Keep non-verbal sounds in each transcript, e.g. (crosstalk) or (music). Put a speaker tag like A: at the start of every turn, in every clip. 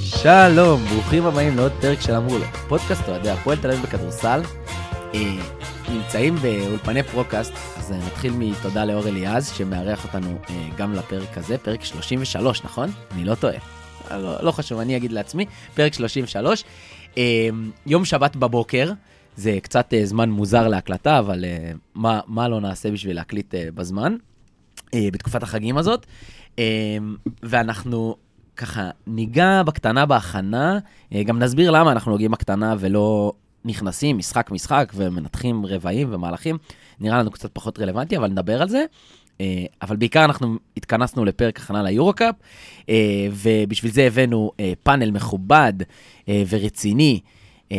A: שלום, ברוכים הבאים לעוד פרק של אמרו לו, פודקאסט אוהדי הפועל תל אביב בכדורסל. אה, נמצאים באולפני פרוקאסט, אז אה, נתחיל מתודה לאור אליעז, שמארח אותנו אה, גם לפרק הזה, פרק 33, נכון? אני לא טועה. אה, לא, לא חשוב, אני אגיד לעצמי, פרק 33. אה, יום שבת בבוקר, זה קצת אה, זמן מוזר להקלטה, אבל אה, מה, מה לא נעשה בשביל להקליט אה, בזמן, אה, בתקופת החגים הזאת. אה, ואנחנו ככה ניגע בקטנה בהכנה, אה, גם נסביר למה אנחנו נוגעים בקטנה ולא נכנסים משחק-משחק ומנתחים רבעים ומהלכים. נראה לנו קצת פחות רלוונטי, אבל נדבר על זה. אה, אבל בעיקר אנחנו התכנסנו לפרק הכנה ליורו-קאפ, אה, ובשביל זה הבאנו אה, פאנל מכובד אה, ורציני אה,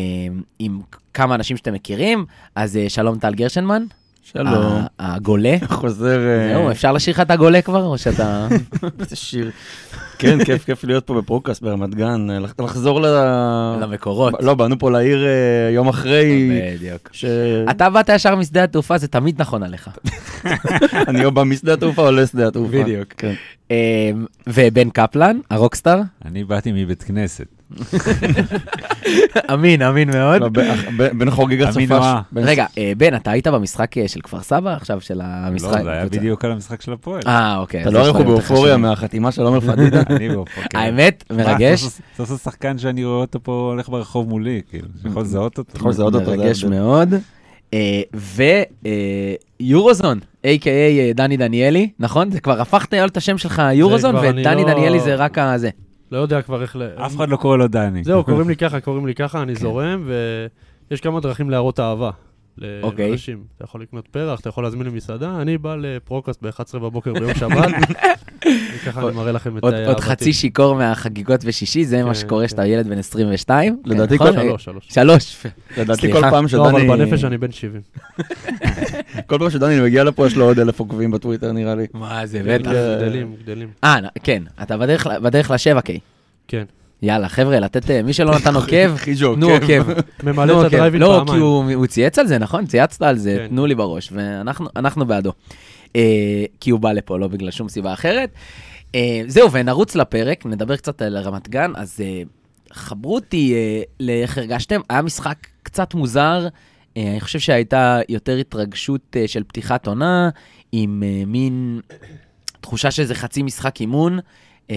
A: עם כמה אנשים שאתם מכירים. אז אה, שלום טל גרשנמן.
B: שלום.
A: ה- הגולה.
B: חוזר... אה,
A: (laughs) זהו, אפשר לשיר לך את הגולה כבר, או שאתה...
B: איזה שיר. כן, כיף, כיף להיות פה בפרוקאסט ברמת גן. אה, לח- לחזור ל...
A: למקורות.
B: לא, באנו פה לעיר אה, יום אחרי,
A: בדיוק.
B: שאני
A: אתה באת ישר משדה התעופה, זה תמיד נכון עליך.
B: או בא משדה התעופה או לשדה התעופה.
A: בדיוק.
B: כן.
A: אמ, ובן קפלן, הרוקסטאר,
C: אני באתי מבית כנסת. לא,
A: אמין, אמין מאוד.
B: לא, ב- אח- ב- בן חוגג
C: אמין
B: הצפה.
C: נועה.
B: ש- בן-
A: רגע, אה, בן, אתה היית במשחק אה, של כפר סבא עכשיו, של המשחק?
C: לא, זה היה
A: הקבוצה?
C: בדיוק על המשחק של הפועל.
A: אה, אוקיי.
B: אתה
A: אז
B: לא
A: יש
B: רואה איך
A: דברים
B: הוא
A: יותר
B: באופוריה
A: חשובים.
B: מהחתימה של עומר פדידה?
C: (laughs) אני באופן. כן.
A: האמת,
C: מה,
A: מרגש.
C: סוף סוף- סוף סוף שחקן שאני רואה אותו פה הולך ברחוב מולי, כאילו, שיכול לזהות אותו.
B: יכול לזהות אותו, זה
A: מרגש
B: ההבדל.
A: מאוד. אה, ויורוזון, a.k.a אה, דני דניאלי, נכון? זה כבר הפכת להיות את השם שלך יורוזון,
D: כבר אני
A: ודני
D: לא-
A: דניאלי זה רק הזה.
D: לא יודע כבר איך ל...
C: אף אחד לא קורא לו דני.
D: זהו, קוראים לי ככה, קוראים לי ככה, אני זורם, ויש כמה דרכים להראות אהבה. ל-
A: אוקיי.
D: לאנשים. אתה יכול לקנות פרח, אתה יכול להזמין למסעדה, אני בא לפרוקאסט ב-11 בבוקר ביום (laughs) שבת, וככה אני מראה לכם את
A: עוד- עוד
D: אהבתי.
A: חצי שיכור מהחגיגות בשישי, זה מה
D: כן,
A: שקורה
D: כן.
A: שאתה ילד בן 22. כן,
B: לדעתי
A: נכון?
B: כל-
D: שלוש, שלוש.
A: שלוש.
B: לדעתי כל
A: סליחה.
B: פעם
D: לא, אבל
B: שדני...
D: בנפש אני בן 70.
B: כל פעם שדני מגיע לפה יש לו עוד אלף עוקבים בטוויטר נראה לי.
A: מה זה,
B: בטח.
D: כן, גדלים, גדלים.
A: אה, נ- כן, אתה בדרך ל- בדרך לשבע קיי.
D: כן.
A: יאללה, חבר'ה, לתת, אה, מי שלא נתן עוקב,
B: חיג'ו,
A: תנו עוקב.
D: כן. ממלא
A: נו,
D: את
A: עוקב.
D: הדרייבין
A: לא, כי
D: פעמיים.
A: הוא הוא צייץ על זה, נכון? צייצת על זה,
D: כן.
A: תנו לי בראש, ואנחנו אנחנו בעדו. אה, כי הוא בא לפה, לא בגלל שום סיבה אחרת. אה, זהו, ונרוץ לפרק, נדבר קצת על רמת גן, אז אה, חברו אותי אה, לאיך הרגשתם. היה משחק קצת מוזר, אה, אני חושב שהייתה יותר התרגשות אה, של פתיחת עונה, עם אה, מין תחושה שזה חצי משחק אימון. אה,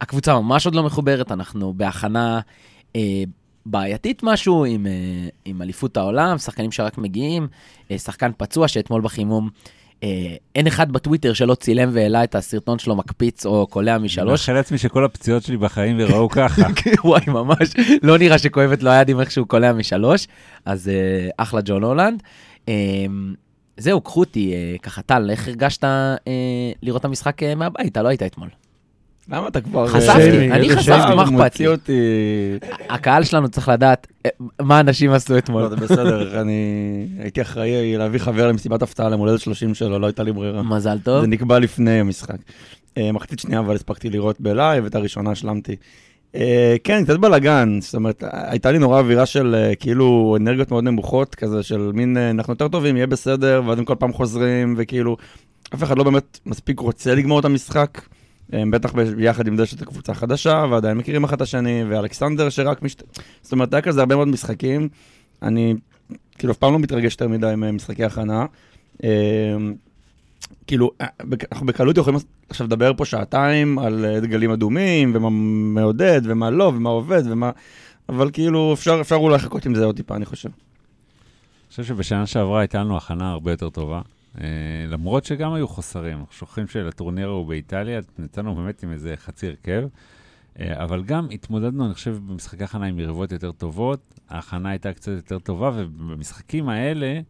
A: הקבוצה ממש עוד לא מחוברת, אנחנו בהכנה אה, בעייתית משהו עם, אה, עם אליפות העולם, שחקנים שרק מגיעים, אה, שחקן פצוע שאתמול בחימום, אה, אין אחד בטוויטר שלא צילם והעלה את הסרטון שלו מקפיץ או קולע
C: אני
A: משלוש.
C: מאחל לעצמי שכל הפציעות שלי בחיים יראו ככה.
A: (laughs) וואי, ממש, לא נראה שכואבת לו היד עם איך שהוא קולע משלוש, אז אה, אחלה ג'ון הולנד. אה, זהו, קחו אותי, אה, ככה, טל, איך הרגשת אה, לראות את המשחק אה, מהבית? אתה לא היית אתמול.
B: למה אתה כבר...
A: חשפתי,
B: שיימינג,
A: אני
B: איזה
A: חשפתי, מה
B: שיימינג,
A: אכפת
B: מוציא
A: לי?
B: אותי.
A: הקהל שלנו צריך לדעת אה, מה אנשים עשו אתמול.
B: לא, זה בסדר, אני הייתי אחראי להביא חבר למסיבת הפתעה למולדת 30 שלו, לא הייתה לי ברירה.
A: מזל טוב.
B: זה נקבע לפני המשחק. אה, מחצית שנייה אבל הספקתי לראות בלייב, את הראשונה השלמתי. אה, כן, קצת בלאגן, זאת אומרת, אה, הייתה לי נורא אווירה של אה, כאילו אנרגיות מאוד נמוכות, כזה של מין אה, אנחנו יותר טובים, יהיה בסדר, ואז הם כל פעם חוזרים, וכאילו, אף אחד לא באמת מספיק רוצה לגמור את המשחק. אה, בטח ב- ביחד עם זה שזו קבוצה חדשה, ועדיין מכירים אחד את השני, ואלכסנדר שרק משת... זאת אומרת, היה כזה הרבה מאוד משחקים. אני כאילו אף פעם לא מתרגש יותר מדי ממשחקי הכנה. אה, כאילו, אה, בק- אנחנו בקלות יכולים עכשיו לדבר פה שעתיים על אה, דגלים אדומים, ומה מעודד, ומה לא, ומה עובד, ומה... אבל כאילו, אפשר, אפשר אולי לחכות עם זה עוד טיפה, אני חושב.
C: אני חושב שבשנה שעברה הייתה לנו הכנה הרבה יותר טובה. אה, למרות שגם היו חוסרים, אנחנו שוכחים שלטורניר ההוא באיטליה, נתנו באמת עם איזה חצי הרכב. אה, אבל גם התמודדנו, אני חושב, במשחקי הכנה עם יריבות יותר טובות, ההכנה הייתה קצת יותר טובה, ובמשחקים האלה,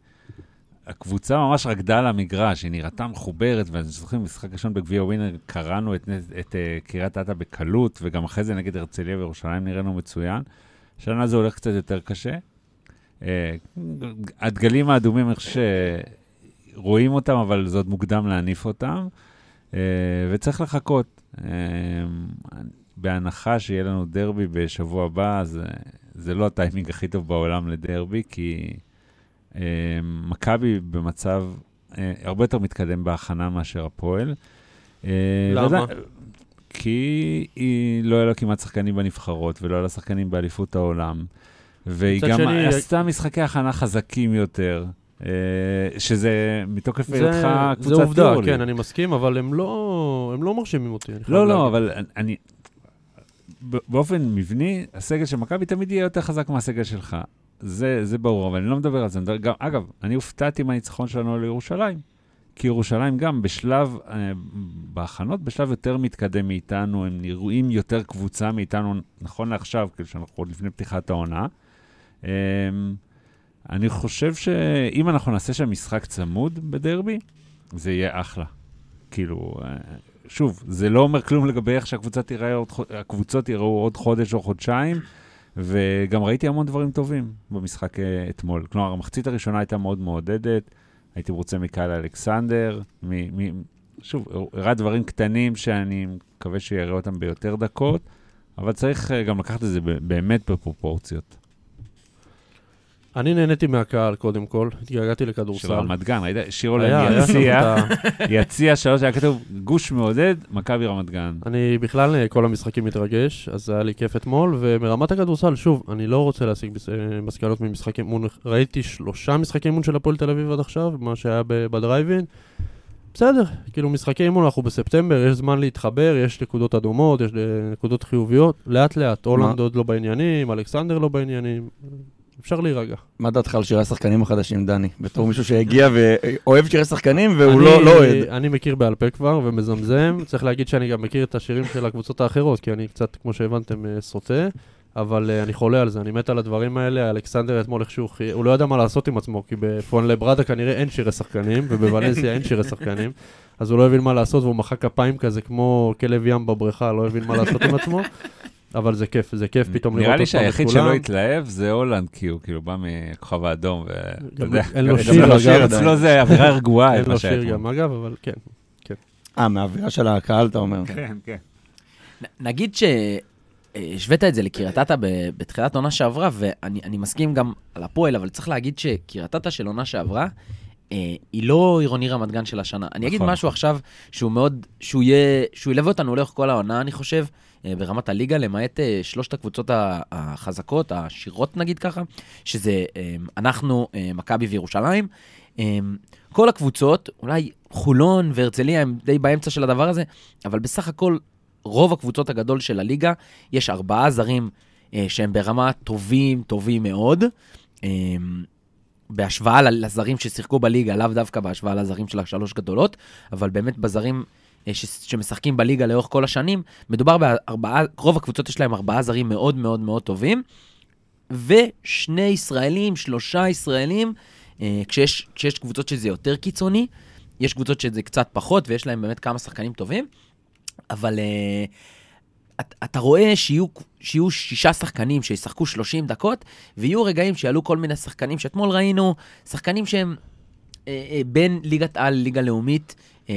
C: הקבוצה ממש רקדה על המגרש, היא נראתה מחוברת, ואני זוכר במשחק ראשון בגביע ווינר, קראנו את, נס- את אה, קריית אתא בקלות, וגם אחרי זה נגד הרצליה וירושלים נראינו מצוין. שנה זה הולך קצת יותר קשה. אה, הדגלים האדומים, אני חושב שרואים אותם, אבל זה עוד מוקדם להניף אותם, אה, וצריך לחכות. אה, בהנחה שיהיה לנו דרבי בשבוע הבא, אז אה, זה לא הטיימינג הכי טוב בעולם לדרבי, כי אה, מכבי במצב אה, הרבה יותר מתקדם בהכנה מאשר הפועל. אה,
D: למה?
C: ועדיין- כי היא לא היה לה כמעט שחקנים בנבחרות, ולא היה לה שחקנים באליפות העולם, והיא
D: מצד
C: גם
D: שני, אה,
C: עשתה משחקי הכנה חזקים יותר, אה, שזה מתוקף
D: זה,
C: היותך
D: זה
C: קבוצת
D: עובדה,
C: יורו-ליג.
D: כן, אני מסכים, אבל הם לא, הם לא מרשימים אותי. אני חייב
C: לא,
D: להגיד.
C: לא, אבל אני- אני... ב- באופן מבני, הסגל של מכבי תמיד יהיה יותר חזק מהסגל שלך. זה, זה ברור, אבל אני לא מדבר על זה. אני מדבר גם, אגב, אני הופתעתי מהניצחון שלנו על ירושלים. כי ירושלים גם בשלב, אה, בהכנות, בשלב יותר מתקדם מאיתנו, הם נראים יותר קבוצה מאיתנו, נכון לעכשיו, כאילו שאנחנו עוד לפני פתיחת העונה. אה, אני חושב שאם אנחנו נעשה שם משחק צמוד בדרבי, זה יהיה אחלה. כאילו, אה, שוב, זה לא אומר כלום לגבי איך שהקבוצה תיראה עוד, חו- הקבוצות יראו עוד חודש או חודשיים, וגם ראיתי המון דברים טובים במשחק אה, אתמול. כלומר, המחצית הראשונה הייתה מאוד מעודדת, הייתי מרוצה מקהל אלכסנדר, מ, מ, שוב, הוא הראה דברים קטנים שאני מקווה שיראה אותם ביותר דקות, אבל צריך אה, גם לקחת את זה ב- באמת בפרופורציות.
D: אני נהניתי מהקהל, קודם כל. התגעגעתי
C: של
D: לכדורסל.
C: רמת גן, ראית? שיר
D: היה,
C: עולם
D: היה שם
C: יציע,
D: את ה-
C: יציע שלוש, היה כתוב גוש מעודד, מכבי רמת גן.
D: אני בכלל אה, כל המשחקים מתרגש, אז היה לי כיף אתמול, ומרמת הכדורסל, שוב, אני לא רוצה להשיג בס- אה, מסקנות ממשחקי אימון, ראיתי שלושה משחקי אימון של הפועל תל אביב עד עכשיו, מה שהיה ב- בדרייבין. בסדר, כאילו משחקי אימון, אנחנו בספטמבר, יש זמן להתחבר, יש נקודות אדומות, יש אה, נקודות חיוביות, לאט לאט, הולנד עוד לא בעניינים, אלכסנדר לא בעניינים, אפשר להירגע.
B: מה דעתך על שירי השחקנים החדשים, דני? בתור מישהו שהגיע ואוהב שירי שחקנים והוא
D: אני-
B: לא לא אוהד.
D: אני מכיר בעל פה כבר ומזמזם. צריך להגיד שאני גם מכיר את השירים של הקבוצות האחרות, כי אני קצת, כמו שהבנתם, אה, סוטה. אבל אה, אני חולה על זה, אני מת על הדברים האלה. אלכסנדר אתמול איכשהו, חי- הוא לא ידע מה לעשות עם עצמו, כי בפון לברדה כנראה אין שירי שחקנים, ובוולנסיה אין שירי שחקנים. אז הוא לא הבין מה לעשות, והוא מחא כפיים כזה כמו כלב ים בבריכה, לא הבין מה לעשות עם עצמו. אבל זה כיף, זה כיף פתאום לראות
C: נראה
D: אותם
C: לי
D: את כולם.
C: שהיחיד שלא התלהב זה הולנד, כי הוא כאילו בא מהכוכב האדום, ואתה
D: גם
C: יודע,
D: אין לו
C: גם
D: שיר,
C: אין לו
B: אגב.
C: שיר, אצלו זה אווירה רגועה,
D: אין
C: מה
D: לו
C: שהיה
D: שיר
C: אתמול.
D: גם, אגב, אבל כן.
B: אה, מהאווירה של הקהל, אתה אומר.
C: כן, כן.
A: נ- נגיד שהשווית את זה לקריית אתא ב- בתחילת עונה שעברה, ואני אני מסכים גם על הפועל, אבל צריך להגיד שקריית אתא של עונה שעברה, אה, היא לא עירוני רמת גן של השנה. אני אגיד
C: נכון.
A: משהו עכשיו שהוא מאוד, שהוא יהיה, שהוא ילווה אותנו לאורך כל העונה, אני חושב, אה, ברמת הליגה, למעט אה, שלושת הקבוצות ה- החזקות, העשירות נגיד ככה, שזה אה, אנחנו, אה, מכבי וירושלים. אה, כל הקבוצות, אולי חולון והרצליה הם די באמצע של הדבר הזה, אבל בסך הכל רוב הקבוצות הגדול של הליגה, יש ארבעה זרים אה, שהם ברמה טובים, טובים מאוד. אה, בהשוואה ל- לזרים ששיחקו בליגה, לאו דווקא בהשוואה לזרים של השלוש גדולות, אבל באמת בזרים אה, ש- שמשחקים בליגה לאורך כל השנים, מדובר בארבעה, רוב הקבוצות יש להם ארבעה זרים מאוד מאוד מאוד טובים, ושני ישראלים, שלושה ישראלים, אה, כשיש, כשיש קבוצות שזה יותר קיצוני, יש קבוצות שזה קצת פחות, ויש להם באמת כמה שחקנים טובים, אבל אה, את- אתה רואה שיהיו, שיהיו שישה שחקנים שישחקו 30 דקות, ויהיו רגעים שיעלו כל מיני שחקנים שאתמול ראינו, שחקנים שהם אה, אה, בין ליגת על לליגה לאומית, אה,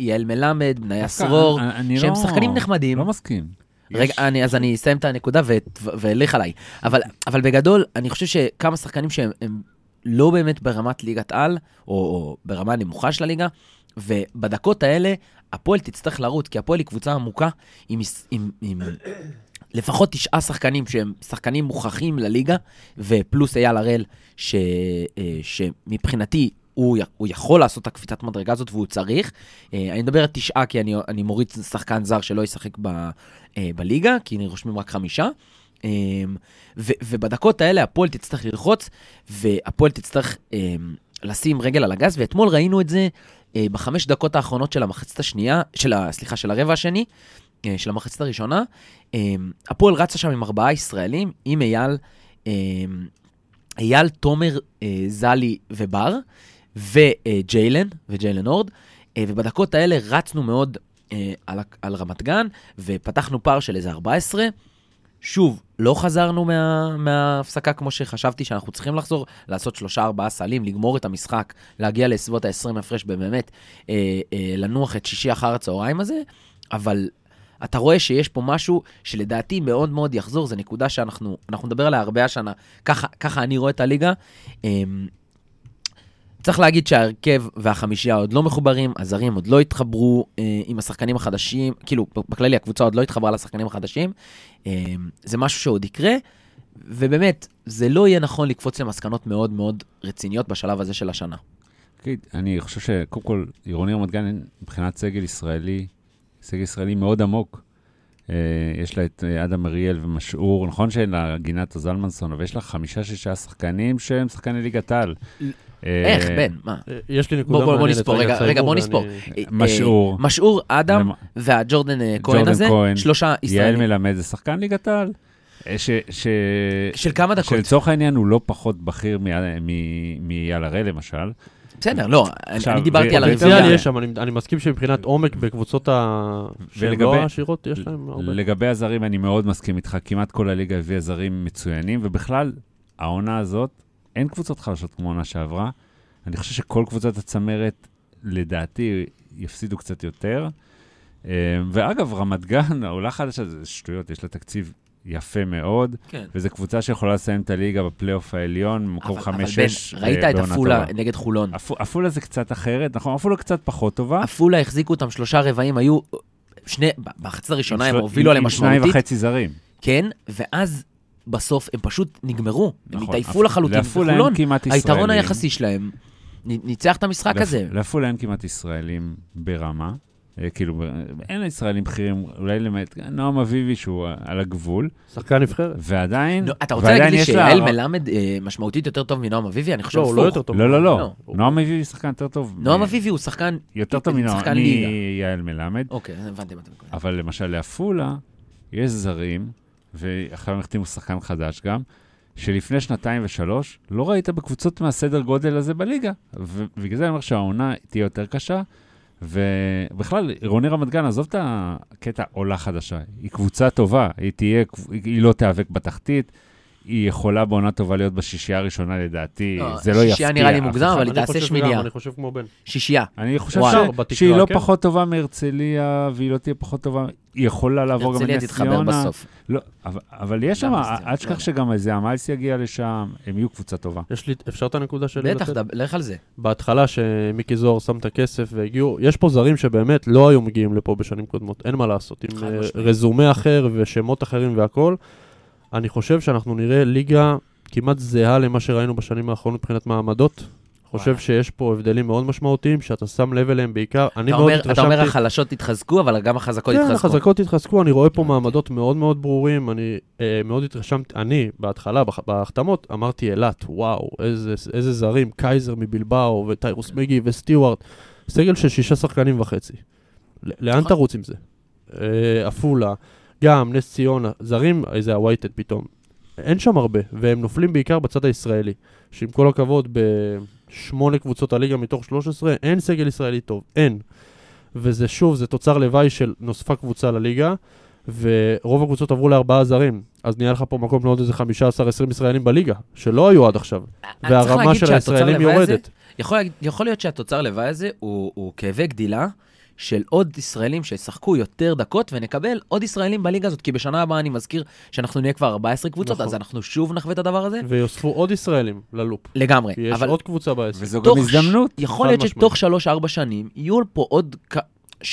A: יעל מלמד, בניה
C: דווקא
A: סרור,
C: אני- אני
A: שהם
C: לא-
A: שחקנים נחמדים.
C: לא מסכים.
A: רגע,
C: יש-
A: אני, אז אני אסיים את הנקודה ואת- ו- ואלך עליי. אבל, אבל בגדול, אני חושב שכמה שחקנים שהם הם לא באמת ברמת ליגת על, או, או ברמה הנמוכה של הליגה, ובדקות האלה הפועל תצטרך לרוץ, כי הפועל היא קבוצה עמוקה עם, מס- עם, עם לפחות תשעה שחקנים שהם שחקנים מוכחים לליגה, ופלוס אייל הראל, ש, אה, שמבחינתי... הוא, י- הוא יכול לעשות את הקפיצת מדרגה הזאת והוא צריך. אה, אני מדבר על תשעה כי אני, אני מוריד שחקן זר שלא ישחק ב, אה, בליגה, כי רושמים רק חמישה. אה, ו- ובדקות האלה הפועל תצטרך ללחוץ, והפועל תצטרך אה, לשים רגל על הגז, ואתמול ראינו את זה אה, בחמש דקות האחרונות של המחצית השנייה, של ה, סליחה, של הרבע השני, אה, של המחצית הראשונה. אה, הפועל רצה שם עם ארבעה ישראלים, עם אייל, אה, אייל, תומר, אה, זלי ובר, וג'יילן, וג'יילן הורד, אה, ובדקות האלה רצנו מאוד אה, על, ה- על רמת גן, ופתחנו פער של איזה 14. שוב, לא חזרנו מה, מההפסקה כמו שחשבתי שאנחנו צריכים לחזור, לעשות שלושה ארבעה סלים, לגמור את המשחק, להגיע לסביבות ה-20 הפרש ובאמת אה, אה, לנוח את שישי אחר הצהריים הזה, אבל אתה רואה שיש פה משהו שלדעתי מאוד מאוד יחזור, זו נקודה אמ, שאנחנו אנחנו נדבר עליה הרבה השנה, ככה, ככה אני רואה את הליגה. אה, צריך להגיד שההרכב והחמישייה עוד לא מחוברים, הזרים עוד לא התחברו אה, עם השחקנים החדשים, כאילו, בכללי הקבוצה עוד לא התחברה לשחקנים החדשים. אה, זה משהו שעוד יקרה, ובאמת, זה לא יהיה נכון לקפוץ למסקנות מאוד מאוד רציניות בשלב הזה של השנה.
C: כן, אני חושב שקודם כל, עירוני רמת גן, מבחינת סגל ישראלי, סגל ישראלי מאוד עמוק. אה, יש לה את אה, אדם אריאל ומשעור, נכון שאין לה גינת זלמנסון, אבל יש לה חמישה-שישה שחקנים שהם שחקני ליגת על. אה,
A: איך, בן, מה?
D: אה, יש לי
A: בוא-
D: נקודה
A: בוא- בוא
D: מעניינת,
A: נספור, רגע,
D: סיימו,
A: רגע, בוא
D: ואני-
A: נספור. אה,
C: משעור.
A: אה, משעור, אדם והג'ורדן אה, כהן
C: ג'ורדן
A: הזה,
C: כהן,
A: שלושה
C: יעל
A: ישראלים.
C: מלמד זה שחקן ליגת העל. אה, ש... ש...
A: של כמה דקות?
C: שלצורך העניין הוא לא פחות בכיר מ- מ- מאייל הראל למשל.
A: בסדר, לא, אני-
C: עכשיו,
A: אני דיברתי
C: ו-
A: על
C: פוטנציאל
A: הרביעייה.
D: פוטנציאל יש שם, אני אני מסכים שמבחינת עומק בקבוצות ה- שהן לא
C: ולגבי-
D: העשירות, יש להם הרבה.
C: לגבי הזרים, אני מאוד מסכים איתך, כמעט כל הליגה הביאה זרים מצוינים, ובכלל, העונה הזאת, אין קבוצות חלשות כמו העונה שעברה. אני חושב שכל קבוצת הצמרת, לדעתי, יפסידו קצת יותר. אה, ואגב, רמת גן, העולה חדשה, זה שטויות, יש לה תקציב יפה מאוד,
A: כן.
C: וזו קבוצה שיכולה לסיים את הליגה בפלייאוף העליון, במקום 5-6
A: אבל- אבל
C: אה, בעונה
A: בן, ראית את עפולה נגד חולון.
C: עפו- עפולה זה קצת אחרת, נכון? עפולה קצת פחות טובה.
A: עפולה החזיקו אותם שלושה רבעים, היו שני, בחצי הראשונה הם
C: עם-
A: הובילו עליהם
C: עם שניים
A: משמעותית,
C: וחצי זרים.
A: כן, ואז בסוף הם פשוט נגמרו, הם
C: נכון,
A: התעייפו לחלוטין,
C: לעפולה אין
A: וחולון,
C: כמעט
A: היתרון
C: ישראלים.
A: היחסי שלהם, נ- ניצח את המשחק
C: לעפ-
A: הזה.
C: לעפולה אין כמעט ישראלים ברמה. אה, כאילו, ב- אין לה ישראלים בכירים, אולי למעט נועם אביבי שהוא אה, על הגבול,
D: שחקן נבחרת.
C: ועדיין...
A: נו, אתה רוצה
C: ועדיין
A: להגיד לי
C: יש לה-
A: שיעל מלמד אה, משמעותית יותר טוב מנועם אביבי? אני חושב
D: לא, הוא לא
A: הפוך.
D: יותר טוב.
C: לא, לא,
A: לא.
C: לא. נועם אביבי שחקן יותר טוב.
A: נועם
C: אה,
A: אביבי הוא שחקן,
C: יותר טוב מנועם-
A: שחקן ליגה.
C: מיעל מלמד.
A: אוקיי, הבנתי מה אתה מתכוון.
C: אבל למשל לעפולה, יש זרים, ועכשיו הם החתימו שחקן חדש גם, שלפני שנתיים ושלוש, לא ראית בקבוצות מהסדר גודל הזה בליגה. ובגלל זה אני אומר שהעונה תהיה יותר קשה, ובכלל, עירוני רמת גן, עזוב את הקטע עולה חדשה, היא קבוצה טובה, היא תהיה, היא לא תיאבק בתחתית. היא יכולה בעונה טובה להיות בשישייה הראשונה לדעתי,
A: לא,
C: זה לא יפתיע.
A: שישייה נראה לי
C: אף
A: מוגזם,
C: אחד.
A: אבל-
D: אני
A: תעשה
D: חושב
A: שמינייה.
D: גם, אני חושב כמו בן.
A: שישייה.
C: אני חושב
A: וואלה.
C: ש-
D: בתקרה,
C: שהיא לא
D: כן.
C: פחות טובה מהרצליה, והיא לא תהיה פחות טובה, היא יכולה לעבור גם
A: הרצליה
C: לנס
A: תתחבר
C: ציונה.
A: בסוף.
C: לא, אבל, אבל יש שם,
A: גם נס ציונה,
C: אל תשכח
A: לא.
C: שגם איזה אמלס יגיע לשם, הם יהיו קבוצה טובה.
D: יש לי, אפשר את הנקודה שלי
A: בטח, דבר- לך על זה.
D: בהתחלה שמיקי זוהר שם את הכסף והגיעו, יש פה זרים שבאמת לא היו מגיעים לפה בשנים קודמות, אין מה לעשות, עם
A: חד
D: אה,
A: משמעית.
D: רזומה אחר ושמות אחרים והכול. אני חושב שאנחנו נראה ליגה כמעט זהה למה שראינו בשנים האחרונות מבחינת מעמדות. חושב
A: וואלה.
D: שיש פה הבדלים מאוד משמעותיים, שאתה שם לב אליהם בעיקר. אני
A: אתה
D: מאוד
A: אומר- אתה אומר
D: התרשמתי-
A: החלשות התחזקו, אבל גם החזקות
D: כן,
A: התחזקו.
D: החזקות התחזקו, אני רואה פה מעמדות מאוד מאוד ברורים, אני אה, מאוד התרשמתי, אני בהתחלה, בח- בהחתמות, אמרתי אילת, וואו, איזה, איזה זרים, קייזר מבלבאו, וטיירוס מגי וסטיוארט, סגל של שישה שחקנים וחצי. ל- לאן
A: נכון.
D: תרוץ עם זה? אה, עפולה, גם, נס ציונה, זרים, איזה הווייטד פתאום. אין שם הרבה, והם נופלים בעיקר בצד הישראלי, שעם כל הכבוד, בשמונה קבוצות הליגה מתוך 13, אין סגל ישראלי טוב, אין. וזה שוב, זה תוצר לוואי של נוספה קבוצה לליגה, ורוב הקבוצות עברו לארבעה זרים, אז נהיה לך פה מקום לעוד איזה 15-20 ישראלים בליגה, שלא היו עד עכשיו,
A: אני צריך
D: והרמה
A: להגיד
D: של
A: שהתוצר
D: הישראלים
A: לוואי הזה-
D: יורדת.
A: יכול, להגיד- יכול להיות שהתוצר לוואי הזה הוא, הוא כאבי גדילה של עוד ישראלים שישחקו יותר דקות ונקבל עוד ישראלים בליגה הזאת, כי בשנה הבאה אני מזכיר שאנחנו נהיה כבר 14 קבוצות,
D: נכון.
A: אז אנחנו שוב נחווה את הדבר הזה
D: (laughs) ויוספו עוד ישראלים ללופ,
A: לגמרי.
D: כי יש
A: אה, אבל
D: עוד קבוצה בעסק.
C: וזו גם
A: תוך ש-
C: הזדמנות.
A: יכול
D: חד
A: להיות
D: משמעית.
A: שתוך 3-4 שנים יהיו פה עוד... כ-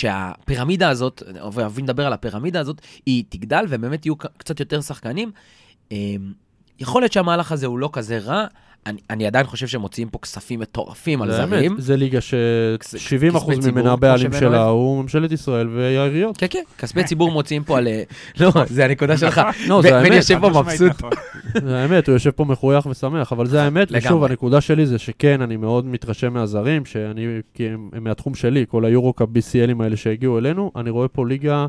A: שהפירמידה הזאת, ואוהבים לדבר על הפירמידה הזאת, היא תגדל ובאמת יהיו ק- קצת יותר שחקנים. אמ, יכול להיות שהמהלך הזה הוא לא כזה רע, אני, אני עדיין חושב שהם מוציאים פה כספים מטורפים על
D: זה
A: זרים.
D: האמת, זה ליגה
A: כס-
D: ש-70%
A: כספי ציבור,
D: ממנה
A: כמו
D: הבעלים
A: שבן
D: שלה
A: אוהב.
D: הוא ממשלת ישראל והעיריות.
A: כן, כן, כספי ציבור מוציאים פה על... אה, (laughs) לא, זה הנקודה שלך.
D: לא,
A: ו-
D: זה
A: ואני
D: האמת.
A: יושב פה מבסוט.
C: נכון.
D: זה האמת, הוא יושב פה מחוייך ושמח, אבל זה האמת, ושוב,
A: לגמרי.
D: הנקודה שלי זה שכן, אני מאוד מתרשם מהזרים, שאני, כי הם, הם מהתחום שלי, כל היורו-קאפ BCLים האלה שהגיעו אלינו, אני רואה פה ליגה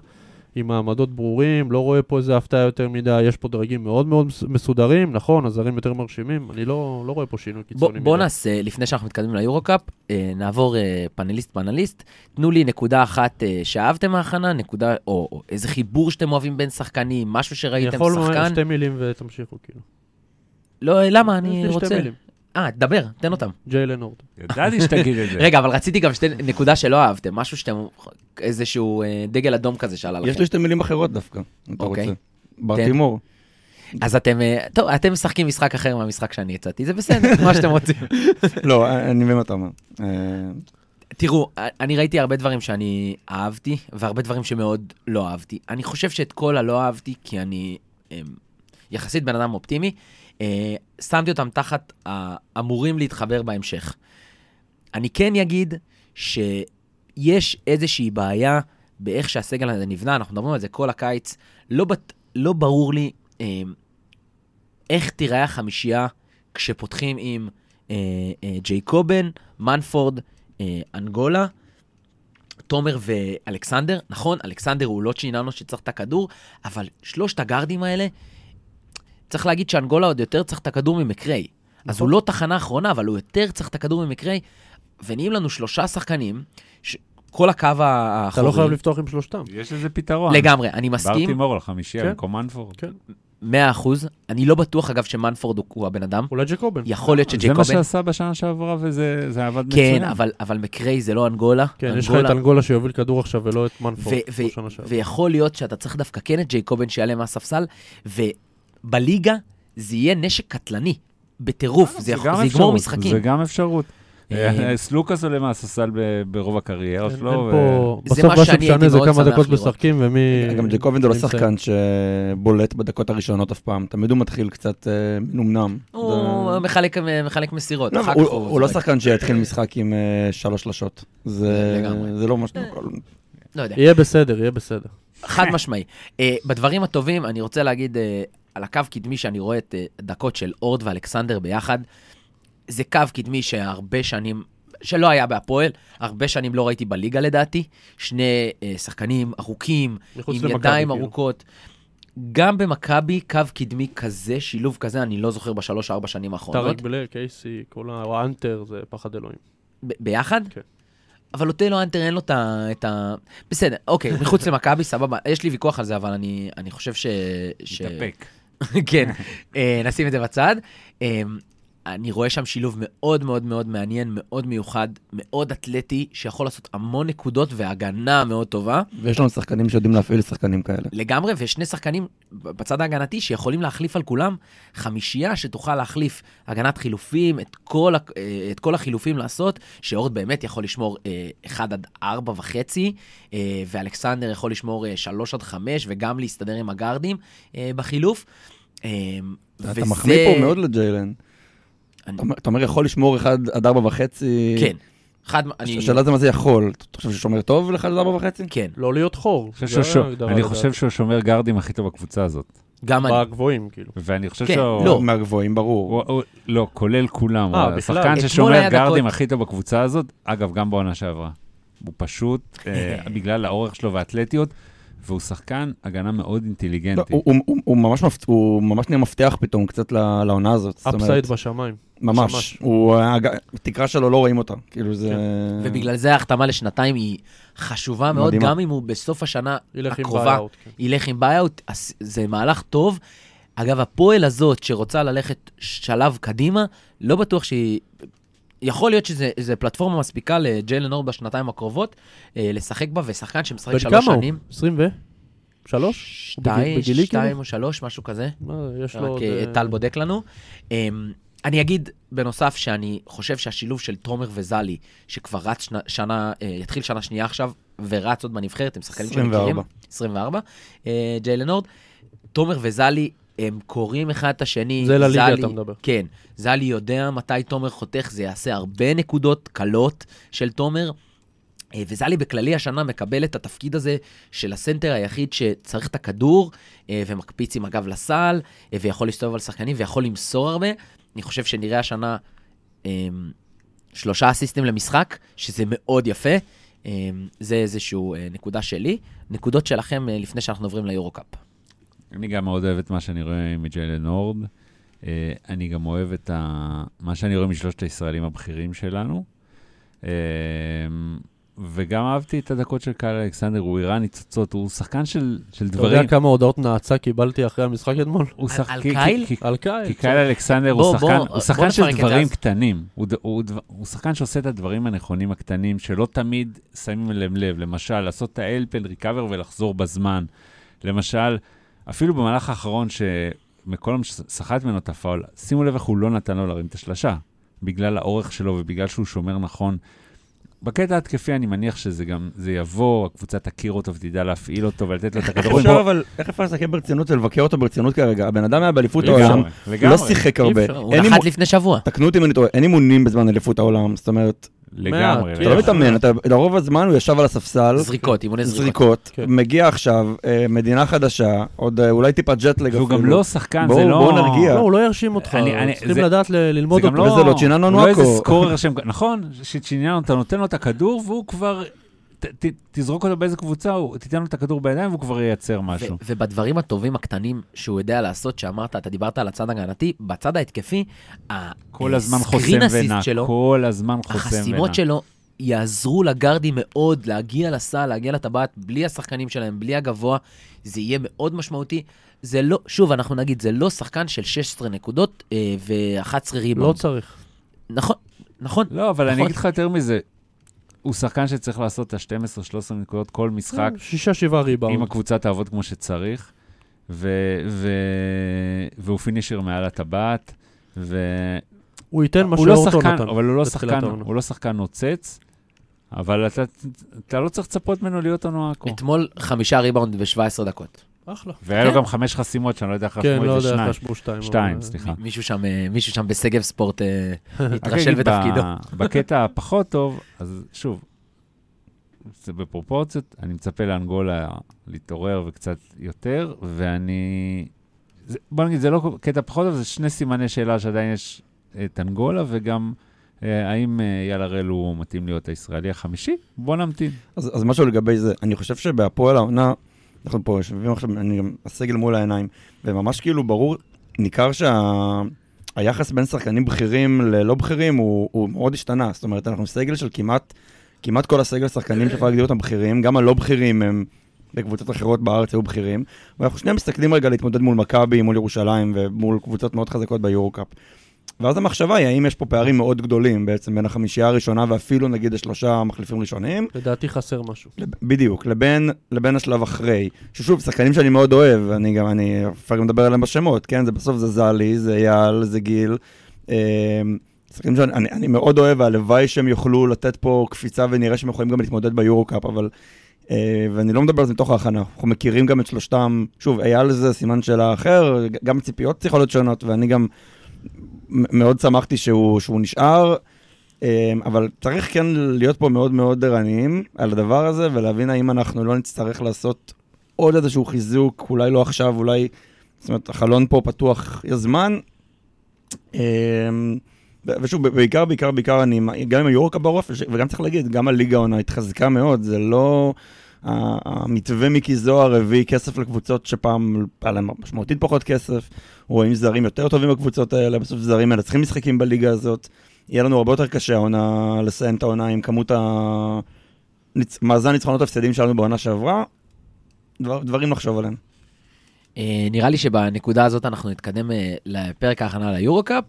D: עם מעמדות ברורים, לא רואה פה איזה הפתעה יותר מדי, יש פה דרגים מאוד מאוד מס- מסודרים, נכון, הזרים יותר מרשימים, אני לא, לא רואה פה שינוי
A: בוא-
D: קיצוני.
A: בוא
D: מדי.
A: נעשה, לפני שאנחנו מתקדמים ליורו-קאפ, אה, נעבור אה, פאנליסט-פאנליסט. תנו לי נקודה אחת אה, שאהבתם מההכנה, נקודה, או או איזה חיבור שאתם אוהבים בין שחקנים, משהו
D: אני
A: שראיתם,
D: יכול לומר
A: שחקן.
D: שתי מילים ותמשיכו, כאילו.
A: לא, אה, למה?
D: יש
A: אני
D: לי שתי
A: רוצה...
D: מילים.
A: אה, דבר, תן אותם.
D: ג'יילן הורד.
C: ידעתי שתגיד את זה.
D: כן.
A: רגע, אבל רציתי גם שתי נקודה שלא אהבתם, משהו שאתם... איזשהו אה, דגל אדום כזה שעלה לכם.
B: יש לי שתי מילים אחרות דווקא, אם אתה
A: אוקיי.
B: רוצה. ברטימור.
A: אז אתם, אה, טוב, אתם משחקים משחק אחר מהמשחק שאני הצעתי, זה
D: (laughs)
A: בסדר, מה שאתם רוצים.
B: לא, אני מבין מה אתה אומר. אה,
A: תראו, אני ראיתי הרבה דברים שאני אהבתי, והרבה דברים שמאוד לא אהבתי. אני חושב שאת כל הלא אהבתי, כי אני אמ, יחסית בן אדם אופטימי, אה, שמתי אותם תחת האמורים להתחבר בהמשך. אני כן אגיד שיש איזושהי בעיה באיך שהסגל הזה נבנה, אנחנו מדברים על זה כל הקיץ. לא, בת, לא ברור לי אמ, איך תיראה החמישייה כשפותחים עם אה, אה, ג'ייקובן, מנפורד, אה, אנגולה, תומר ואלכסנדר. נכון, אלכסנדר הוא לא צ'יננו שצריך את הכדור, אבל שלושת הגארדים האלה, צריך להגיד שאנגולה עוד יותר צריך את הכדור ממקריי. אז
D: נכון.
A: הוא לא תחנה אחרונה, אבל הוא יותר צריך את הכדור ממקריי. ונהיים לנו שלושה שחקנים, ש... כל הקו האחורי...
D: אתה לא חייב לפתוח עם שלושתם.
C: יש לזה פתרון.
A: לגמרי, אני מסכים.
C: ברטימור לחמישייה
D: כן.
C: במקום מנפורד.
D: כן.
A: מאה אחוז. אני לא בטוח, אגב, שמנפורד הוא- הוא הבן אדם.
D: אולי ג'קובן.
A: יכול להיות
C: זה מה
A: שג'ייקובן...
C: שעשה בשנה שעברה, וזה זה עבד מצוין.
A: כן, אבל, אבל מקריי זה לא אנגולה.
D: כן, יש לך את אנגולה שיוביל כדור עכשיו ולא את מנפורד.
A: ו- ו-
D: כמו שנה שעברה.
A: ויכול להיות שאתה צריך דווקא כן את ג'ייקובן שיעלה מהספסל, ובליגה זה יהיה נשק קטלני, בטירוף, זה, יכול,
C: אה, גם
A: זה יגמור
C: אפשרות,
A: משחקים.
C: זה גם אפשרות.
A: אה,
C: אה, סלוקאס עולה מהססל ב- ברוב הקריירה
D: אין-
A: לא,
C: שלו.
D: אין
C: ו-
D: פה-
A: זה
D: בסוף
A: מה
D: מה
A: שאני הייתי
D: שמשנה זה
A: מאוד
D: כמה
A: שמח
D: דקות
A: לראות.
D: משחקים ומי...
B: גם ג'קובן זה לא
D: נמצא.
B: שחקן שבולט בדקות הראשונות אף פעם, תמיד הוא מתחיל קצת אה, מנומנם.
A: הוא
B: זה-
A: מחלק, מחלק מסירות,
B: לא,
A: אחר
B: הוא-
A: כך הוא...
B: הוא לא
A: זורק.
B: שחקן שיתחיל משחק עם אה, שלוש שלשות. זה
A: לגמרי.
B: זה לא משהו...
A: לא יודע.
D: יהיה בסדר, יהיה בסדר.
A: חד משמעי. Uh, בדברים הטובים, אני רוצה להגיד uh, על הקו קדמי שאני רואה את uh, דקות של אורד ואלכסנדר ביחד. זה קו קדמי שהרבה שנים, שלא היה בהפועל, הרבה שנים לא ראיתי בליגה לדעתי. שני uh, שחקנים ארוכים,
D: מחוץ
A: עם
D: למכבי,
A: ידיים
D: כאילו.
A: ארוכות. גם במכבי, קו קדמי כזה, שילוב כזה, אני לא זוכר בשלוש-ארבע שנים האחרונות.
D: טארק בלק, קייסי, כל ה... או האנטר, זה פחד אלוהים.
A: ב- ביחד?
D: כן.
A: אבל אוטלו אנטר אין לו את ה... את ה... בסדר, אוקיי,
D: (laughs)
A: מחוץ למכבי, סבבה. יש לי ויכוח על זה, אבל אני, אני חושב ש... ש...
C: התאפק.
A: (laughs) כן, אה, נשים את זה בצד. אה, אני רואה שם שילוב מאוד מאוד מאוד מעניין, מאוד מיוחד, מאוד אתלטי, שיכול לעשות המון נקודות והגנה מאוד טובה.
B: ויש לנו שחקנים שיודעים להפעיל שחקנים כאלה.
A: לגמרי, ושני שחקנים בצד ההגנתי שיכולים להחליף על כולם חמישייה שתוכל להחליף הגנת חילופים, את כל, ה- אה, את כל החילופים לעשות, שאורד באמת יכול לשמור 1 עד 4 וחצי, אה, ואלכסנדר יכול לשמור 3 עד 5, וגם להסתדר עם הגארדים אה, בחילוף. אה,
B: אתה
A: וזה-
B: מחמיא פה מאוד לג'יילן.
A: אני-
B: אתה אומר- אתה אומר, יכול לשמור אחד עד ארבע וחצי?
A: כן, חד, אני...
B: השאלה זה מה זה יכול. אתה חושב ששומר טוב לאחד עד ארבע וחצי?
A: כן,
D: לא להיות חור.
C: אני חושב
D: זה
C: שהוא שו-
D: ההגדרה,
C: אני
D: לדעתי.
C: חושב שהוא שומר גארדים הכי טוב בקבוצה הזאת.
A: גם אני.
D: בגבוהים, כאילו.
C: ואני חושב
A: כן,
C: שהוא...
A: לא.
B: מהגבוהים, ברור.
C: הוא- הוא- לא, כולל כולם.
D: אה,
C: הוא
D: בכלל.
C: השחקן
A: אתמול
C: ששומר
A: היה
C: גארדים
A: דקות-
C: הכי טוב בקבוצה הזאת, אגב, גם בעונה שעברה. הוא פשוט,
A: (laughs)
C: אה, בגלל האורך שלו והאתלטיות, והוא שחקן הגנה מאוד
B: לא,
C: אינטליגנטי.
B: הוא- הוא- הוא- הוא ממש מפת- הוא ממש נהיה מפתח פתאום קצת ל- לעונה הזאת. זאת אומרת,
D: אפסייד בשמיים.
B: ממש.
D: ממש.
B: הוא, הג- התקרה שלו לא רואים אותה. כאילו זה...
D: כן.
A: ובגלל זה ההחתמה לשנתיים היא חשובה מאוד,
B: מדהימה.
A: גם אם הוא בסוף השנה
D: ילך עם
A: הקרובה
D: בעיות. כן.
A: ילך עם ביי-אוט, אז זה מהלך טוב. אגב, הפועל הזאת שרוצה ללכת שלב קדימה, לא בטוח שהיא... יכול להיות שזה פלטפורמה מספיקה לג'יילן אור בשנתיים הקרובות, אה, לשחק בה, ושחקן שמשחק
D: בן
A: שלוש
D: כמה הוא?
A: שנים.
D: 20 ו? שלוש?
A: שתיים,
D: בגיל- בגילי
A: שתיים
D: כאילו?
A: או שלוש, משהו כזה.
D: מה, יש לו...
A: רק
D: עוד,
A: אה,
D: אה,
A: טל בודק לנו. אמ, אני אגיד בנוסף שאני חושב שהשילוב של תומר וזלי, שכבר רץ שנה- שנה, אה, יתחיל שנה שנייה עכשיו, ורץ עוד בנבחרת, הם שחקנים שמכירים.
B: 24.
A: 24. אה, ג'יילן הורד. תומר וזלי, הם קוראים אחד את השני.
D: זה לליגה
A: זלי-
D: אתה מדבר.
A: כן. זלי יודע מתי תומר חותך, זה יעשה הרבה נקודות קלות של תומר. אה, וזלי בכללי השנה מקבל את התפקיד הזה של הסנטר היחיד שצריך את הכדור, אה, ומקפיץ עם הגב לסל, אה, ויכול להסתובב על שחקנים, ויכול למסור הרבה. אני חושב שנראה השנה אה, שלושה אסיסטים למשחק, שזה מאוד יפה. אה, זה איזושהי נקודה שלי. נקודות שלכם אה, לפני שאנחנו עוברים ליורו-קאפ.
C: אני גם מאוד אוהב את מה שאני רואה מג'יילן הורד. אה, אני גם אוהב את ה... מה שאני רואה משלושת הישראלים הבכירים שלנו. אה, וגם אהבתי את הדקות של קהל אלכסנדר, הוא הראה ניצוצות, הוא שחקן של, של
D: אתה יודע
C: דברים.
D: כמה הודעות נאצה קיבלתי אחרי המשחק אתמול?
C: הוא
A: על-
C: שחק-
A: על
C: כי- כי-
A: קייל?
C: כי-
D: על
B: אה,
D: קהל.
C: כי קייל אלכסנדר הוא
A: בוא,
C: שחקן,
A: בוא,
C: הוא שחקן
A: בוא
C: של
A: נפרק את זה
C: דברים
A: אז.
C: קטנים. הוא ד- הוא דבר- הוא שחקן שעושה את הדברים הנכונים הקטנים, שלא תמיד שמים אליהם לב. למשל, לעשות את האלפן ריקאבר ולחזור בזמן. למשל, אפילו במהלך האחרון, ש... מקולם שסחט ממנו את הפאול, שימו לב איך הוא לא נתן לו להרים את השלשה, בגלל האורך שלו ובגלל שהוא שומר נכון. בקטע התקפי אני מניח שזה גם, זה יבוא, הקבוצה תכיר אותו ותדע להפעיל אותו ולתת
B: (laughs)
C: לו את
B: איך
C: הכדורים.
B: אפשר אבל, איך אפשר לסכם ברצינות ולבקר אותו ברצינות כרגע? הבן אדם היה באליפות העולם,
C: לגמרי,
B: לא
C: לגמרי,
B: שיחק
A: אי
B: הרבה.
A: אפשר, הוא
B: אין
A: נחת
B: אימון-
A: לפני שבוע.
B: תקנו אותי אם אני טועה, אין אימונים בזמן אליפות העולם, זאת אומרת,
C: לגמרי.
D: מעט,
B: אתה לא
C: לגמרי.
B: מתאמן, אתה- לרוב הזמן הוא ישב על הספסל,
C: אוקיי.
A: זריקות, אימוני זריקות.
B: זריקות,
D: כן.
B: מגיע עכשיו, אה, מדינה חדשה, עוד אה, אולי טיפה ג'טלג אפילו.
C: והוא גם לא שחקן,
B: בואו-
C: זה לא...
B: בואו נרגיע.
D: לא, הוא לא ירשים אותך,
C: אני- אני-
D: צריכים
C: זה-
D: לדעת ל- ללמוד
C: זה
D: אותו.
C: גם לא...
B: וזה לא צ'יננו
C: הוא לא איזה
B: נואקו.
C: סקורר שם, נכון, שצ'יננו, אתה נותן לו את הכדור והוא כבר... ת- ת- תזרוק אותו באיזה קבוצה, הוא- תיתן לו את הכדור בידיים והוא כבר ייצר משהו.
A: ו- ובדברים הטובים הקטנים שהוא יודע לעשות, שאמרת, אתה דיברת על הצד ההגנתי, בצד ההתקפי, ה-
C: כל הזמן
A: screen
C: חוסם
A: assist
C: ונע,
A: שלו,
C: כל הזמן חוסם ונע.
A: החסימות שלו יעזרו לגארדים מאוד להגיע לסל, להגיע לטבעת, בלי השחקנים שלהם, בלי הגבוה, זה יהיה מאוד משמעותי. זה לא, שוב, אנחנו נגיד, זה לא שחקן של 16 נקודות אה, ו-11
D: לא
A: ריבון.
D: צריך.
A: נכון, נכון.
C: לא, אבל אני
A: נכון.
C: אגיד לך יותר מזה, הוא שחקן שצריך לעשות את ה-12-13 נקודות כל משחק,
D: כן, שישה, שבעה
C: אם
D: ריבאונד.
C: הקבוצה תעבוד כמו שצריך, ו- ו- והוא פינישר מעל הטבעת, ו-
D: הוא ייתן כן, מה
C: הוא לא
D: שאורטון
C: שחקן,
D: נתן.
C: אבל הוא לא
D: בתחילת
C: שחקן,
D: העונה.
C: הוא לא שחקן נוצץ, אבל אתה, אתה לא צריך לצפות ממנו להיות הנועקו.
A: אתמול חמישה ריבאונד ב-17 דקות.
D: אחלה.
C: והיה לו גם חמש חסימות, שאני לא יודע איך
D: כן,
C: רשמו
D: לא
C: את זה,
D: יודע
C: שניים.
D: איך רשמו שתיים. אבל-
C: שתיים, סליחה.
A: מישהו שם, אה, מישהו שם בשגב ספורט אה,
C: (laughs) רק
A: התרשל
C: אגיד, כן ב-
A: בתפקידו.
C: (laughs) בקטע הפחות טוב, אז שוב, זה בפרופורציות, אני מצפה לאנגולה להתעורר וקצת יותר, ואני... זה, בוא נגיד, זה לא קטע פחות טוב, זה שני סימני שאלה שעדיין יש את אנגולה, וגם אה, האם אה, אייל הראל הוא מתאים להיות הישראלי החמישי? בוא נמתין.
B: אז, אז משהו לגבי זה, אני חושב שבהפועל העונה, אנחנו פה יושבים עכשיו, אני גם הסגל מול העיניים, וממש כאילו ברור, ניכר שהיחס בין שחקנים בכירים ללא בכירים הוא, הוא מאוד השתנה, זאת אומרת, אנחנו סגל של כמעט, כמעט כל הסגל שחקנים שאפשר להגדיר אותם בכירים, גם הלא בכירים הם בקבוצות אחרות בארץ היו בכירים, ואנחנו שנייה מסתכלים רגע להתמודד מול מכבי, מול ירושלים ומול קבוצות מאוד חזקות ביורו-קאפ. ואז המחשבה היא, האם יש פה פערים מאוד גדולים בעצם בין החמישייה הראשונה ואפילו נגיד השלושה מחליפים ראשונים,
D: לדעתי חסר משהו.
B: לב- בדיוק, לבין, לבין השלב אחרי, ששוב, שחקנים שאני מאוד אוהב, אני גם, אני אפשר גם לדבר עליהם בשמות, כן? זה בסוף זה זלי, זה אייל, זה גיל. אמ, שחקנים שאני אני, אני מאוד אוהב, והלוואי שהם יוכלו לתת פה קפיצה ונראה שהם יכולים גם להתמודד ביורו-קאפ, אבל... אה, ואני לא מדבר על זה מתוך ההכנה, אנחנו מכירים גם את שלושתם, שוב, אייל זה סימן שאלה אחר, ג- גם ציפיות צריכות להיות שונות, ואני גם מ- מאוד שמחתי שהוא, שהוא נשאר, אמ, אבל צריך כן להיות פה מאוד מאוד ערניים על הדבר הזה, ולהבין האם אנחנו לא נצטרך לעשות עוד איזשהו חיזוק, אולי לא עכשיו, אולי... זאת אומרת, החלון פה פתוח יש זמן. אמ, ו- ושוב, ב- בעיקר, בעיקר, בעיקר, אני, גם עם היורקה בעורף, וש- וגם צריך להגיד, גם הליגה העונה התחזקה מאוד, זה לא... ה- המתווה מיקי זוהר הביא כסף לקבוצות שפעם היה להם משמעותית פחות כסף, רואים זרים יותר טובים בקבוצות האלה, בסוף זרים מנצחים משחקים בליגה הזאת. יהיה לנו הרבה יותר קשה העונה, לסיים את העונה עם כמות ה... ניצ... מאזן ניצחונות הפסדים שלנו בעונה שעברה, דבר, דברים לחשוב עליהם.
A: אה, נראה לי שבנקודה הזאת אנחנו נתקדם אה, לפרק ההכנה ליורו-קאפ.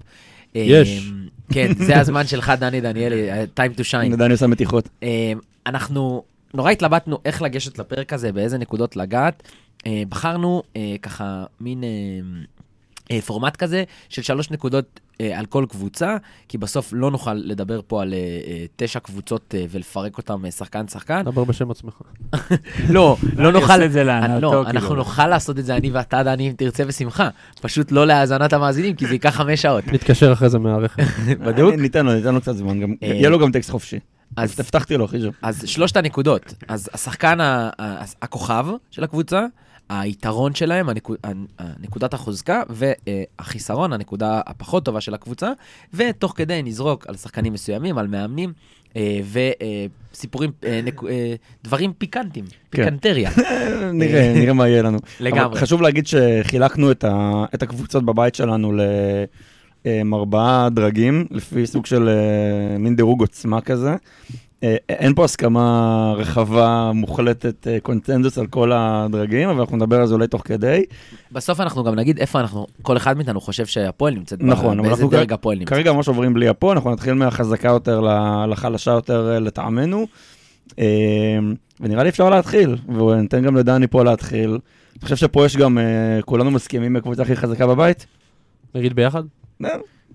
A: אה,
D: יש.
A: (laughs) כן, זה הזמן שלך, דני דניאלי, אה, time to shine.
B: אני עדיין עושה מתיחות.
A: אה, אנחנו נורא התלבטנו איך לגשת לפרק הזה, באיזה נקודות לגעת. אה, בחרנו אה, ככה מין אה, אה, פורמט כזה של שלוש נקודות אה, על כל קבוצה, כי בסוף לא נוכל לדבר פה על אה, אה, תשע קבוצות אה, ולפרק אותן אה, שחקן-שחקן.
D: דבר בשם עצמך.
C: (laughs)
A: לא, לא
C: אני
A: נוכל...
C: עושה את זה
A: אה,
C: להנאתו,
A: לא,
C: כאילו.
A: אנחנו נוכל לעשות את זה, אני ואתה, דני, אם תרצה בשמחה. פשוט לא להאזנת המאזינים, כי זה ייקח חמש
C: (laughs)
A: שעות.
D: נתקשר אחרי זה מהערך.
B: בדיוק? ניתן לו, ניתן לו קצת זמן, גם...
A: אה,
B: יהיה לו גם טקסט חופשי.
A: אז
B: הבטחתי לו, חיז'ו.
A: אז שלושת הנקודות, אז השחקן ה- ה- הכוכב של הקבוצה, היתרון שלהם, הנקוד, נקודת החוזקה, והחיסרון, הנקודה הפחות טובה של הקבוצה, ותוך כדי נזרוק על שחקנים מסוימים, על מאמנים, אה, וסיפורים, אה, דברים
C: כן.
A: פיקנטים, פיקנטריה.
B: נראה, נראה מה יהיה לנו.
A: לגמרי.
B: אבל חשוב להגיד שחילקנו את, ה, את הקבוצות בבית שלנו ל... הם ארבעה דרגים, לפי סוג של אה, מין דירוג עוצמה כזה. אה, אין פה הסכמה רחבה, מוחלטת, אה, קונצנזוס על כל הדרגים, אבל אנחנו נדבר על זה אולי תוך כדי.
A: בסוף אנחנו גם נגיד איפה אנחנו, כל אחד מאיתנו חושב שהפועל נמצאת, ב-
B: נכון, אבל
A: באיזה
B: אנחנו
A: דרג
B: כ-
A: הפועל נמצאת.
B: כרגע ממש עוברים בלי הפועל, אנחנו נתחיל מהחזקה יותר ל- לחלשה יותר אה, לטעמנו, אה, ונראה לי אפשר להתחיל, וניתן גם לדני פה להתחיל. אני חושב שפה יש גם, אה, כולנו מסכימים הקבוצה הכי חזקה בבית?
D: (laughs) נגיד ביחד?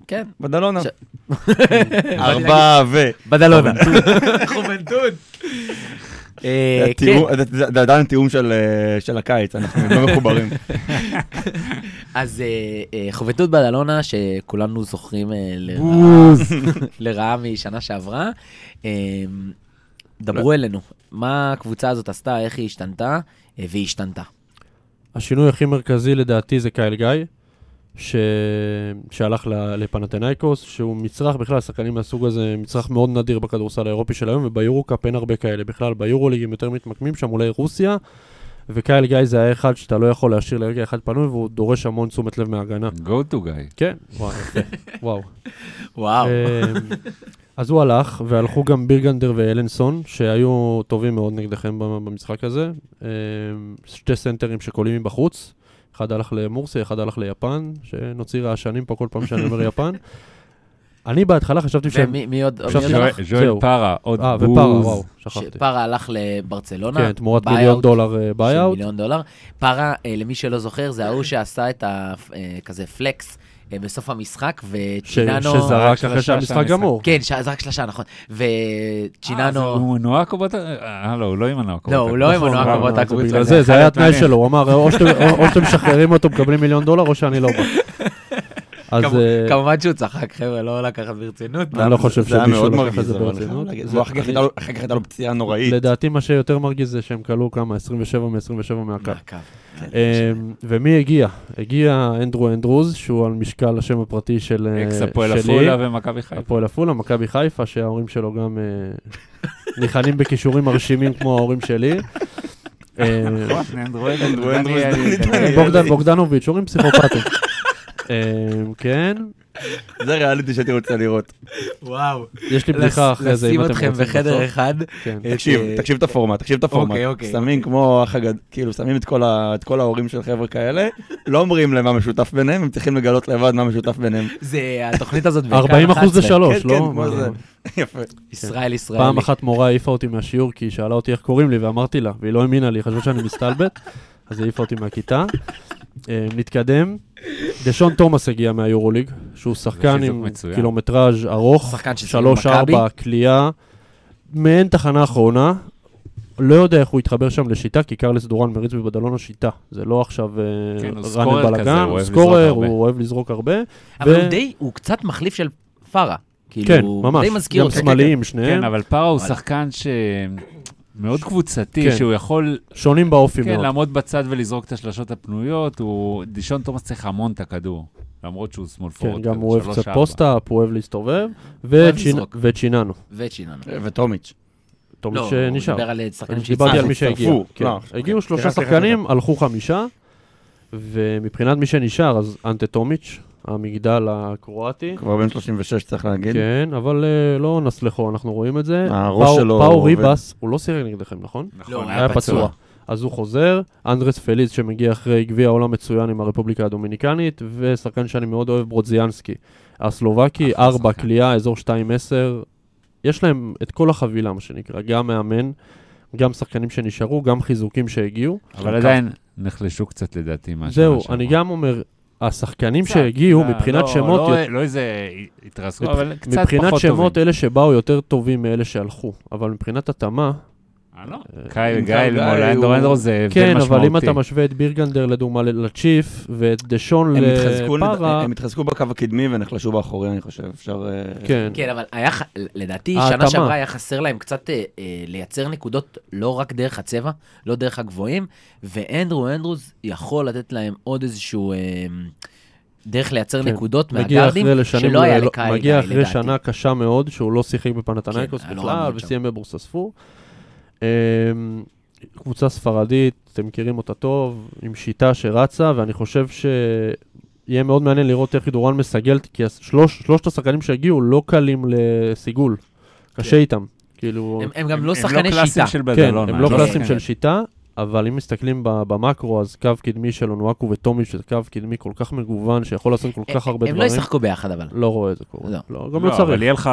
A: כן.
B: בדלונה.
A: ש-
B: ארבע ו...
D: לא
A: בדלונה. חומנטון. אה, כן.
B: התיאום- זה- זה זה עדיין תיאום של, אה, של הקיץ, אנחנו לא מחוברים.
A: אז אה, אה, חובטות בדלונה, שכולנו זוכרים אה, לרעה- (laughs) לרעה משנה שעברה, אה, דברו אלינו, מה הקבוצה הזאת עשתה, איך היא השתנתה, אה, והיא השתנתה.
D: השינוי הכי מרכזי לדעתי זה קייל גיא, ש... שהלך ל- לפנתנאיקוס, שהוא מצרך בכלל, שחקנים מהסוג הזה, מצרך מאוד נדיר בכדורסל האירופי של היום, וביורו-קאפ אין הרבה כאלה בכלל, ביורו-ליג הם יותר מתמקמים שם, אולי רוסיה, וקייל גיא זה היה אחד שאתה לא יכול להשאיר לרגע אחד פנוי, והוא דורש המון תשומת לב מההגנה.
C: Go to guy.
D: כן, (laughs) וואו, יפה, וואו.
A: וואו.
D: אמ, אז הוא הלך, והלכו גם בירגנדר ואלנסון, שהיו טובים מאוד נגדכם במ- במשחק הזה. אמ, שתי סנטרים שקולים מבחוץ, אחד הלך למורסי, אחד הלך ליפן, שנוציא רעשנים פה כל פעם שאני אומר יפן. אני בהתחלה חשבתי שהם...
A: ומי מי עוד?
D: עכשיו
A: מי עוד
D: שואל-
A: הלך?
C: ז'ואל- ז'ואל
D: זהו.
C: פארה, עוד
D: אה,
C: בוז.
D: ופרה, וואו, שכחתי.
A: שפרה הלך לברצלונה.
D: כן, תמורת
A: buyout
D: מיליון דולר אה,
A: של
D: ביי-אוט.
A: מיליון דולר. פרה, אה, למי שלא זוכר, זה ההוא שעשה את ה... אה, כזה פלקס אה, בסוף המשחק, וצ'יננו...
C: רק
D: שזרק
C: שלושה
D: אחרי שהמשחק
C: שהמשחק-
D: גמור.
A: כן, ש- זרק שלושה, נכון.
C: אה, זה-
A: וצ'יננו...
C: הוא נועה קובוטה? אה, לא, הוא לא עם הנועה קובוטה.
A: לא, הוא לא עם הנועה
C: נכון,
A: קובוטה
C: נכון,
A: קבוצה.
D: בגלל זה, זה היה התנאי שלו, הוא אמר, או שאתם- או- או שאתם משחררים אותו, מקבלים מיליון דולר, או שאני לא בא. אז...
A: כמ-
D: אה,
A: כמובן שהוא צחק, חבר'ה, לא לקחת ברצינות.
D: אני לא חושב
B: זה היה
D: שמישהו
B: מאוד
D: לקח את
B: מרגיז,
D: זה
B: אבל אני חייב
D: ברצינות.
B: להגיד.
D: זה-
B: והוא אחר כך הייתה לו- אחר כך הייתה לו פציעה נוראית.
D: לדעתי מה שיותר מרגיז זה שהם כלו כמה, 27 מ-27 מהקו.
A: מהקו. כן,
D: אמ, ומי הגיע? הגיע אנדרו אנדרוז, שהוא על משקל השם הפרטי של אה,
C: אקס הפועל
D: שלי.
C: עפולה ומכבי חיפה.
D: הפועל עפולה, מכבי חיפה, שההורים שלו גם אה, ניחנים בכישורים מרשימים כמו ההורים שלי. אמ,
C: נכון, (laughs) אנדרואיד,
B: אנדרואיד,
C: דני
B: דני
C: אלי,
B: אלי.
C: דני אלי.
D: כן, בוגדן בוגדנוביץ', הורים פסיכופטים. (laughs) אמ, כן,
B: זה ריאליטי שהייתי רוצה לראות.
A: וואו.
D: יש לי בדיחה אחרי זה, אם אתם רוצים.
A: לשים אתכם בחדר
D: בסוף.
A: אחד.
D: כן.
A: אה,
B: תקשיב,
A: אה,
B: תקשיב את הפורמט, תקשיב את הפורמט.
A: אוקיי, אוקיי.
B: שמים כמו אח הגד... כאילו, שמים את כל, ה... את כל ההורים של חבר'ה כאלה, לא אומרים להם מה משותף ביניהם, הם צריכים לגלות לבד מה משותף ביניהם.
A: זה, התוכנית
D: (laughs)
A: הזאת בעיקר
D: 40 אחוז זה שלוש,
B: כן, כן,
D: לא?
B: כמו
D: מה-
B: זה. (laughs) יפה.
A: ישראל, ישראל.
D: פעם אחת מורה העיפה אותי מהשיעור כי היא שאלה אותי איך קוראים לי ואמרתי לה, והיא לא האמינה לי, חשבה שאני מסתלבט, (laughs) אז היא העיפה אותי מהכיתה. אה, נתקדם. דשון תומאס הגיע מהיורוליג, שהוא שחקן
C: חיזוק
D: עם
C: מצוין.
D: קילומטראז' ארוך,
A: שחקן ששיחק
D: 3-4, כליאה, מעין תחנה אחרונה. לא יודע איך הוא התחבר שם לשיטה, כי קרלס דורן מריץ בבדלונה שיטה. זה לא עכשיו אה,
C: כן, הוא
D: רן
C: סקורר כזה, הוא
D: בלאגן,
C: אוהב
D: הוא
C: לזרוק
D: סקורר,
C: הרבה.
D: הוא אוהב לזרוק הרבה.
A: אבל
D: ו-
A: הוא די, הוא קצת מחליף של פארה.
D: כן,
A: כאילו, הוא
D: ממש,
A: די מזכיר
D: גם
A: אותו.
D: שמאליים שניהם,
C: (laughs) כן, אבל פארה הוא
A: אבל-
C: שחקן ש... מאוד קבוצתי,
D: כן.
C: שהוא יכול
D: שונים באופי
C: כן,
D: מאוד.
C: לעמוד בצד ולזרוק את השלשות הפנויות, הוא... דישון תומאס צריך המון את הכדור, למרות שהוא שמאל
D: כן,
C: פורט.
D: גם הוא אוהב
C: שלוש,
D: קצת
C: ארבע.
D: פוסט-אפ, הוא אוהב להסתובב,
A: אוהב
D: וצ'ינ-
A: לזרוק.
D: וצ'יננו.
A: וצ'יננו.
B: וטומיץ'.
D: טוב,
A: לא, הוא
D: שנשאר.
A: דיבר על שחקנים
D: דיברתי
A: שהצטרפו.
D: על מי שהגיע.
B: שהצטרפו,
D: כן.
B: לא,
D: הגיעו
B: אוקיי.
D: שלושה
B: סליחה,
D: שחקנים, הלכו חמישה, ומבחינת מי שנשאר, אז אנטה טומיץ', המגדל הקרואטי.
A: כן.
B: כבר בן 36 צריך להגיד.
D: כן, אבל אה, לא נסלחו, אנחנו רואים את זה.
B: הראש
D: פאו-
B: שלו
D: פאו
B: עובד.
D: ריבס, הוא לא סירק נגדכם, נכון?
A: לא,
C: נכון,
A: הוא
D: היה פצוע. אז הוא חוזר, אנדרס פליז שמגיע אחרי גביע העולם מצוין עם הרפובליקה הדומיניקנית, ושחקן שאני מאוד אוהב, ברודזיאנסקי. הסלובקי,
C: אחלה
D: 4
C: שחקן.
D: קליעה, אזור 2-10, יש להם את כל החבילה, מה שנקרא, גם מאמן, גם שחקנים שנשארו, גם חיזוקים שהגיעו.
C: אבל עדיין נחלשו קצת לדעתי מהשנה
D: זהו,
C: שעברה.
D: אני גם אומר, השחקנים
C: קצת,
D: שהגיעו,
C: לא,
D: מבחינת
C: לא-
D: שמות,
C: לא- לא איזה התרסקו,
D: מבח-
C: אבל קצת פחות טובים.
D: מבחינת שמות, אלה שבאו יותר טובים מאלה שהלכו, אבל מבחינת התאמה,
C: אה, לא.
D: אה,
C: קייל
B: אם
C: גיא
B: קייל
C: מול
B: גיא
C: אנדרו
B: הוא-
C: אנדרו זה הבדל
D: כן, אבל אם
C: משמעותי.
D: אתה משווה את בירגנדר לדוגמה ל- לצ'יף, ואת דשון
B: הם התחזקו נד-
D: לפרה,
B: הם התחזקו בקו הקדמי ונחלשו באחורי, אני חושב. אפשר... אה,
D: כן.
A: כן, אבל היה, ח- לדעתי,
D: ההתאמה.
A: שנה שעברה היה חסר להם קצת אה, אה, לייצר נקודות לא רק דרך הצבע, לא דרך הגבוהים, ואנדרו אנדרוס יכול לתת להם עוד איזשהו אה, דרך לייצר
D: כן.
A: נקודות
D: מגיע
A: מהגארדים,
D: אחרי לשנים,
A: שלא היה
D: לא-
A: לקהל,
D: מגיע אחרי
A: לדעתי.
D: שנה קשה מאוד, שהוא לא שיחק בפנתנייקוס
A: כן, היה לו רע
D: בכלל,
A: מאוד שם.
D: וסיים בבורסספור. אמ, קבוצה ספרדית, אתם מכירים אותה טוב, עם שיטה שרצה, ואני חושב שיהיה מאוד מעניין לראות איך דורן מסגל, כי הס- שלוש- שלושת השחקנים שהגיעו לא קלים לסיגול, קשה
A: כן.
D: איתם, כאילו...
A: הם, הם גם
C: הם
A: לא שחקני
C: קלאסיים
A: שיטה.
C: של
D: כן,
C: בדלונה,
D: הם לא
A: לא
D: קלאסים
A: שחקנים.
D: של שיטה, אבל אם מסתכלים ב- במקרו, אז קו קדמי של אונואקו וטומי, שזה קו קדמי כל כך מגוון, שיכול לעשות כל כך הרבה
A: הם לא
D: דברים.
A: ישחקו ביחד, אבל.
D: לא רואה את זה קורה.
A: לא.
D: לא, גם לא
C: אבל
D: צריך.
C: יהיה לך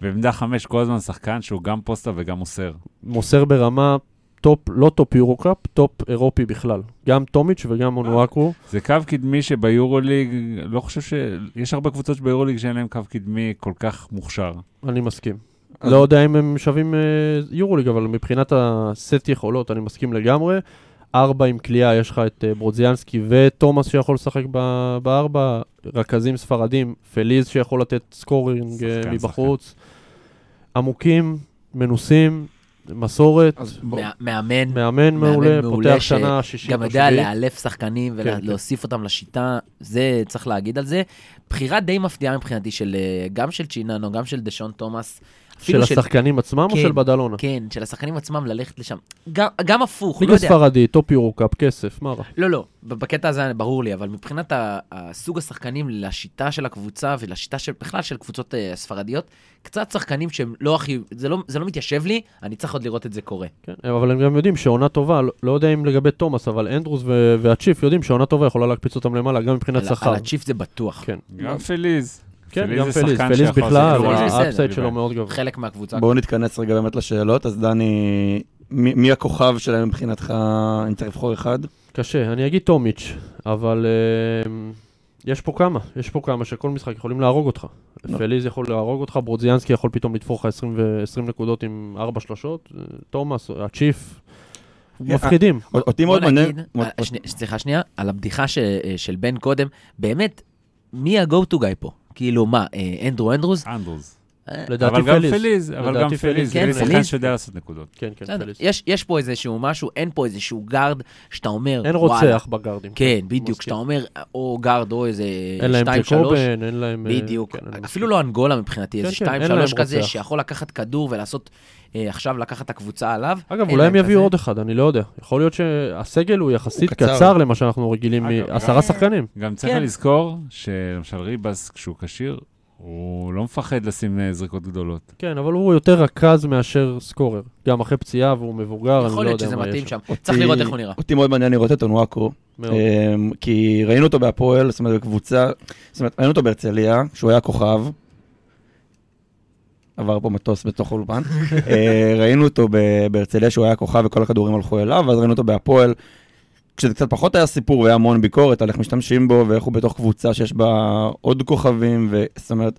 C: בעמדה חמש כל הזמן שחקן שהוא גם פוסטה וגם מוסר.
D: מוסר ברמה טופ, לא טופ יורו-קאפ, טופ אירופי בכלל. גם טומיץ' וגם אונואקו.
C: זה קו קדמי שביורוליג, לא חושב ש... יש הרבה קבוצות שביורוליג שאין להם קו קדמי כל כך מוכשר.
D: אני מסכים.
B: אז-
D: לא יודע אם הם שווים אה, יורוליג, אבל מבחינת הסט יכולות, אני מסכים לגמרי. ארבע עם קליעה, יש לך את אה, ברודזיאנסקי ותומאס שיכול לשחק ב- בארבע, רכזים ספרדים, פליז שיכול לתת סקורינג אה,
C: שחקן,
D: מבחוץ. עמוקים, מנוסים, מסורת,
B: אז בוא.
A: מא- מאמן,
D: מאמן מעולה,
A: מעולה
D: פותח
A: ש-
D: שנה שישית
A: גם
D: או
A: יודע
D: שביעית.
A: לאלף שחקנים
D: כן, כן.
A: ולהוסיף אותם לשיטה, זה צריך להגיד על זה. בחירה די מפתיעה מבחינתי, של, אה, גם של צ'יננו, גם של דשון תומאס.
D: של
A: אפילו
D: השחקנים עצמם או
A: כן,
D: של בדלונה?
A: כן, של השחקנים עצמם ללכת לשם. גם- גם הפוך, לא
D: ליגה
A: יודע.
D: ספרדית, טופ יורו קאפ, כסף, מה רע?
A: לא, לא, בקטע הזה ברור לי, אבל מבחינת ה- הסוג השחקנים לשיטה של הקבוצה ולשיטה של, בכלל של קבוצות אה, ספרדיות, קצת שחקנים שהם לא הכי, זה לא, זה לא מתיישב לי, אני צריך עוד לראות את זה קורה.
D: כן, אבל הם גם יודעים שעונה טובה, לא- לא יודע אם לגבי תומאס, אבל אנדרוס ו- והצ'יף יודעים שעונה טובה יכולה להקפיץ אותם למעלה, גם מבחינת
A: על,
D: שכר.
A: על הצ'יפ זה בטוח.
D: כן,
C: גם פליז.
D: כן,
C: פליז
D: גם
C: זה
D: פליז,
C: שחקן
D: פליז
C: שיכול
D: בכלל,
A: לעשות את זה. פליז בסדר.
D: האפסייד שלו מאוד גבוה.
A: חלק מהקבוצה.
B: בואו נתכנס רגע באמת לשאלות, אז דני, מי מי הכוכב שלהם מבחינתך, אם צריך לבחור אחד?
D: קשה, אני אגיד טומיץ', אבל אה, יש פה כמה, יש פה כמה שכל משחק יכולים להרוג אותך.
B: לא.
D: פליז יכול להרוג אותך, ברודזיאנסקי יכול פתאום לתפור לך 20 ו- 20 נקודות עם 4 שלושות, אה, תומאס, הצ'יף, מפחידים.
C: אה,
B: אות- אותי
A: בוא
B: מאוד מעניין...
A: נגיד,
B: מאוד-
A: אה, שני- סליחה שנייה, על הבדיחה ש- אה, של בן קודם, באמת, מי ה-go to guy פה? כאילו, מה, אה, אנדרו אנדרוז?
C: אנדרס.
A: אה,
D: לדעתי
C: אבל גם
D: פליז.
C: פליז, אבל גם
D: לדעתי
C: פליז.
A: כן,
C: פליז שחקן
A: פליז.
C: שיודע לעשות נקודות.
D: כן, כן,
A: בסדר,
D: פליז.
A: יש- יש פה איזשהו משהו, אין פה איזשהו גארד שאתה אומר,
D: אין
A: "וואלה,
D: רוצח בגארדים.
A: כן, בדיוק,
D: מסכים.
A: כשאתה אומר או גארד או איזה 2-3,
D: אין להם ג'קובן, אין להם... אה,
A: אה, בדיוק,
D: כן, אני
A: אפילו לא אנגולה מבחינתי,
D: כן,
A: איזה
D: כן, אין להם
A: 2-3 כזה,
D: רוצח.
A: שיכול לקחת כדור ולעשות, אה, עכשיו לקחת את הקבוצה עליו.
D: אגב,
A: אין
D: אולי
A: להם
D: הם יביאו
A: כזה.
D: עוד אחד, אני לא יודע. יכול להיות שהסגל הוא יחסית
B: הוא קצר.
D: קצר למה שאנחנו רגילים
C: אגב,
D: מעשרה
C: גם-
D: שחקנים.
C: גם צריך
A: כן.
C: לזכור שלמשל ריבס, כשהוא כשיר, הוא לא מפחד לשים אה, זריקות גדולות.
D: כן, אבל הוא יותר רכז מאשר סקורר. גם אחרי פציעה והוא מבוגר, אני לא
A: יכול להיות
D: יודע
A: שזה
D: מה יש
A: מתאים
D: שם.
A: שם, צריך
B: אותי-
A: לראות איך הוא נראה.
B: אותי מאוד מעניין לראות את אונואקו,
D: מאוד.
B: אמ, כי ראינו אותו בהפועל, זאת אומרת, בקבוצה, זאת אומרת, ראינו אותו בהרצליה, שהוא היה כוכב, עבר פה מטוס בתוך האולפן, אה, ראינו אותו ב- בהרצליה שהוא היה כוכב וכל הכדורים הלכו אליו, ואז ראינו אותו בהפועל, כשזה קצת פחות היה סיפור והיה המון ביקורת על איך משתמשים בו ואיך הוא בתוך קבוצה שיש בה עוד כוכבים, ו- זאת אומרת,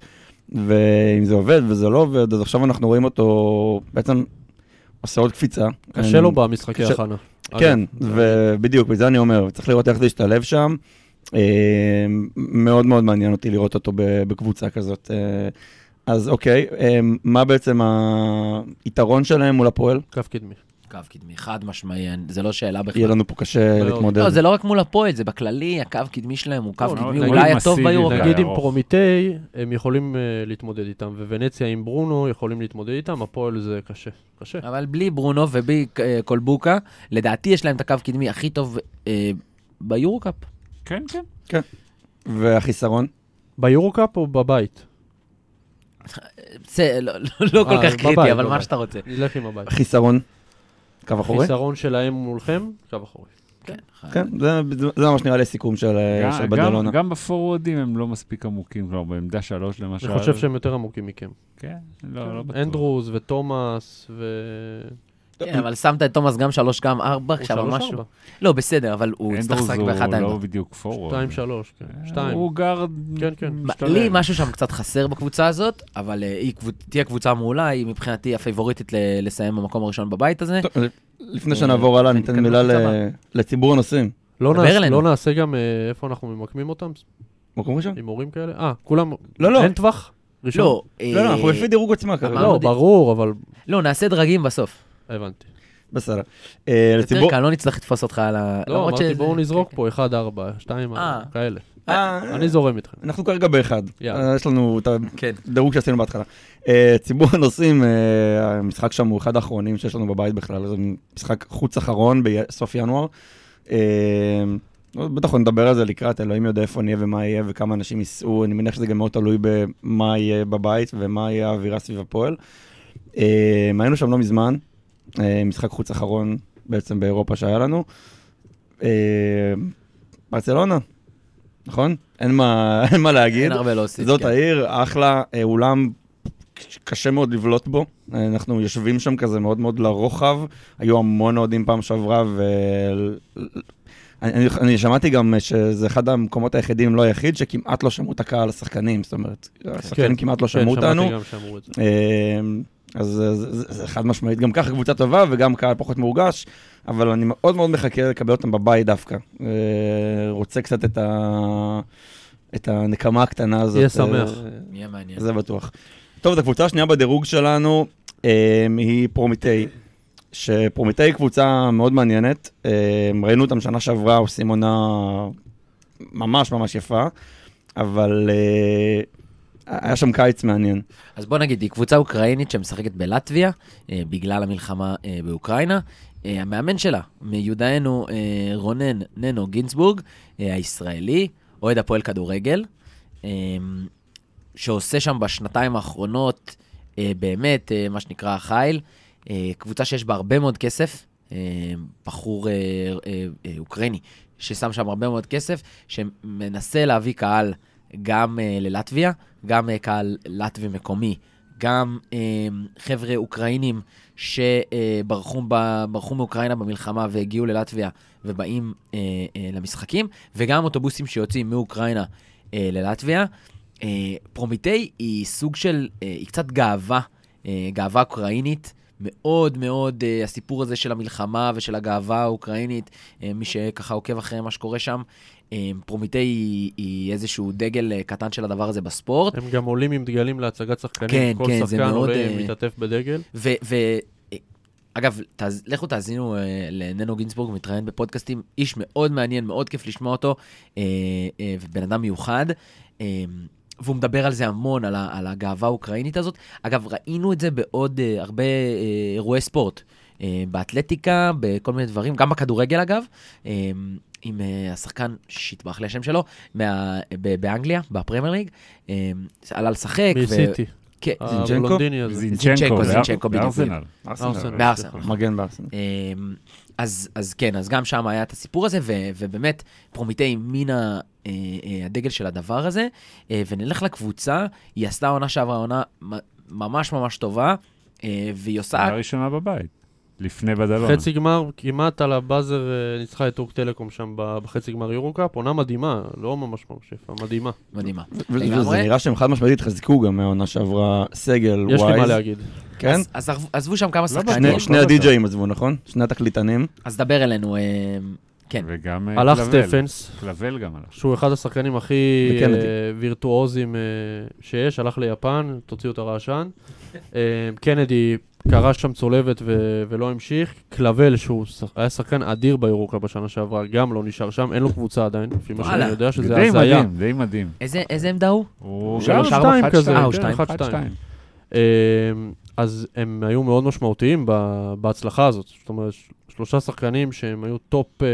B: ואם זה עובד וזה לא עובד, אז עכשיו אנחנו רואים אותו בעצם עושה עוד קפיצה.
D: קשה
B: אמ,
D: לו במשחקי
B: קשה-
D: הכנה.
B: כן,
C: אוקיי.
D: אגב,
B: ובדיוק, בזה אני אומר, צריך לראות איך זה ישתלב שם. אה, מאוד מאוד מעניין אותי לראות אותו ב- בקבוצה כזאת. אה, אז אוקיי, אה, מה בעצם היתרון שלהם מול הפועל?
D: קו קדמי.
A: קו קדמי, חד משמעי, אין- זה לא שאלה
B: יהיה
A: בכלל.
B: לנו פה קשה
D: לא,
B: להתמודד.
A: לא, זה לא רק מול הפועל, זה בכללי, הקו קדמי שלהם הוא קו
D: לא,
A: קדמי,
D: נגיד
A: אולי הטוב
C: מסיבי,
A: ביורו.
C: אוקיי,
D: נגיד עם
C: ארוך.
D: פרומיטי, הם יכולים אה, להתמודד איתם, וונציה עם ברונו יכולים להתמודד איתם, הפועל זה קשה. קשה.
A: אבל בלי ברונו ובלי אה, קולבוקה, לדעתי יש להם את הקו קדמי הכי טוב אה, ביורו-קאפ.
C: כן, כן.
B: והחיסרון?
D: ביורוקאפ או בבית?
A: זה לא- לא- לא כל
D: אה,
A: כך קריטי,
D: בבית,
A: אבל מה
D: בבית.
A: שאתה רוצה.
D: נלך עם הבית.
B: חיסרון? קו אחורי?
D: חיסרון שלהם מולכם, קו אחורי.
B: כן, זה- זה ממש נראה לי סיכום של אה,
D: אה,
C: גם-
B: של
C: גם-
B: בדלונה.
C: גם בפורוורדים הם לא מספיק עמוקים, כלומר, בעמדה שלוש למשל.
D: אני חושב שהם יותר עמוקים מכם.
C: כן, לא, לא בטוח.
D: אנדרוס ותומאס ו...
A: כן, אבל שמת את תומאס גם שלוש, גם ארבע,
D: הוא
A: עכשיו
D: שלוש,
A: משהו.
D: ארבע.
A: לא, בסדר, אבל הוא יצטרך
C: אנדרוס
A: לשחק באחת
C: הוא לא
A: העמדות.
C: בדיוק פורורד.
D: שתיים, שלוש, כן. שתיים.
C: אה, הוא גארד
D: כן, כן.
A: מה,
C: משתלם.
A: לי משהו שם קצת חסר בקבוצה הזאת, אבל אה, היא קבוצ- תהיה קבוצה מעולה, היא מבחינתי הפייבוריטית ל- לסיים במקום הראשון בבית הזה.
B: טוב, אה, לפני
C: אה,
B: שנעבור הלאה,
C: כן,
A: אני
B: ניתן
A: אתקדם
B: מילה
A: לחיסרון.
B: ל- לציבור הנוסעים.
D: לא
A: דבר
D: נעש-
A: אלינו.
D: לא נעשה גם אה, איפה אנחנו ממקמים אותם?
B: מקום ראשון?
D: עם הורים כאלה? אה, כולם...
B: לא, לא.
C: כן.
D: אין טווח? ראשון?
A: לא,
B: לא, לא,
A: אה,
B: אנחנו לפי דירוג עצמה כרגע.
A: אמרנו
D: לא,
A: די-
D: ברור, אבל...
A: לא, נעשה דרגים בסוף.
D: הבנתי.
B: בסדר. אה,
A: זה יותר
B: לציבור...
A: קל, לא נצטרך לתפוס אותך על ה...
D: לא,
A: למרות
D: אמרתי
A: שזה-
D: בואו נזרוק
A: כן,
D: פה 1, 4, 2,
A: אה.
D: כאלה.
B: אה,
D: אני זורם איתכם.
B: אנחנו כרגע באחד.
D: יאללה.
B: אה, יש לנו את
A: כן.
B: הדירוג שעשינו בהתחלה. אה, ציבור הנוסעים, אה, המשחק שם הוא אחד האחרונים שיש לנו בבית בכלל, זה משחק חוץ אחרון בסוף ינואר. אה, לא, בטח עוד נדבר על זה לקראת, אלוהים יודע איפה נהיה ומה יהיה וכמה אנשים ייסעו, אני מניח שזה גם מאוד תלוי במה יהיה בבית ומה יהיה האווירה סביב הפועל. אה, היינו שם לא מזמן, אה, משחק חוץ אחרון בעצם באירופה שהיה לנו. אה, ברצלונה, נכון? אין מה, (laughs) אין מה
A: כן.
B: להגיד.
A: אין הרבה להוסיף.
B: זאת
A: כן.
B: העיר, אחלה, אה, אולם קשה מאוד לבלוט בו. אה, אנחנו יושבים שם כזה מאוד מאוד לרוחב. היו המון אוהדים פעם שעברה, ו... אני, אני שמעתי גם אה, שזה אחד המקומות היחידים, אם לא היחיד, שכמעט לא שמעו את הקהל השחקנים, זאת אומרת, השחקנים כמעט לא שמעו אותנו.
D: כן. שמעתי גם שאמרו את זה.
B: אה, אז זה- זה זה חד משמעית, גם ככה קבוצה טובה וגם קהל פחות מורגש, אבל אני מאוד מאוד מחכה לקבל אותם בבית דווקא. אה, רוצה קצת את ה... את הנקמה הקטנה הזאת.
D: יהיה שמח.
B: אה,
A: יהיה מעניין.
B: זה בטוח. טוב, אז הקבוצה השנייה בדירוג שלנו אה, היא פרומיטי, שפרומיטי היא קבוצה מאוד מעניינת. אה, ראינו אותם שנה שעברה, עושים עונה ממש ממש יפה, אבל אה, היה שם קיץ מעניין.
A: אז בוא נגיד, היא קבוצה אוקראינית שמשחקת בלטביה, אה, בגלל המלחמה אה, באוקראינה. אה, המאמן שלה, מיודענו אה, רונן ננו גינצבורג, אה, הישראלי, אוהד הפועל כדורגל, אה, שעושה שם בשנתיים האחרונות אה, באמת, אה, מה שנקרא החיל, אה, קבוצה שיש בה הרבה מאוד כסף, אה, בחור אה, אה, אה, אוקראיני ששם שם הרבה מאוד כסף, שמנסה להביא קהל גם אה, ללטביה, גם אה, קהל לטבי מקומי, גם אה, חבר'ה אוקראינים שברחו ב- ברחו מאוקראינה במלחמה והגיעו ללטביה ובאים אה, אה, למשחקים, וגם אוטובוסים שיוצאים מאוקראינה אה, ללטביה. אה, פרומיטי היא סוג של, אה, היא קצת גאווה, אה, גאווה אוקראינית. מאוד מאוד אה, הסיפור הזה של המלחמה ושל הגאווה האוקראינית, אה, מי שככה עוקב אחרי מה שקורה שם, אה, פרומיטי היא, היא איזשהו דגל אה, קטן של הדבר הזה בספורט.
D: הם גם עולים עם דגלים להצגת שחקנים.
A: כן,
D: כל
A: כן, זה
D: שחקן
A: מאוד,
D: עולה,
A: אה,
D: מתעטף בדגל.
A: ו... ו אה, אגב, תאז, לכו תאזינו אה, לננו גינצבורג, מתראיין בפודקאסטים, איש מאוד מעניין, מאוד כיף לשמוע אותו, אה, אה, ובן אדם מיוחד. אה, והוא מדבר על זה המון, על, ה, על הגאווה האוקראינית הזאת. אגב, ראינו את זה בעוד אה, הרבה אה, אירועי ספורט, אה, באתלטיקה, בכל מיני דברים, גם בכדורגל אגב, אה, עם אה, השחקן שהתברך לי השם שלו, מה, ב, באנגליה, בפרמייר ליג, אה, עלה לשחק. ו-
D: מסיטי.
A: כן,
D: אה,
B: זינצ'נקו?
D: הבלונדיני הזה.
A: זינצ'נקו,
C: זינצ'נקו,
A: זינצ'נקו, בדיוק,
C: בארסנל.
D: ארסנל.
A: אה, בארסנל. נכון.
B: מגן בארסנל.
A: אמ, אז, אז כן, אז גם שם היה את הסיפור הזה, ו, ובאמת, פרומיטי מן ה- אה, אה, הדגל של הדבר הזה, אה, ונלך לקבוצה, היא עשתה עונה שעברה עונה מ- ממש ממש טובה, אה, והיא עושה...
C: היה ראשונה בבית, לפני בדלון.
D: חצי גמר, כמעט על הבאזר אה, ניצחה את טורק טלקום שם ב- בחצי גמר יורו-קאפ, עונה מדהימה, לא ממש ממש יפה, מדהימה.
A: מדהימה.
B: ו-
A: לגמרי.
B: וזה נראה שהם חד משמעית התחזקו גם מהעונה שעברה סגל
D: יש לי מה
B: ווייז.
D: להגיד.
B: כן?
A: אז, אז ערב- עזבו שם כמה שחקנים,
B: שני-
C: בטוח,
B: שני
C: לא בטוח.
B: הדי-ג'אים עזבו, נכון? שני התקליטנים.
A: אז דבר אלינו, אמ, כן.
C: וגם אה,
D: הלך
C: קלבל.
D: סטפנס,
C: קלבל גם הלך.
D: שהוא אחד השחקנים הכי
B: וקנדי.
D: אה, וירטואוזים אה, שיש, הלך ליפן, תוציאו את הרעשן. אה, קנדי קרא שם צולבת ו- ולא המשיך. קלבל, שהוא שח- היה שחקן אדיר ביורוקה בשנה שעברה, גם לא נשאר שם, אין לו קבוצה עדיין, לפי מה שאני
A: וואלה.
D: יודע, שזה
C: די
D: הזיה.
C: מדהים, די מדהים.
A: איזה, איזה עמדה הוא?
C: הוא
D: שלוש,
C: גם
D: שתיים
C: אחד,
D: כזה,
C: שתיים,
D: אה, הוא
C: כן,
D: שתיים,
C: אחד,
D: שתיים.
C: שתיים.
D: אמ, אז הם היו מאוד משמעותיים ב- בהצלחה הזאת. זאת אומרת, ש- שלושה שחקנים שהם היו טופ, אה,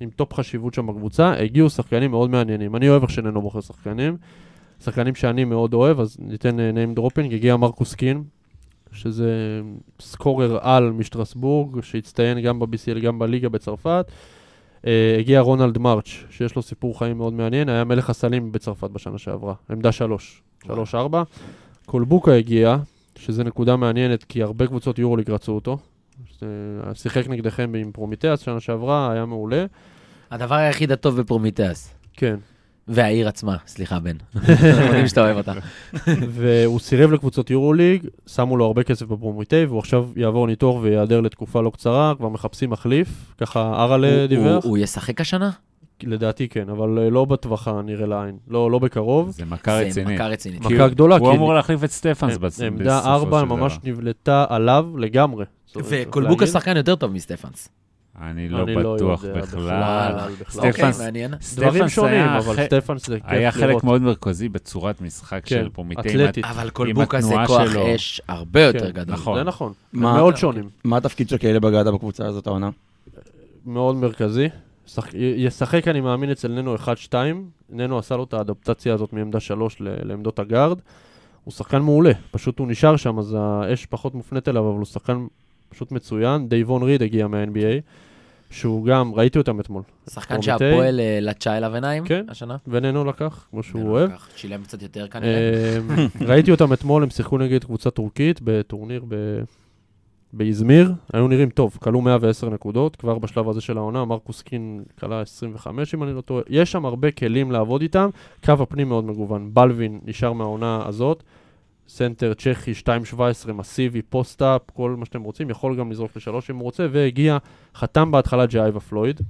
D: עם טופ חשיבות שם בקבוצה, הגיעו שחקנים מאוד מעניינים. אני אוהב איך שננו בוחר שחקנים. שחקנים שאני מאוד אוהב, אז ניתן אה, name dropping. הגיע מרקוס קין, שזה סקורר על משטרסבורג, שהצטיין גם ב-BCL, גם בליגה בצרפת. אה, הגיע רונלד מרץ', שיש לו סיפור חיים מאוד מעניין, היה מלך הסלים בצרפת בשנה שעברה, עמדה שלוש, שלוש ארבע. קולבוקה הגיע, שזה נקודה מעניינת, כי הרבה קבוצות יורוליג רצו אותו. אה, שיחק נגדכם עם פרומיטיאס שנה שעברה, היה מעולה.
A: הדבר היחיד הטוב בפרומיטס.
D: כן.
C: (laughs)
A: והעיר עצמה, סליחה, (laughs) בן. אנחנו יודעים שאתה אוהב אותה.
D: והוא סירב לקבוצות יורוליג, שמו לו הרבה כסף בפרומיטי, והוא עכשיו יעבור ניתוח וייעדר לתקופה לא קצרה, כבר מחפשים מחליף, ככה
A: הוא-
D: אראלה דיווח.
A: הוא, הוא ישחק השנה?
D: לדעתי כן, אבל אה, לא בטווח הנראה לעין, לא לא בקרוב.
C: זה מכה
A: זה
C: רצינית.
A: מכה רצינית.
D: מכה גדולה,
C: הוא
D: כי-
C: אמור להחליף את סטפנס
D: עמ-
C: בס-
D: אה, עמדה
C: בסופו
D: ארבע
C: של
D: ממש
C: דבר.
D: נבלטה עליו לגמרי. זאת אומרת, צריך
A: וקולבוקה
D: להגיד.
A: שחקן יותר טוב מסטפנס.
C: אני לא
D: אני
C: בטוח
D: יודע
C: בכלל.
D: בכלל.
C: סטפנס-
A: אוקיי, מעניין.
D: דברים
C: סטפנס
D: שונים,
C: היה
D: אבל
C: ח-
D: סטפנס זה כיף לראות.
C: היה חלק מאוד מרכזי בצורת משחק
D: כן,
C: של פרומיטי.
D: אתלטית.
A: אבל קולבוקה זה
C: התנועה
A: כוח
C: שלו.
A: אש הרבה יותר
D: כן,
A: גדול.
C: נכון.
D: זה נכון, הם
B: מה-
D: מאוד שונים.
B: מה התפקיד של קהילה בגדה בקבוצה הזאת העונה?
D: מאוד מרכזי. שח- י- ישחק, אני מאמין, אצל ננו 1-2. ננו עשה לו את האדפטציה הזאת מעמדה 3 ל- לעמדות הגארד. הוא שחקן מעולה, פשוט הוא נשאר שם, אז האש פחות מופנית אליו, אבל הוא שחקן פשוט מצוין. דייבון ריד הגיע מה-NBA, שהוא גם, ראיתי אותם אתמול.
A: שחקן
D: קורמיטי.
A: שהפועל אה, לטשה אליו עיניים
D: כן.
A: השנה.
D: וננו לקח, כמו שהוא
A: כן,
D: אוהב.
A: לקח, שילם קצת יותר כנראה.
D: אה, ראיתי אותם אתמול, הם שיחקו נגד קבוצה טורקית בטורניר ב- באיזמיר, היו נראים טוב, כלו 110 נקודות, כבר בשלב הזה של העונה, מרקוס קין כלה 25 אם אני לא טועה, יש שם הרבה כלים לעבוד איתם, קו הפנים מאוד מגוון, בלווין נשאר מהעונה הזאת, סנטר צ'כי 2.17 מסיבי, פוסט-אפ, כל מה שאתם רוצים, יכול גם לזרוק לשלוש אם הוא רוצה, והגיע, חתם בהתחלה ג'אייבה פלויד,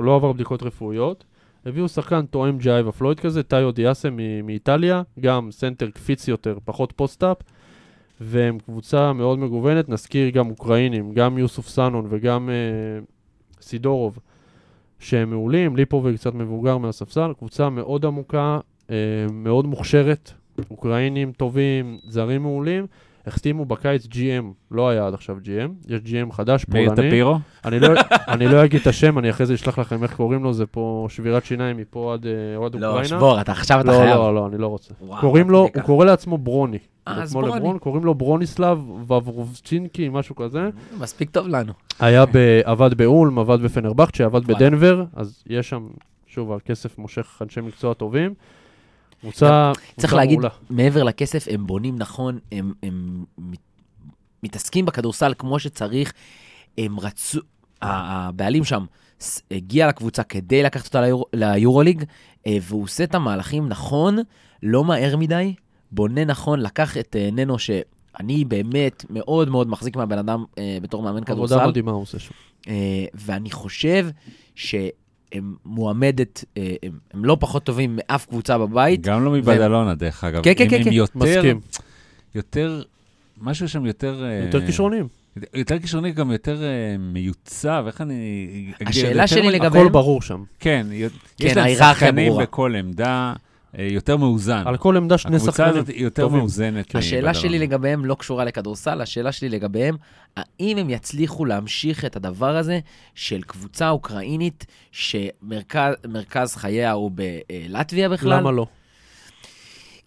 D: לא עבר בדיקות רפואיות, הביאו שחקן תואם ג'אייבה פלויד כזה, טאיו דיאסה מ- מאיטליה, גם סנטר קפיץ יותר, פחות פוסט-אפ, והם קבוצה מאוד מגוונת, נזכיר גם אוקראינים, גם יוסוף סנון וגם אה, סידורוב, שהם מעולים, ליפוביץ' קצת מבוגר מהספסל, קבוצה מאוד עמוקה, אה, מאוד מוכשרת, אוקראינים טובים, זרים מעולים. החתימו בקיץ GM, לא היה עד עכשיו GM, יש GM חדש, פולני.
C: מאיר טפירו?
D: אני לא, (laughs) אני לא אגיד את השם, אני אחרי זה אשלח לכם איך קוראים לו, זה פה שבירת שיניים מפה עד, אה, עד
A: לא,
D: אוקראינה.
A: שבור, אתה עכשיו אתה
D: לא,
A: חייב.
D: לא, לא, אני לא רוצה.
A: וואו,
D: קוראים
A: עד
D: לו,
A: כדי
D: הוא
A: כך.
D: קורא לעצמו ברוני.
A: אה,
D: זה
A: אז
D: כמו
A: ברוני.
D: לברון, קוראים לו ברוניסלב וברובצ'ינקי, משהו כזה.
A: מספיק טוב לנו.
D: היה, ב- עבד באולם, עבד בפנרבכצ'ה, עבד בדנבר, אז יש שם, שוב, הכסף מושך אנשי מקצוע טובים. קבוצה
A: צריך
D: קבוצה
A: להגיד,
D: מעולה.
A: מעבר לכסף, הם בונים נכון, הם, הם מת- מתעסקים בכדורסל כמו שצריך, הם רצו, ה- הבעלים שם ס- הגיע לקבוצה כדי לקחת אותה ליור, ליורוליג, אה, והוא עושה את המהלכים נכון, לא מהר מדי, בונה נכון, לקח את אה, ננו ש... אני באמת מאוד מאוד מחזיק מהבן אדם אה, בתור מאמן כדורסל.
D: עבודה מדהימה הוא עושה שם.
A: אה, ואני חושב שהם מועמדת, אה, הם, הם לא פחות טובים מאף קבוצה בבית.
C: גם לא מבדלונה, דרך אגב.
A: כן, כן,
C: הם-
A: כן, כן.
C: הם יותר-
D: מסכים.
C: יותר, משהו שם יותר... אה,
D: יותר כישרונים.
C: יותר כישרוני, גם יותר אה, מיוצב, איך אני... אגדיר את זה?
A: השאלה
C: יותר
A: שלי
C: מ-
A: לגבי-
D: הכל ברור שם.
C: כן, י- יש להם
A: ההיררכיה
C: שחקנים
A: ברורה.
C: בכל עמדה, אה, יותר מאוזן.
D: על כל עמדה שני
C: הקבוצה
D: שחקנים.
C: הזאת היא יותר
D: טובים.
C: מאוזנת.
A: השאלה
C: מבדלונה.
A: שלי לגביהם לא קשורה לכדורסל, השאלה שלי לגביהם, האם הם יצליחו להמשיך את הדבר הזה של קבוצה אוקראינית שמרכז מרכז חייה הוא בלטביה בכלל?
D: למה לא?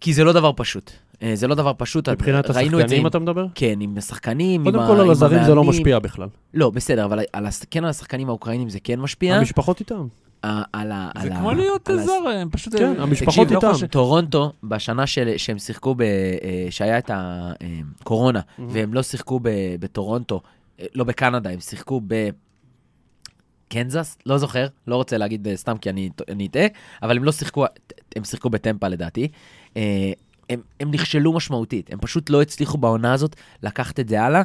A: כי זה לא דבר פשוט. אה, זה לא דבר פשוט,
D: מבחינת
A: ראינו את זה
D: השחקנים
A: עם-
D: אתה מדבר?
A: כן, עם השחקנים,
D: קודם
A: עם ה-
D: כל
A: עם
D: על הזרים זה לא
A: המאמנים.
D: משפיע בכלל.
A: לא, בסדר, אבל על הש- כן על השחקנים האוקראינים זה כן משפיע.
D: המשפחות איתם.
A: ה- על ה-
C: זה
A: על ה-
C: כמו להיות
A: על ה-
C: זר, הם פשוט...
D: כן,
C: אה,
D: המשפחות
C: תקשיב, לא
D: איתם.
C: חושב-
A: טורונטו, בשנה של, שהם שיחקו, ב, אה, שהיה את אה, הקורונה, והם לא שיחקו ב, בטורונטו, אה, לא בקנדה, הם שיחקו בקנזס, לא זוכר, לא רוצה להגיד אה, סתם כי אני ט- אני אטעה, אבל הם לא שיחקו, הם שיחקו בטמפה לדעתי. אה, הם, הם נכשלו משמעותית, הם פשוט לא הצליחו בעונה הזאת לקחת את זה הלאה.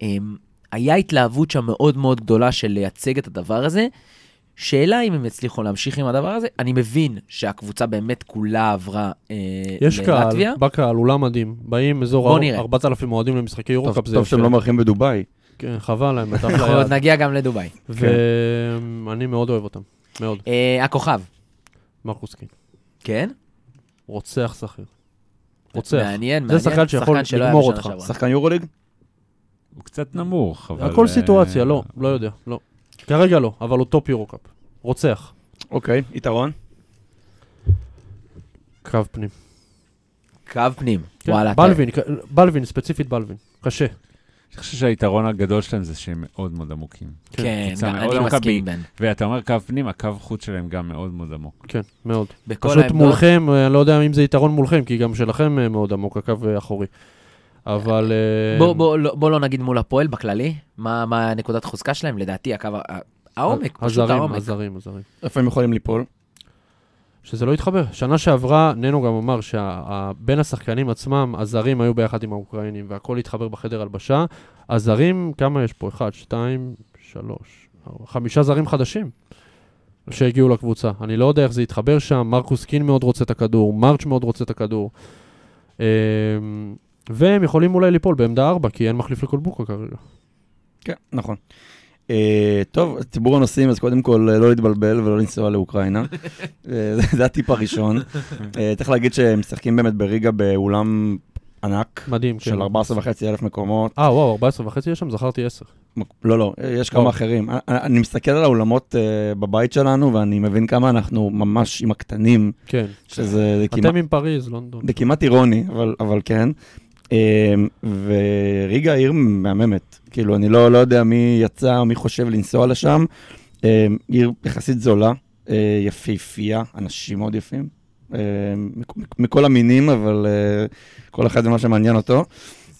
A: הם, היה התלהבות שם מאוד מאוד גדולה של לייצג את הדבר הזה. שאלה אם הם יצליחו להמשיך עם הדבר הזה. אני מבין שהקבוצה באמת כולה עברה אה,
D: יש קהל, (laughs) לא
A: ללטביה.
D: בקהל, אולם מדהים. באים אזור
A: בוא
D: ה-
A: נראה.
D: 4,000 אוהדים למשחקי
B: טוב-
D: יורוקאפ, זה
B: טוב
D: יפה.
B: שהם לא מארחים בדובאי.
D: כן, חבל
A: (laughs)
D: להם, מתחת
A: אנחנו עוד כן.
D: ליד.
A: נגיע גם לדובאי.
D: ואני מאוד אוהב אותם, מאוד.
A: אה, הכוכב,
D: מרקוס קין.
A: כן?
D: רוצח שכיר. רוצח.
A: מעניין,
D: זה
A: מעניין.
D: שחקן שיכול
A: שלא היה
D: לגמור
A: בשנה
D: אותך.
A: שעברה.
B: שחקן יורוליג?
C: הוא קצת נמוך, אבל...
D: הכל
C: אה,
D: סיטואציה, לא, לא יודע, לא. כרגע לא, אבל הוא טופ יורוקאפ. רוצח.
B: אוקיי, יתרון.
D: קו פנים.
A: קו פנים,
D: כן,
A: וואלה. אתה-
D: בלווין, כ- בלווין, ספציפית בלווין. קשה.
C: אני חושב שהיתרון הגדול שלהם זה שהם מאוד מאוד עמוקים.
A: כן,
C: קבוצה
A: גם
C: מאוד
A: אני
C: עמוקה
A: מסכים,
C: ב-
A: בן.
C: ואתה אומר קו פנים, הקו חוץ שלהם גם מאוד מאוד עמוק.
D: כן, מאוד.
A: בכל
D: פשוט
A: העמדות.
D: מולכם, אה, אני לא יודע אם זה יתרון מולכם, כי גם שלכם אה, מאוד עמוק, הקו אה, אחורי. אבל... אה,
A: בוא- בוא לא- בוא לא נגיד מול הפועל בכללי, מה מה נקודת חוזקה שלהם, לדעתי הקו... ה- העומק, פשוט
D: הזרים,
A: העומק.
D: הזרים, הזרים.
B: איפה הם יכולים ליפול?
D: שזה לא התחבר. שנה שעברה, ננו גם אמר שבין השחקנים עצמם, הזרים היו ביחד עם האוקראינים, והכל התחבר בחדר הלבשה. הזרים, כמה יש פה? אחד, שתיים, שלוש, ארבע, חמישה זרים חדשים שהגיעו לקבוצה. אני לא יודע איך זה התחבר שם, מרקוס קין מאוד רוצה את הכדור, מרץ' מאוד רוצה את הכדור. אמ, והם יכולים אולי ליפול בעמדה ארבע, כי אין מחליף לקולבוקה כרגע.
B: כן, נכון. אה, טוב, אז ציבור הנוסעים, אז קודם כל אה, לא להתבלבל ולא לנסוע
D: (laughs)
B: לאוקראינה. אה, זה- זה הטיפ הראשון. אה, צריך להגיד שהם משחקים באמת בריגה באולם ענק
D: מדהים, כן.
B: של 14 וחצי אלף מקומות.
D: אה, וואו, 14 וחצי יש שם? זכרתי 10.
B: מק- לא, לא, אה, יש כמה
D: וואו.
B: אחרים. אני- אני מסתכל על האולמות אה, בבית שלנו, ואני מבין כמה אנחנו ממש עם הקטנים,
D: כן.
B: שזה זה כמעט...
D: אתם עם פריז, לונדון.
B: זה כמעט אירוני, אבל, אבל כן. אמ, וריגה עיר מהממת, כאילו, אני לא, לא יודע מי יצא, מי חושב לנסוע לשם, אה, עיר יחסית זולה, אה, יפהפייה, אנשים מאוד יפים, אה, מכ- מכ- מכל המינים, אבל אה, כל אחד זה מה שמעניין אותו.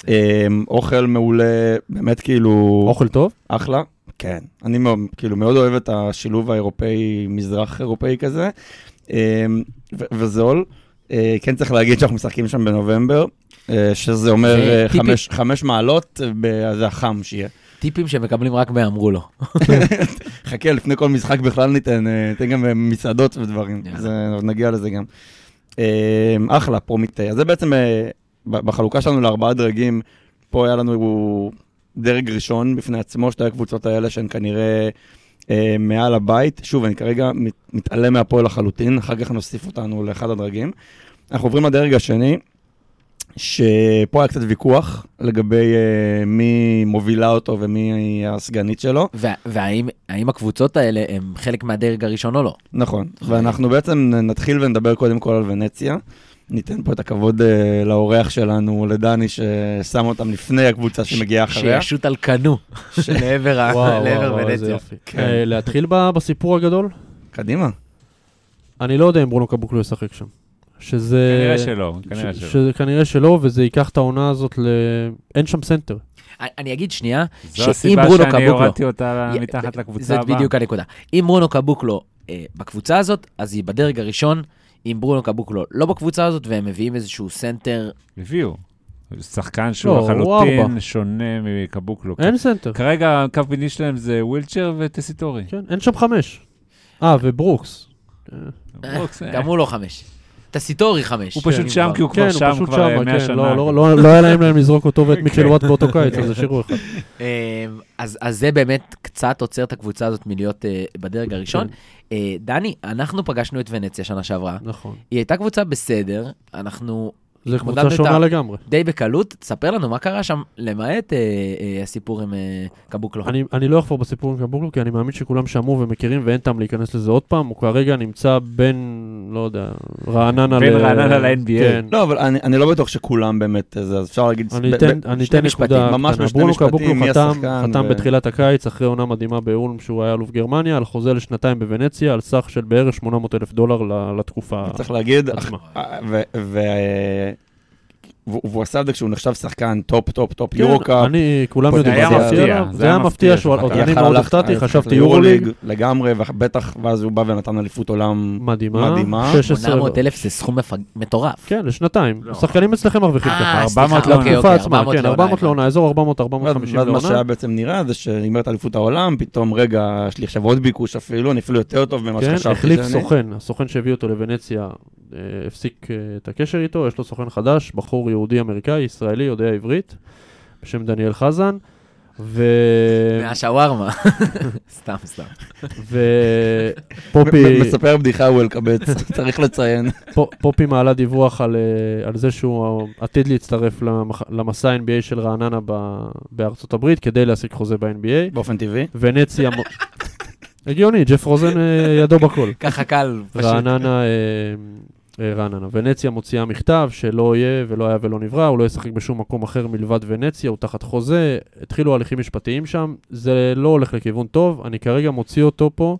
B: אה, אוכל מעולה, באמת כאילו...
D: אוכל טוב?
B: אחלה. כן. אני מאוד, כאילו מאוד אוהב את השילוב האירופאי, מזרח אירופאי כזה, אה, ו- וזול. אה, כן צריך להגיד שאנחנו משחקים שם בנובמבר, אה, שזה אומר
A: זה
B: אה,
A: טיפי.
B: חמש, חמש מעלות, אה, ב- זה החם שיהיה.
A: טיפים שמקבלים רק מאמרו לו.
B: חכה, לפני כל משחק בכלל ניתן, אה, ניתן גם אה, מסעדות ודברים,
A: יאללה.
B: זה- נגיע לזה גם. אה, אחלה, פרומיטה. אז זה בעצם, אה, ב- בחלוקה שלנו לארבעה דרגים, פה היה לנו דרג ראשון בפני עצמו, שתי הקבוצות האלה שהן כנראה אה, מעל הבית. שוב, אני כרגע מת- מתעלם מהפועל לחלוטין, אחר כך נוסיף אותנו לאחד הדרגים. אנחנו עוברים לדרג השני, שפה היה קצת ויכוח לגבי אה, מי מובילה אותו ומי הסגנית שלו.
A: וה- והאם האם הקבוצות האלה הם חלק מהדרג הראשון או לא?
B: נכון,
D: אוקיי.
B: ואנחנו בעצם נתחיל ונדבר קודם כל על ונציה. ניתן פה את הכבוד uh, לאורח שלנו, לדני, ששם אותם לפני הקבוצה שמגיעה אחריה.
A: שישוט על
C: (laughs)
A: קנו לעבר ה- לעבר
D: איזה
A: ונציה.
D: יופי.
B: כן.
D: אה, להתחיל ב- בסיפור הגדול?
B: קדימה.
D: אני לא יודע אם ברונו קבוקלו ישחק שם. שזה...
A: אה,
C: כנראה שלא, כנראה
D: ש-
C: שלא.
D: שזה כנראה שלא, וזה ייקח את העונה הזאת ל... אין שם סנטר.
A: אני- אני אגיד שנייה,
C: זו
A: שאם
C: הסיבה
A: ברונו
C: שאני
A: קבוקלו...
C: הורדתי אותה
A: י-
C: מתחת לקבוצה
A: זאת
C: הבאה.
A: בדיוק הנקודה. אם ברונו קבוקלו אה, בקבוצה הזאת, אז היא בדרג הראשון. אם ברונו קבוקלו לא בקבוצה הזאת, והם מביאים איזשהו סנטר,
C: הביאו. שחקן שהוא
D: לא, הוא
C: לחלוטין
D: ארבע.
C: שונה מקבוקלו.
D: אין סנטר.
C: כרגע הקו פנימי שלהם זה ווילצ'ר וטסיטורי.
D: כן, אין שם חמש. אה, וברוקס.
C: ברוקס, אה,
A: גם הוא לא חמש. טסיטורי חמש.
C: הוא פשוט
A: אם
C: שם
A: כבר.
C: כי הוא
D: כן,
C: כבר
D: הוא
C: שם
D: פשוט
C: כבר אה,
D: שם,
C: 100
D: כן,
C: שנה. כן.
D: לא- לא לא- לא היה להם להם לזרוק
C: (laughs)
D: אותו ואת מיטשל וואט באותו קיץ, אז השאירו אחד.
A: אמ, אז, אז זה באמת קצת עוצר את הקבוצה הזאת מלהיות אה, בדרג הראשון.
C: כן.
A: אה, דני, אנחנו פגשנו את ונציה שנה שעברה.
D: נכון.
A: היא הייתה קבוצה בסדר, אנחנו
D: זו
A: מודד
D: קבוצה
A: את
D: שונה
A: ה-
D: לגמרי.
A: די בקלות. תספר לנו מה קרה שם, למעט אה, אה, הסיפור עם אה, קבוקלו.
D: אני, אני לא אחפור בסיפור עם קבוקלו, כי אני מאמין שכולם שמעו ומכירים ואין טעם להיכנס לזה עוד פעם. הוא כרגע נמצא בין, לא יודע, רעננה
C: בין רעננה ל-NBA.
D: כן.
B: לא, אבל אני, אני לא בטוח שכולם באמת אה, זה, אז אפשר להגיד...
D: אני
B: ב-
D: אתן,
B: ב-
D: אני
A: שני
D: אתן
A: משפטים,
D: נקודה
B: ממש
D: קטנה.
B: בשני
D: ברונו
B: משפטים,
D: קבוקלו
B: מי
D: חתם,
B: השחקן
D: חתם
B: ו-
D: בתחילת הקיץ, אחרי עונה מדהימה באולם שהוא היה אלוף גרמניה, על חוזה לשנתיים בוונציה, על סך של בערך 800 אלף דולר ל- לתקופה.
B: צריך להגיד, אח-
D: עצמה.
B: אה, ו... ו... והוא- והוא עשה את זה כשהוא נחשב שחקן טופ, טופ, טופ,
D: כן,
B: יורוקאפ.
D: אני, כולם
B: זה
D: יודעים,
B: היה
D: זה
B: מפתיע,
D: עליו.
C: זה
D: זה
C: היה
D: היה מפתיע,
C: מפתיע
D: שהוא-
C: שחקן.
D: אני
B: יכל
D: מאוד
B: ללכת-
D: הופתעתי,
B: ללכת
D: חשבתי יורו
B: ליורוליג
D: ליג,
B: לגמרי, ובטח, ואז הוא בא ונתן אליפות עולם
D: מדהימה,
B: מדהימה.
D: 16
A: 800 אלף זה סכום מפג- מטורף.
D: כן, לשנתיים.
C: לא.
D: השחקנים אצלכם מרוויחים ככה.
A: אה, סליחה,
C: 400
A: אוקיי,
C: לעונה.
A: אוקיי,
D: התקופה עצמה, כן, 400
A: הבנתי.
D: לעונה, אזור 400-450
B: ואז ואז מה
D: לעונה.
B: שהיה בעצם נראה זה שנגמרת אליפות העולם, פתאום רגע, יש לי עכשיו עוד ביקוש אפילו, אני אפילו יותר טוב ממה
D: כן,
B: שחשבתי.
D: החליף
B: שאני-
D: סוכן, הסוכן שהביא אותו לוונציה אה, הפסיק אה, את הקשר איתו, יש לו סוכן חדש, בחור יהודי אמריקאי, ישראלי, יודע עברית, בשם דניאל חזן, ו...
A: (laughs) מהשווארמה. סתם, סתם.
B: מ-
D: ופופי
B: מ- מספר בדיחה הוא
D: (laughs)
B: אלקבץ, צריך לציין.
D: פופ- פופי מעלה דיווח על, אה, על זה שהוא עתיד להצטרף למח- למסע NBA של רעננה ב- בארצות הברית כדי להשיג חוזה ב-NBA.
B: באופן טבעי.
D: ונציה... מ-
B: (laughs)
D: הגיוני, ג'ף רוזן אה, ידו בכל.
A: ככה קל, פשוט.
D: רעננה, אה, אה, רעננה. ונציה מוציאה מכתב שלא יהיה ולא היה ולא נברא, הוא לא ישחק בשום מקום אחר מלבד ונציה, הוא תחת חוזה, התחילו הליכים משפטיים שם, זה לא הולך לכיוון טוב, אני כרגע מוציא אותו פה,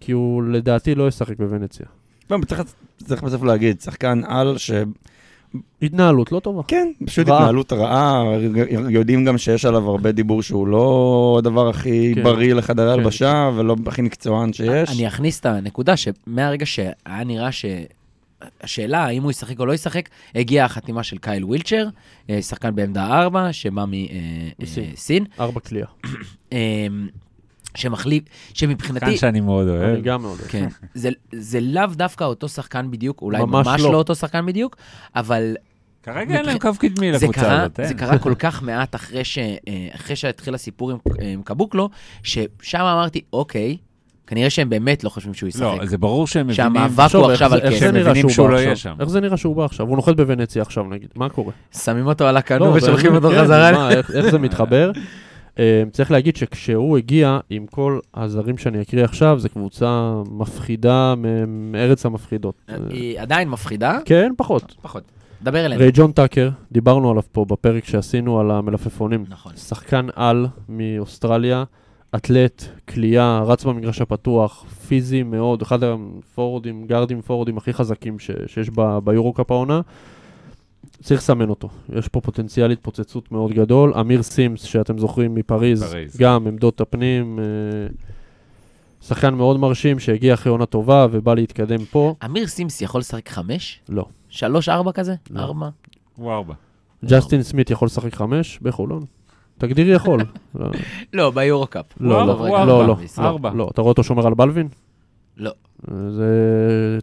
D: כי הוא לדעתי לא ישחק בוונציה.
B: לא, צריך- צריך בסוף להגיד, שחקן על ש...
D: התנהלות לא טובה.
B: כן, פשוט
D: רעה.
B: התנהלות רעה, יודעים גם שיש עליו הרבה דיבור שהוא לא הדבר הכי
D: כן.
B: בריא לחדרי
D: כן.
B: הלבשה, ולא הכי מקצוען שיש.
A: אני אכניס את הנקודה שמהרגע שהיה נראה ש... השאלה האם הוא ישחק או לא ישחק, הגיעה החתימה של קייל ווילצ'ר, אה, שחקן בעמדה 4, שבא
D: מסין.
A: מסין,
D: ארבע קליעה.
A: אה, שמחליף, שמבחינתי,
C: שחקן שאני מאוד אוהב.
D: אני גם מאוד. אוהב.
A: כן, זה, זה לאו דווקא אותו שחקן בדיוק, אולי
D: ממש
A: ממש,
D: לא.
A: לא אותו שחקן בדיוק, אבל
C: כרגע אין להם קו קדמי
A: זה
C: לקבוצה
A: קרה,
C: הזאת. אה?
A: זה
C: אין.
A: קרה כל כך מעט אחרי, ש, אה, אחרי שהתחיל הסיפור עם, עם קבוקלו, ששם אמרתי, אוקיי, כנראה שהם באמת לא חושבים שהוא ישחק.
C: לא, זה ברור שהם מבינים.
A: שהמאבק
D: תחשוב,
A: הוא
D: איך
A: עכשיו
D: זה-
A: על
D: איך
A: כסף.
D: זה
C: הם
D: נראה
C: מבינים
D: שהוא
C: שהוא
D: בא
C: לא יהיה
D: עכשיו?
C: שם.
D: איך זה נראה שהוא בא עכשיו? הוא נוחת בוונציה עכשיו נגיד, מה קורה?
A: שמים אותו על הקנו
D: לא,
A: ושולחים
D: באמת,
A: אותו
D: כן,
A: חזרה.
D: מה, איך- איך זה מתחבר? (laughs) אה, צריך להגיד שכשהוא הגיע, עם כל הזרים שאני אקריא עכשיו, זו קבוצה מפחידה מ- מארץ המפחידות. אה,
A: היא עדיין מפחידה,
D: כן, פחות.
A: פחות. דבר אלינו.
D: ריי ג'ון טאקר, דיברנו עליו פה בפרק שעשינו על המלפפונים.
A: נכון.
D: שחקן על מאוסטרליה, אתלט, כליאה, רץ במגרש הפתוח, פיזי מאוד, אחד הפורורדים, גארדים פורורדים הכי חזקים ש, שיש ב, ביורו קאפ העונה. צריך לסמן אותו. יש פה פוטנציאל התפוצצות מאוד גדול. אמיר סימס, שאתם זוכרים מפריז,
C: פריז.
D: גם עמדות הפנים, אה, שחקן מאוד מרשים שהגיע אחרי עונה טובה ובא להתקדם פה.
A: אמיר סימס יכול לשחק חמש?
D: לא.
A: שלוש, ארבע כזה?
D: לא.
A: ארבע?
C: הוא ארבע.
D: ג'סטין סמית יכול לשחק חמש בחולון? תגדיר יכול. לא,
A: לא, ביורו-קאפ.
D: לא,
A: הוא
D: לא,
A: ארבע.
D: לא, לא,
A: בישראל.
C: ארבע.
D: לא. אתה רואה אותו שומר על בלווין?
A: לא.
D: זה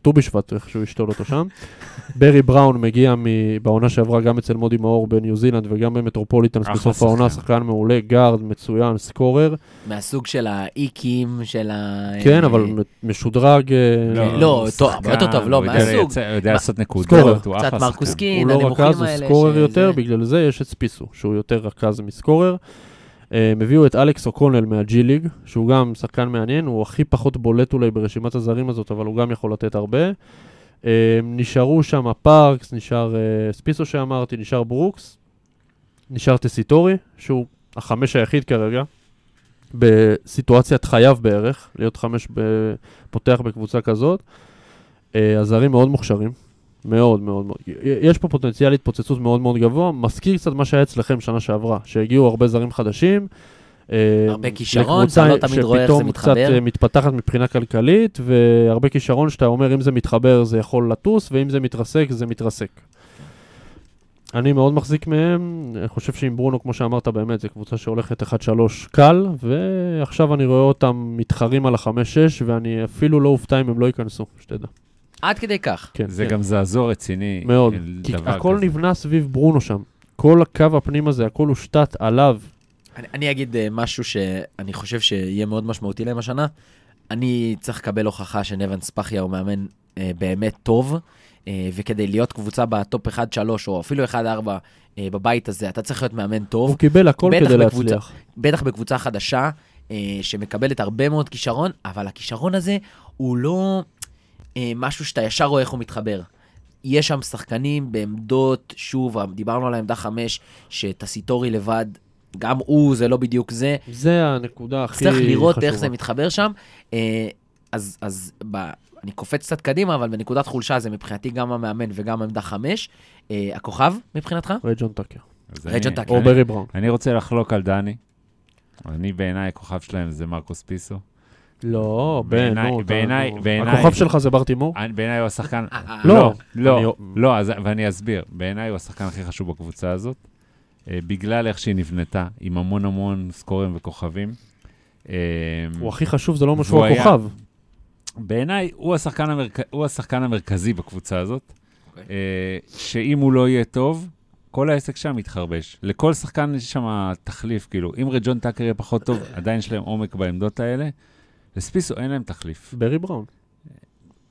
D: ט"ו בשבט, איך שהוא ישתול אותו שם. (laughs) ברי בראון מגיע מ- בעונה שעברה גם אצל מודי מאור בניו זילנד וגם במטרופוליטנס
C: אחלה
D: בסוף
C: שחקן.
D: העונה, שחקן מעולה, גארד, מצוין, סקורר.
A: מהסוג של האיקים, של ה...
D: כן, אבל משודרג, אה,
A: אה, לא, טוב,
C: שחקן,
A: יותר טוב, לא,
C: הוא יודע
A: מהסוג.
C: לייצר- הוא יודע
A: מה-
C: לעשות
D: סקורר.
C: נקודות, הוא כן. אחלה
A: קצת
C: שחקן.
A: מרקוס קין,
D: הוא לא
A: הנמוכים
D: רכז, הוא
A: האלה
D: סקורר
A: שזה-
D: יותר, בגלל זה יש את ספיסו, שהוא יותר רכז מסקורר. אה, הם הביאו את אלכס אוקונל מהג'י ליג, שהוא גם שחקן מעניין, הוא הכי פחות בולט אולי ברשימת הזרים הזאת, אבל הוא גם יכול לתת הרבה. אה, נשארו שם פארקס, נשאר אה, ספיסו שאמרתי, נשאר ברוקס, נשאר טסיטורי, שהוא החמש היחיד כרגע, בסיטואציית חייו בערך, להיות חמש ב- פותח בקבוצה כזאת. אה, הזרים מאוד מוכשרים, מאוד מאוד מאוד. י- יש פה פוטנציאל התפוצצות מאוד מאוד גבוה, מזכיר קצת מה שהיה אצלכם שנה שעברה, שהגיעו הרבה זרים חדשים. אה,
A: הרבה כישרון,
D: לקבוצה
A: אתה לא תמיד רואה איך זה
D: שפתאום קצת
A: מתחבר.
D: אה, מתפתחת מבחינה כלכלית, והרבה כישרון שאתה אומר, אם זה מתחבר זה יכול לטוס, ואם זה מתרסק זה מתרסק. אני מאוד מחזיק מהם, אני חושב שעם ברונו, כמו שאמרת, באמת, זו קבוצה שהולכת 1-3 קל, ועכשיו אני רואה אותם מתחרים על ה-5-6, ואני אפילו לא אופתע אם הם לא ייכנסו, שתדע.
A: עד כדי כך.
D: כן,
C: זה
D: כן.
C: גם זעזוע רציני.
D: מאוד,
C: אל
D: כי
C: דבר
D: הכל
C: כזה.
D: נבנה סביב ברונו שם. כל הקו הפנים הזה, הכל הושתת עליו.
A: אני, אני אגיד אה, משהו שאני חושב שיהיה מאוד משמעותי להם השנה. אני צריך לקבל הוכחה שנבן ספחיה הוא מאמן אה, באמת טוב, אה, וכדי להיות קבוצה בטופ 1-3 או אפילו 1-4 אה, בבית הזה, אתה צריך להיות מאמן טוב.
D: הוא קיבל הכל
A: בטח
D: כדי
A: בקבוצה-
D: להצליח.
A: בטח בקבוצה חדשה, אה, שמקבלת הרבה מאוד כישרון, אבל הכישרון הזה הוא לא אה, משהו שאתה ישר רואה איך הוא מתחבר. יש שם שחקנים בעמדות, שוב, דיברנו על העמדה 5, שטסיטורי לבד, גם הוא, זה לא בדיוק זה.
D: זה הנקודה הכי חשובה.
A: צריך לראות איך זה מתחבר שם. אה, אז, אז ב... אני קופץ קצת קדימה, אבל בנקודת חולשה זה מבחינתי גם המאמן וגם עמדה 5. אה, הכוכב מבחינתך?
D: רי ג'ון טאקר.
C: אז
A: רג'ון
C: אני-
A: טאקר. אה?
D: או
C: אני-
D: ברי בראון.
C: אני רוצה לחלוק על דני. אני בעיניי, הכוכב שלהם זה מרקוס פיסו.
D: לא, בן,
C: בעיניי-
D: נו. אתה-
C: בעיניי-
D: נו.
C: בעיניי-
D: הכוכב שלך זה ברטימור?
C: אני- בעיניי הוא השחקן...
A: אה,
D: לא,
C: לא, לא,
D: אני-
C: לא, אז- ואני אסביר. בעיניי הוא השחקן הכי חשוב בקבוצה הזאת, אה, בגלל איך שהיא נבנתה, עם המון המון סקורים וכוכבים. אה,
D: הוא הכי חשוב, זה לא אומר שהוא
C: והוא היה-
D: הכוכב.
C: בעיניי הוא השחקן, המרכ... הוא השחקן המרכזי בקבוצה הזאת, okay.
A: אוקיי.
C: שאם הוא לא יהיה טוב, כל העסק שם יתחרבש. לכל שחקן יש שם תחליף, כאילו, אם רג'ון טאקר יהיה פחות טוב, עדיין יש להם עומק בעמדות האלה. לספיסו אין להם תחליף.
D: ברי בראון.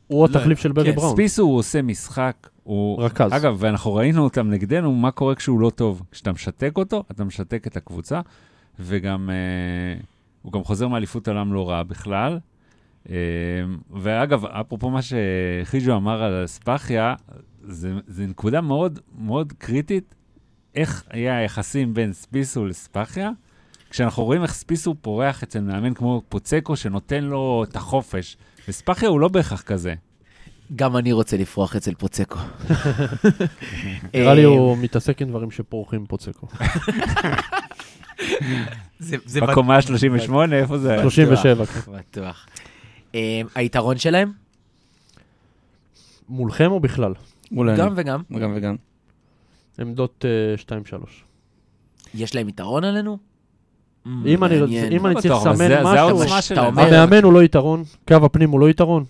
D: הוא התחליף של ברי
A: כן,
D: בראון.
C: ספיסו הוא עושה משחק, הוא...
D: רכז.
C: אגב, ואנחנו ראינו אותם נגדנו, מה קורה כשהוא לא טוב. כשאתה משתק אותו, אתה משתק את הקבוצה, וגם... אה, הוא גם חוזר מאליפות עולם לא רע בכלל. אה, ואגב, אפרופו מה שחיג'ו אמר על אספחיה, זה, זה נקודה מאוד מאוד קריטית, איך היה היחסים בין ספיסו לספחיה. כשאנחנו רואים איך ספיסו פורח אצל מאמן כמו פוצקו, שנותן לו את החופש, וספחיה הוא לא בהכרח כזה.
A: גם אני רוצה לפרוח אצל
D: (laughs)
A: פוצקו. אה,
D: נראה לי הוא מתעסק עם דברים שפורחים פה
A: אה,
D: צקו.
A: זה, זה בטוח.
C: בקומה ה-38, איפה זה היה?
D: 37, כן.
A: בטוח. אה, היתרון שלהם?
D: מולכם או בכלל? כן.
B: מולנו.
A: גם וגם.
B: גם וגם.
D: עמדות אה, 2-3.
A: יש להם יתרון עלינו? Mm,
D: אם אני-
A: מעניין.
D: אם אני
C: לא
D: צריך
C: בטוח, אבל
D: לסמן
C: זה- זה
D: משהו-
C: העוצמה
A: שאתה
C: שלהם.
A: אומר-
D: המאמן הוא לא יתרון, קו הפנים הוא לא יתרון,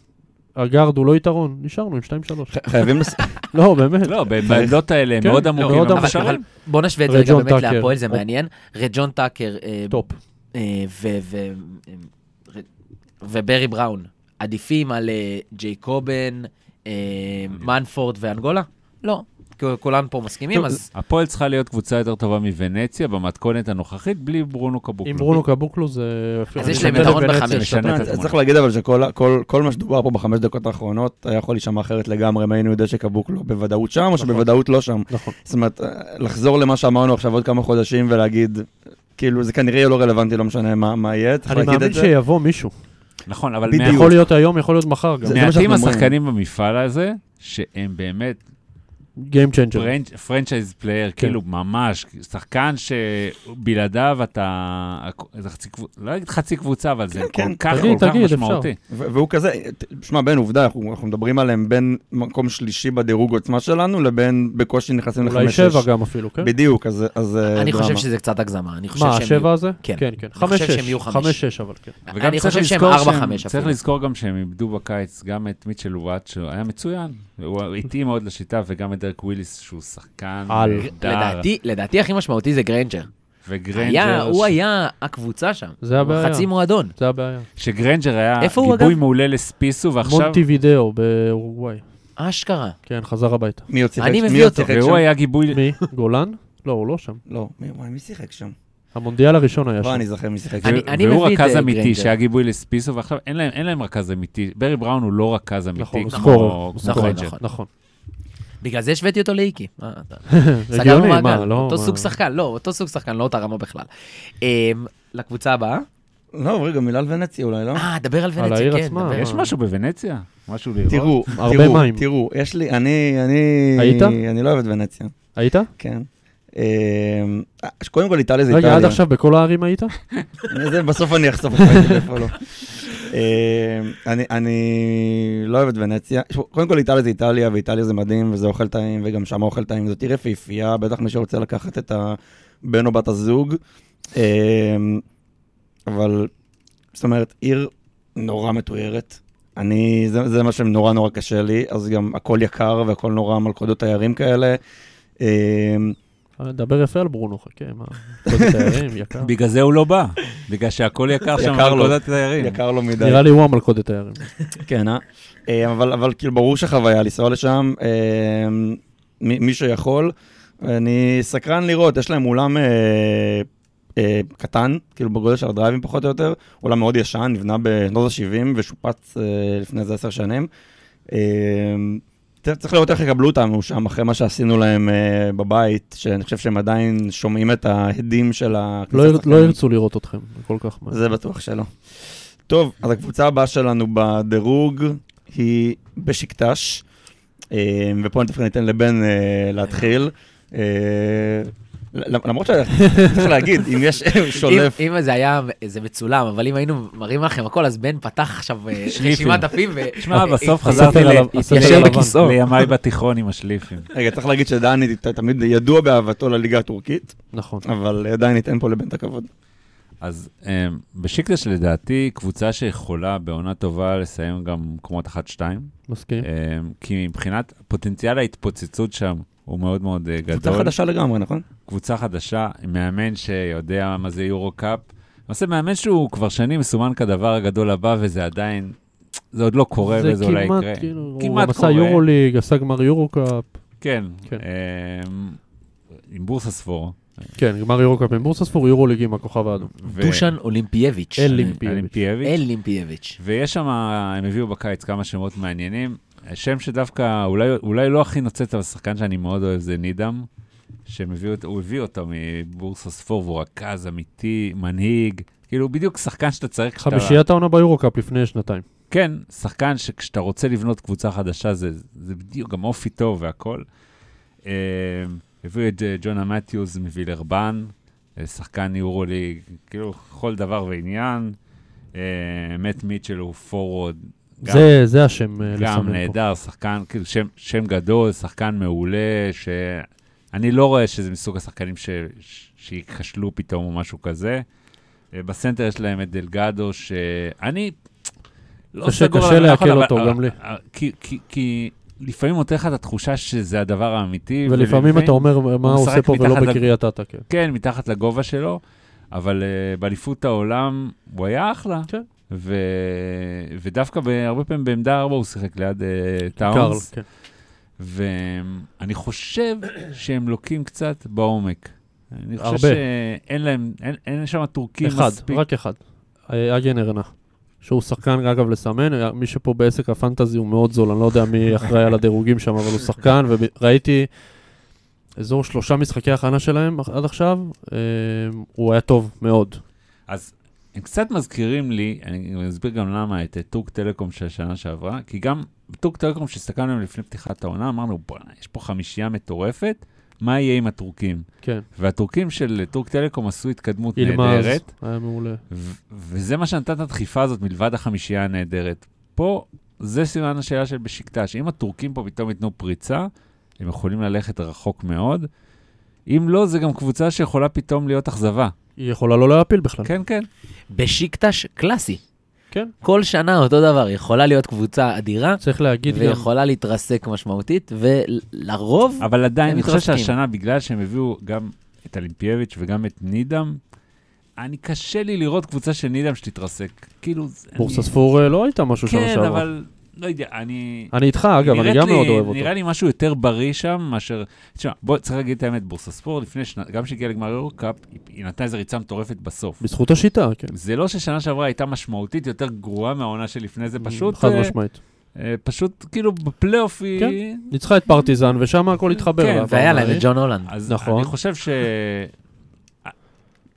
D: הגארד הוא לא יתרון, נשארנו עם
A: (laughs)
D: 2-3.
B: חייבים לס-
D: לא, באמת.
C: לא, בעמדות האלה הם
D: כן,
C: מאוד
D: לא,
C: עמוקים.
D: מאוד
C: הם
A: אבל,
D: עמוקים.
C: מוכשרים.
A: אבל בוא נשווה את זה
D: רג'ון
A: רגע באמת
D: טאקר.
A: להפועל, זה
D: אופ.
A: מעניין. רג'ון טאקר אה,
D: טופ.
A: אה, ו- ו- ו- וברי בראון עדיפים על אה, ג'ייקובן, אה, מנפורד ואנגולה? לא. כ- כולם פה מסכימים,
D: טוב,
A: אז
C: הפועל צריכה להיות קבוצה יותר טובה מוונציה במתכונת הנוכחית, בלי ברונו קבוקלו.
D: עם ברונו קבוקלו זה...
A: אז
D: אני
A: יש להם
D: נותן
A: יתרון
D: לוונציה
A: בחמש.
D: שנתיים.
C: משנה את
B: לא, צריך
C: התמונה.
B: להגיד אבל שכל כל- כל מה שדובר פה בחמש דקות האחרונות היה יכול להישמע אחרת לגמרי, אם היינו יודע שקבוקלו בוודאות שם או שבוודאות לא שם.
D: נכון.
B: זאת אומרת, לחזור למה שאמרנו עכשיו עוד כמה חודשים ולהגיד, כאילו, זה כנראה יהיה לא רלוונטי, לא משנה מה מה יהיה, צריך
D: אני
B: להגיד
D: מאמין
B: את זה.
D: שיבוא מישהו.
C: נכון, אבל
B: בדיוק.
C: מעט-
D: יכול להיות היום, יכול להיות מחר גם.
B: זה- מה
C: מעטים
B: שאנחנו אומרים.
C: השחקנים במפעל הזה, שהם באמת
D: Game changer.
C: פרנצ'ייז
D: כן.
C: פלייר, כאילו ממש, שחקן שבלעדיו אתה... זה חצי קבוצה, לא אגיד חצי קבוצה, אבל זה כל
B: כן.
C: כך, כל
D: תגיד,
C: כך
D: תגיד, אפשר.
C: משמעותי.
B: ו- והוא כזה, ת- שמע, בין עובדה, אנחנו אנחנו מדברים עליהם בין מקום שלישי בדירוג עוצמה שלנו, לבין בקושי נכנסים
D: אולי
B: לחמש-שש.
D: שבע גם אפילו, כן?
B: בדיוק, אז אז, אה, דרמה.
A: אני
C: לא,
A: חושב שזה קצת הגזמה, אני חושב
D: מה,
A: שהם...
D: השבע הזה?
A: כן.
D: כן, כן.
A: אני חושב
D: חמש, שש.
A: שהם יהיו חמש.
D: חמש, שש, אבל כן.
C: וגם
A: אני
C: צריך
A: חושב שהם
C: לזכור
A: ארבע,
C: שהם-
A: חמש
C: צריך
A: אפילו.
C: לזכור גם שהם איבדו בקיץ גם את מיטשל וואט, שהוא היה מצוין, הוא איטי מאוד לשיטה, וגם את דרק וויליס, שהוא שחקן
D: על.
C: נהדר,
A: אה, לדעתי, לדעתי הכי משמעותי זה גרנג'ר. היה,
C: וגרנג'ר,
A: הוא
C: אה. ש-
A: היה הקבוצה שם.
D: זה
A: הוא
D: הבעיה.
A: חצי מועדון.
D: זה הבעיה.
C: שגרנג'ר היה
A: איפה הוא,
C: גיבוי
A: אגב?
C: מעולה לספיסו, ועכשיו...
D: מונטי וידאו באורוגוואי.
A: אשכרה.
D: כן,
A: (laughs)
D: חזר הביתה.
B: מי עוד שיחק
A: אני
B: מי
A: מביא
B: עוד
A: אותו.
B: שיחק שם?
C: והוא היה גיבוי...
D: מי? גולן? לא, הוא לא שם.
B: לא, מי- וואי, מי שיחק שם?
D: המונדיאל הראשון היה
B: לא,
D: שם.
B: אני זוכר מי שיחק שם.
A: נכון. אני- אני
C: והוא
A: מביא את,
C: רכז
A: אה,
C: אמיתי,
A: גרנג'ר.
C: שהיה גיבוי לספיסו, ועכשיו אין להם- אין להם רכז אמיתי. ברי בראון הוא לא רכז אמיתי.
D: נכון, הוא
C: כמו-
D: סקורר. הוא
C: כמו
A: נכון,
D: סקורר,
C: גרנג'ר.
A: נכון.
D: נכון.
A: בגלל זה השוויתי אותו לאיקי. מה אתה-
D: (laughs)
A: סגרנו
D: הגיוני,
A: מעגל,
D: מה, לא...
A: אותו
D: מה-
A: סוג שחקן, לא, אותו סוג שחקן, לא אותה רמה בכלל. אמ, לקבוצה הבאה?
B: לא, רגע, מילה על ונציה אולי, לא?
A: אה, דבר על
D: על
A: ונציה,
D: העיר
A: כן,
D: עצמה.
A: דבר.
C: יש משהו בוונציה? משהו לראות?
B: תראו,
D: הרבה
B: תראו,
D: מים.
B: תראו, יש לי, אני, אני,
D: היית?
B: אני לא אוהב את ונציה,
D: היית?
B: כן. אמ, אה, קודם כל איטליה זה איטליה.
D: רגע, עד עכשיו בכל הערים היית?
B: (laughs) זה בסוף אני אחשוף אותך איזה איפה לא. אמ, אני- אני לא אוהב את ונציה. שוב, קודם כל איטליה זה איטליה, ואיטליה זה מדהים, וזה אוכל טעים, וגם שם אוכל טעים. זאת עיר יפהפייה, בטח מי שרוצה לקחת את הבן או בת הזוג. אמ, אבל, זאת אומרת, עיר נורא מתוירת. אני, זה, זה מה שנורא נורא קשה לי, אז גם הכל יקר והכל נורא מלכודות תיירים כאלה. אמ,
D: דבר יפה על ברונו, חכה, מה? כל תיירים,
C: (laughs)
D: יקר.
C: בגלל זה הוא לא בא. בגלל שהכל יקר שם,
B: יקר לו.
C: נקודת תיירים.
B: יקר לו מדי.
D: אה, נראה לי הוא
C: (laughs)
D: המלכודת תיירים.
B: כן, אה? אה, אבל, אבל כאילו ברור שחוויה לנסוע לשם, אה, מי, מי שיכול. אני סקרן לראות, יש להם אולם אה, אה, קטן, כאילו בגודל של הדרייבים פחות או יותר, אולם מאוד ישן, נבנה בשנות ה-70 ושופץ אה, לפני איזה עשר שנים. אה, צריך- צריך לראות איך יקבלו אותנו שם, אחרי מה שעשינו להם אה, בבית, שאני חושב שהם עדיין שומעים את ההדים של ה...
D: לא יר- לא ירצו לראות אתכם כל כך מהר.
B: זה בטוח שלא. טוב, אז הקבוצה הבאה שלנו בדירוג היא בשקטש, אה, ופה אני דווקא ניתן לבן אה, להתחיל. אה, למ- למרות שצריך להגיד, (laughs) אם יש שולף,
A: אם אם זה היה, זה מצולם, אבל אם היינו מראים לכם הכל, אז בן פתח עכשיו אה,
C: שליפים.
A: רשימת דפים, ו...
C: שמע,
A: אה,
C: בסוף
A: אה,
C: חזרתי
D: הספר
C: ל-
D: הלבן, הספר
C: ישן
D: הלבן.
C: בכיסאו. לימיי בתיכון עם השליפים.
B: רגע, צריך להגיד שדני ת- תמיד ידוע באהבתו לליגה הטורקית,
D: נכון.
B: אבל עדיין ניתן פה לבן את הכבוד.
C: אז um, בשיקטש לדעתי, קבוצה שיכולה בעונה טובה לסיים גם מקומות 1-2,
D: מסכים.
C: um, כי מבחינת פוטנציאל ההתפוצצות שם הוא מאוד מאוד אה, גדול.
B: קבוצה חדשה לגמרי, נכון?
C: קבוצה חדשה, עם מאמן שיודע מה זה יורו קאפ. למעשה מאמן שהוא כבר שנים מסומן כדבר הגדול הבא, וזה עדיין, זה עוד לא קורה וזה אולי יקרה.
D: זה כמעט, כאילו, הוא
C: כמעט
D: עשה
C: קורה.
D: יורו ליג, עשה גמר יורו קאפ.
C: כן.
D: כן.
C: אמ, עם בורסה ספור.
D: כן, גמר יורו קאפ עם בורסספור, יורו ליג עם הכוכב האדום.
C: ו-
A: אה, דושן
C: אה,
A: אולימפייביץ'.
D: אל-
C: אלימפיאביץ'. אלימפיאביץ'.
A: אולימפייביץ'.
C: ויש שם, הם הביאו בקיץ כמה שמות מעניינים. שם שדווקא, אולי, אולי לא הכי נוצץ, אבל שחקן שאני מאוד אוהב זה נידם, שהם הביאו אותו- הוא הביא אותו מבורסה ספור, והוא רכז אמיתי, מנהיג. כאילו, הוא בדיוק שחקן שאתה צריך... כשאתה-
D: חמישיית העונה ביורו קאפ לפני שנתיים.
C: כן, שחקן שכשאתה רוצה לבנות קבוצה חדשה, זה, זה בדיוק גם אופי טוב והכול. אה, הביאו את אה, ג'ונה מתיוס מווילרבן, אה, שחקן יורוליג, כאילו, כל דבר ועניין. אה, מאט מיטשל הוא פורוורד. גם-
D: זה- זה השם אה,
C: גם
D: לסמן פה.
C: נהדר, שחקן, כאילו, שם, שם גדול, שחקן מעולה, ש... אני לא רואה שזה מסוג השחקנים ש... ש... שיכשלו פתאום או משהו כזה. אה, בסנטר יש להם את דלגדו, שאני לא
D: קשה-
C: סגור
D: קשה
C: עליו,
D: לעכל
C: אבל-
D: אותו,
C: אבל-
D: גם לי.
C: אבל- כי, כי, כי לפעמים נותן לך את התחושה שזה הדבר האמיתי.
D: ולפעמים אתה אומר, מה הוא
C: משחק
D: עושה פה ולא
C: מתחת לג-
D: בקריית אתא, כן.
C: כן, מתחת לגובה שלו, אבל uh, באליפות העולם הוא היה אחלה.
D: כן.
C: ו... ודווקא בהרבה פעמים בעמדה ארבע הוא שיחק ליד uh,
D: קרל,
C: טאונס,
D: כן.
C: ואני חושב שהם לוקים קצת בעומק. אני חושב
D: הרבה.
C: שאין להם, אין, אין שם טורקים
D: אחד,
C: מספיק.
D: רק אחד. אה, אגן ארנה. שהוא שחקן, אגב, לסמן, אה, מי שפה בעסק הפנטזי הוא מאוד זול, אני לא יודע מי אחראי על הדירוגים שם, אבל הוא שחקן, וראיתי, אזור שלושה משחקי הכנה שלהם עד עכשיו, אה, הוא היה טוב מאוד.
C: אז הם קצת מזכירים לי, אני אסביר גם למה, את אה, טורק טלקום של השנה שעברה, כי גם בטורק טלקום שהסתכלנו עליהם לפני פתיחת העונה, אמרנו, בוא'נה, יש פה חמישייה מטורפת, מה יהיה עם הטורקים?
D: כן.
C: והטורקים של אה, טורק טלקום עשו התקדמות
D: אילמז
C: נהדרת.
D: היה מעולה.
C: ו- וזה מה שנתן את הדחיפה הזאת מלבד החמישייה הנהדרת. פה, זה סימן השאלה של בשקטש. אם הטורקים פה פתאום ייתנו פריצה, הם יכולים ללכת רחוק מאוד. אם לא, זה גם קבוצה שיכולה פתאום להיות אכזבה.
D: היא יכולה לא להפיל בכלל.
C: כן, כן.
A: בשיקטש קלאסי.
D: כן.
A: כל שנה אותו דבר, יכולה להיות קבוצה אדירה,
D: צריך להגיד גם...
A: ויכולה להתרסק משמעותית, ולרוב,
C: אבל עדיין,
A: הם
C: אני חושב
A: מתרסקים.
C: שהשנה, בגלל שהם הביאו גם את אלימפייביץ' וגם את נידם, אני קשה לי לראות קבוצה של נידם שתתרסק. כאילו, זה-
D: בורסה
C: אני-
D: ספור אה, לא הייתה משהו שנה
C: כן,
D: שעברה.
C: אבל לא יודע, אני...
D: אני איתך, אגב, אני
C: נראית
D: גם
C: לי-
D: מאוד אוהב אותו.
C: נראה לי משהו יותר בריא שם מאשר... תשמע, בוא, צריך להגיד את האמת, בורסה ספורט, לפני שנה, גם כשהגיעה לגמר יורקאפ, היא- היא נתנה איזו ריצה מטורפת בסוף.
D: בזכות השיטה, כן.
C: זה לא ששנה שעברה הייתה משמעותית יותר גרועה מהעונה שלפני זה, פשוט...
D: חד
C: אה,
D: משמעית.
C: אה, פשוט, כאילו, בפלייאוף היא...
D: כן. ניצחה את פרטיזן, ושם הכל התחבר.
C: כן,
D: לה,
A: והיה
D: אבל-
A: להם את ג'ון הולנד.
C: אז
D: נכון.
C: אני חושב ש...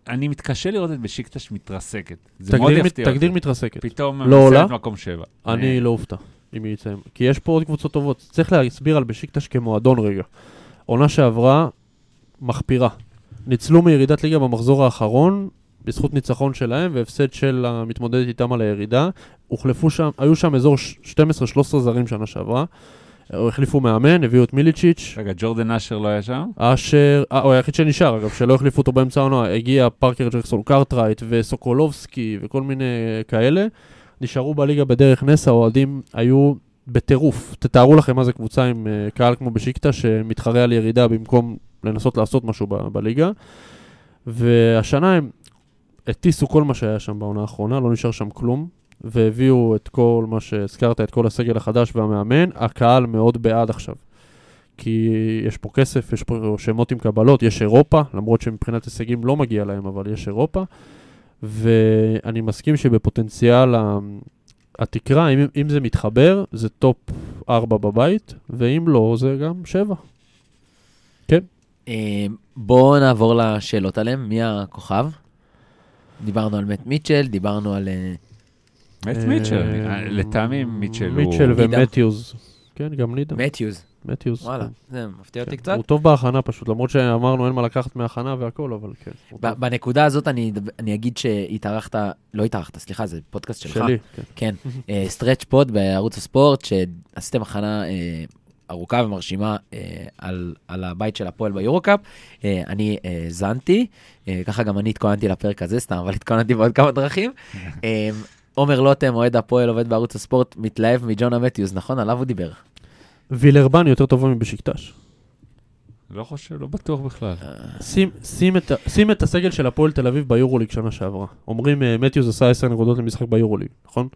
C: אני מתקשה לראות את בשיקטש מתרסקת. זה מאוד
D: תגדיר מת-
C: יפתיע אותי.
D: תגדיר מתרסקת.
C: פתאום
D: לא
C: מסיימת
D: עולה?
C: מקום שבע. אה,
D: אני לא אופתע אם היא יצאים. כי יש פה עוד קבוצות טובות. צריך להסביר על בשיקטש כמועדון רגע. עונה שעברה, מחפירה. ניצלו מירידת ליגה במחזור האחרון, בזכות ניצחון שלהם והפסד של המתמודדת איתם על הירידה. הוחלפו שם, היו שם אזור ש- 12-13 זרים שנה שעברה. אה, החליפו מאמן, הביאו את מיליצ'יץ'.
C: רגע, ג'ורדן אשר לא היה שם?
D: אשר, אה, הוא היחיד שנשאר אגב, שלא החליפו אותו באמצע העונה, הגיע פארקר ג'קסון קרטרייט וסוקולובסקי וכל מיני כאלה, נשארו בליגה בדרך נס, האוהדים היו בטירוף. תתארו לכם מה זה קבוצה עם אה, קהל כמו בשיקטה שמתחרה על ירידה במקום לנסות לעשות משהו ב- בליגה. והשנה הם הטיסו כל מה שהיה שם בעונה האחרונה, לא נשאר שם כלום. והביאו את כל מה שהזכרת, את כל הסגל החדש והמאמן, הקהל מאוד בעד עכשיו. כי יש פה כסף, יש פה שמות עם קבלות, יש אירופה, למרות שמבחינת הישגים לא מגיע להם, אבל יש אירופה. ואני מסכים שבפוטנציאל ה- התקרה, אם, אם זה מתחבר, זה טופ 4 בבית, ואם לא, זה גם 7.
A: אה, בואו נעבור לשאלות עליהם, מי הכוכב? דיברנו על מאט מיטשל, דיברנו על... אה,
C: את מיטשל.
D: אה,
C: אה, לטעמי מיטשל הוא...
D: מיטשל
A: נידם.
D: ומתיוז. כן, גם נידם,
A: מתיוז.
D: מתיוז.
A: וואלה,
D: כן.
A: זה מפתיע אותי
D: כן.
A: קצת.
D: הוא טוב בהכנה פשוט, למרות שאמרנו אין מה לקחת מהכנה והכל, אבל כן. הוא טוב.
A: ב- בנקודה הזאת אני אדב- אני אגיד שהתארחת, לא התארחת, סליחה, זה פודקאסט שלך.
D: שלי, כן.
A: כן, אה, סטרץ' פוד בערוץ הספורט, שעשיתם הכנה אה, ארוכה ומרשימה אה, על, על הבית של הפועל ביורוקאפ. אה, אני האזנתי, אה, ככה גם אני התכוננתי לפרק הזה סתם, אבל התכוננתי בעוד כמה
D: (laughs)
A: דרכים. אה, עומר לוטם, אוהד הפועל, עובד בערוץ הספורט, מתלהב מג'ון המתיוס, נכון? עליו הוא דיבר.
D: וילרבן יותר טובה מבשיקטש.
C: לא חושב, לא בטוח בכלל.
D: שים, שים, את, ה- שים את הסגל של הפועל תל אביב ביורוליג שנה שעברה. אומרים, אה, מתיוס עשה 10 נקודות למשחק ביורוליג, נכון?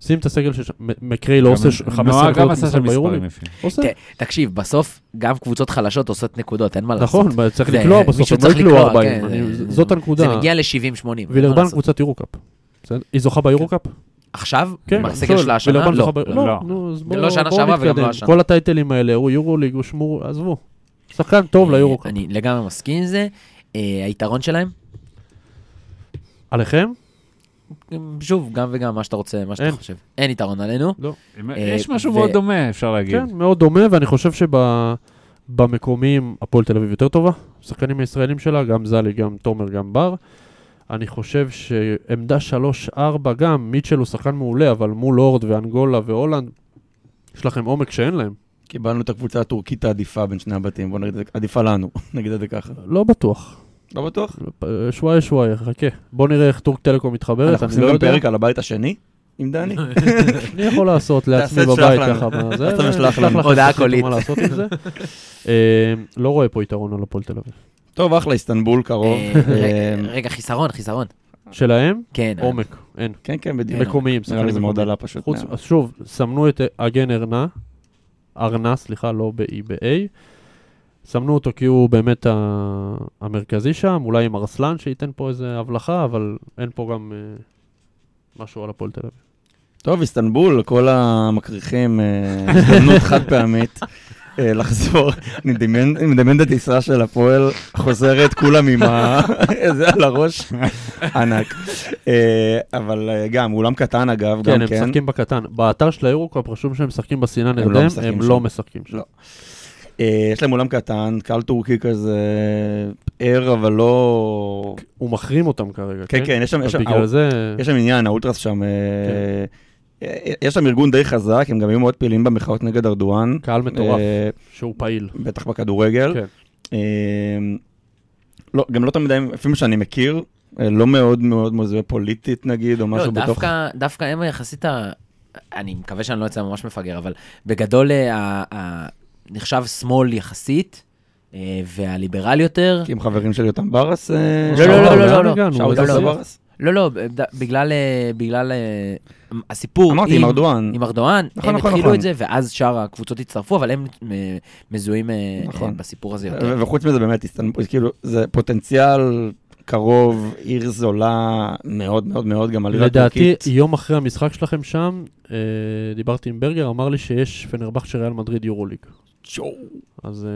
D: שים את הסגל של... מקרי לא עושה ש- 15
C: נועה
D: נקודות
C: גם עשה
D: למשחק
C: שם מספרים
D: ביורוליג.
C: יפים.
D: עושה.
A: ת- תקשיב, בסוף גם קבוצות חלשות עושות נקודות, אין מה לעשות.
D: נכון, אבל צריך
A: זה-
D: לקלוע בסוף,
A: כן, מישהו
D: הם לא
A: צריך
D: יקלעו
A: לקלוע,
D: 40.
A: כן,
D: אני-
A: זה-
D: זאת הנקודה.
A: זה מגיע ל-70-80.
D: וילרבן קבוצת יורוקאפ. בסדר? היא זוחה ביורוקאפ?
A: עכשיו?
D: כן,
A: בסגל
D: שואל,
A: שלה השנה?
D: וילרבן
A: לא.
D: זוכה ב- לא,
C: לא.
D: נו, אז
A: לא
D: בואו
A: שנה
D: בואו
A: שעברה וגם לא
D: נתקדם.
A: השנה.
D: כל הטייטלים האלה, הוא יורוליג, הוא שמור, עזבו. שחקן טוב
A: אה,
D: ליורוקאפ.
A: אני לגמרי מסכים עם זה. אה, היתרון שלהם?
D: עליכם?
A: שוב, גם וגם, מה שאתה רוצה, מה שאתה
D: אין.
A: חושב. אין יתרון עלינו.
C: יש משהו
A: ו-
C: מאוד דומה, אפשר להגיד.
D: אה,
C: אה,
D: כן, מאוד דומה, ואני חושב שבמקומים הפועל תל אביב יותר טובה. השחקנים הישראלים שלה, גם זלי, גם תומר, גם בר. אני חושב שעמדה 3-4 גם, מיטשל הוא שחקן מעולה, אבל מול הורד ואנגולה והולנד, יש לכם עומק שאין להם.
B: קיבלנו את הקבוצה הטורקית העדיפה בין שני הבתים, בוא נגיד, את זה- עדיפה לנו, (laughs) נגיד את זה ככה.
D: לא בטוח.
B: לא בטוח.
D: שוואיה שוואיה, חכה. בוא נראה איך טורק טלקום מתחברת,
B: אנחנו
D: אני
B: עושים
D: לא
B: גם
D: יודע.
B: פרק על הבית השני עם דני.
D: אני יכול
B: (laughs)
D: לעשות
B: תעשה,
D: לעצמי
B: תשלח
D: בבית
B: לנו.
D: ככה, מה זה,
B: אז אתה משלח
D: נשלח
B: לנו.
D: לך
A: הודעה
D: שתחליטו
A: קולית.
D: מה לעשות עם זה. אה, לא רואה פה יתרון על הפועל תל אביב.
B: טוב, אחלה, איסטנבול קרוב.
A: אה, רגע,
B: אה,
A: רגע, חיסרון, חיסרון.
D: שלהם?
A: כן.
D: עומק, אין.
B: כן, כן, בדיוק.
D: מקומיים,
B: נראה לי זה
D: שחקנים
B: מאוד
D: מקומיים.
B: עלה פשוט.
D: חוץ, אז שוב, סמנו את אגן ארנה, ארנה, סליחה, לא ב-E, ב-A. סמנו אותו כי הוא באמת ה- המרכזי שם, אולי עם ארסלן שייתן פה איזה הבלחה, אבל אין פה גם אה, משהו על הפועל תל אביב.
B: טוב, איסטנבול, כל המקריחים, אה, הזדמנות חד פעמית. אה, לחזור, אני מדמיין אני מדמיין את הטיסה של הפועל, חוזרת כולם עם ה... (laughs) זה על הראש, ענק. אה, אבל אה, גם, אולם קטן אגב,
D: כן,
B: גם
D: הם
B: כן.
D: משחקים בקטן. באתר של האירוקאפ רשום שהם משחקים בסינן
B: לא
D: נרדם,
B: משחקים
D: הם
B: שם.
D: לא משחקים שם.
B: לא. אה, יש להם אולם קטן, קהל טורקי כזה ער, אבל לא...
D: הוא מחרים אותם כרגע,
B: כן, כן, יש שם... יש
D: אז
B: שם-
D: בגלל זה...
B: יש שם עניין, האולטרס שם... אה,
A: כן.
B: אה, יש שם ארגון די חזק, הם גם היו מאוד פעילים במחאות נגד ארדואן.
D: קהל מטורף,
B: אה,
D: שהוא פעיל.
B: בטח בכדורגל.
D: כן.
B: אה, לא, גם לא תמיד, הם- לפי מה שאני מכיר, אה, לא מאוד מאוד מזוהה פוליטית נגיד, או
A: לא,
B: משהו בתוך...
A: דווקא, דווקא הם יחסית, ה... אני מקווה שאני לא אצא ממש מפגר, אבל בגדול אה, ה... ה... נחשב שמאל יחסית, אה, והליברל יותר.
B: כי הם חברים של יותם ברס? אה,
A: לא, לא, לא,
B: שאול-
A: לא, לא.
D: לאן הגענו?
B: שאול
A: לא, לא.
B: יותם ברס?
A: לא, לא, ד- בגלל, אה, בגלל אה, הסיפור
B: אמרתי, עם ארדואן.
A: עם ארדואן,
B: נכון,
A: הם
B: נכון,
A: התחילו
B: נכון.
A: את זה, ואז שאר הקבוצות הצטרפו, אבל הם אה, מזוהים אה,
B: נכון.
A: אה, בסיפור הזה יותר.
B: ו- וחוץ מזה באמת, איסטנבול, כאילו, זה פוטנציאל קרוב, עיר זולה, מאוד מאוד מאוד, גם על עיר
D: לדעתי,
B: הטורקית.
D: יום אחרי המשחק שלכם שם, אה, דיברתי עם ברגר, אמר לי שיש פנרבח של ריאל מדריד יורוליג.
A: צ'ו,
D: אז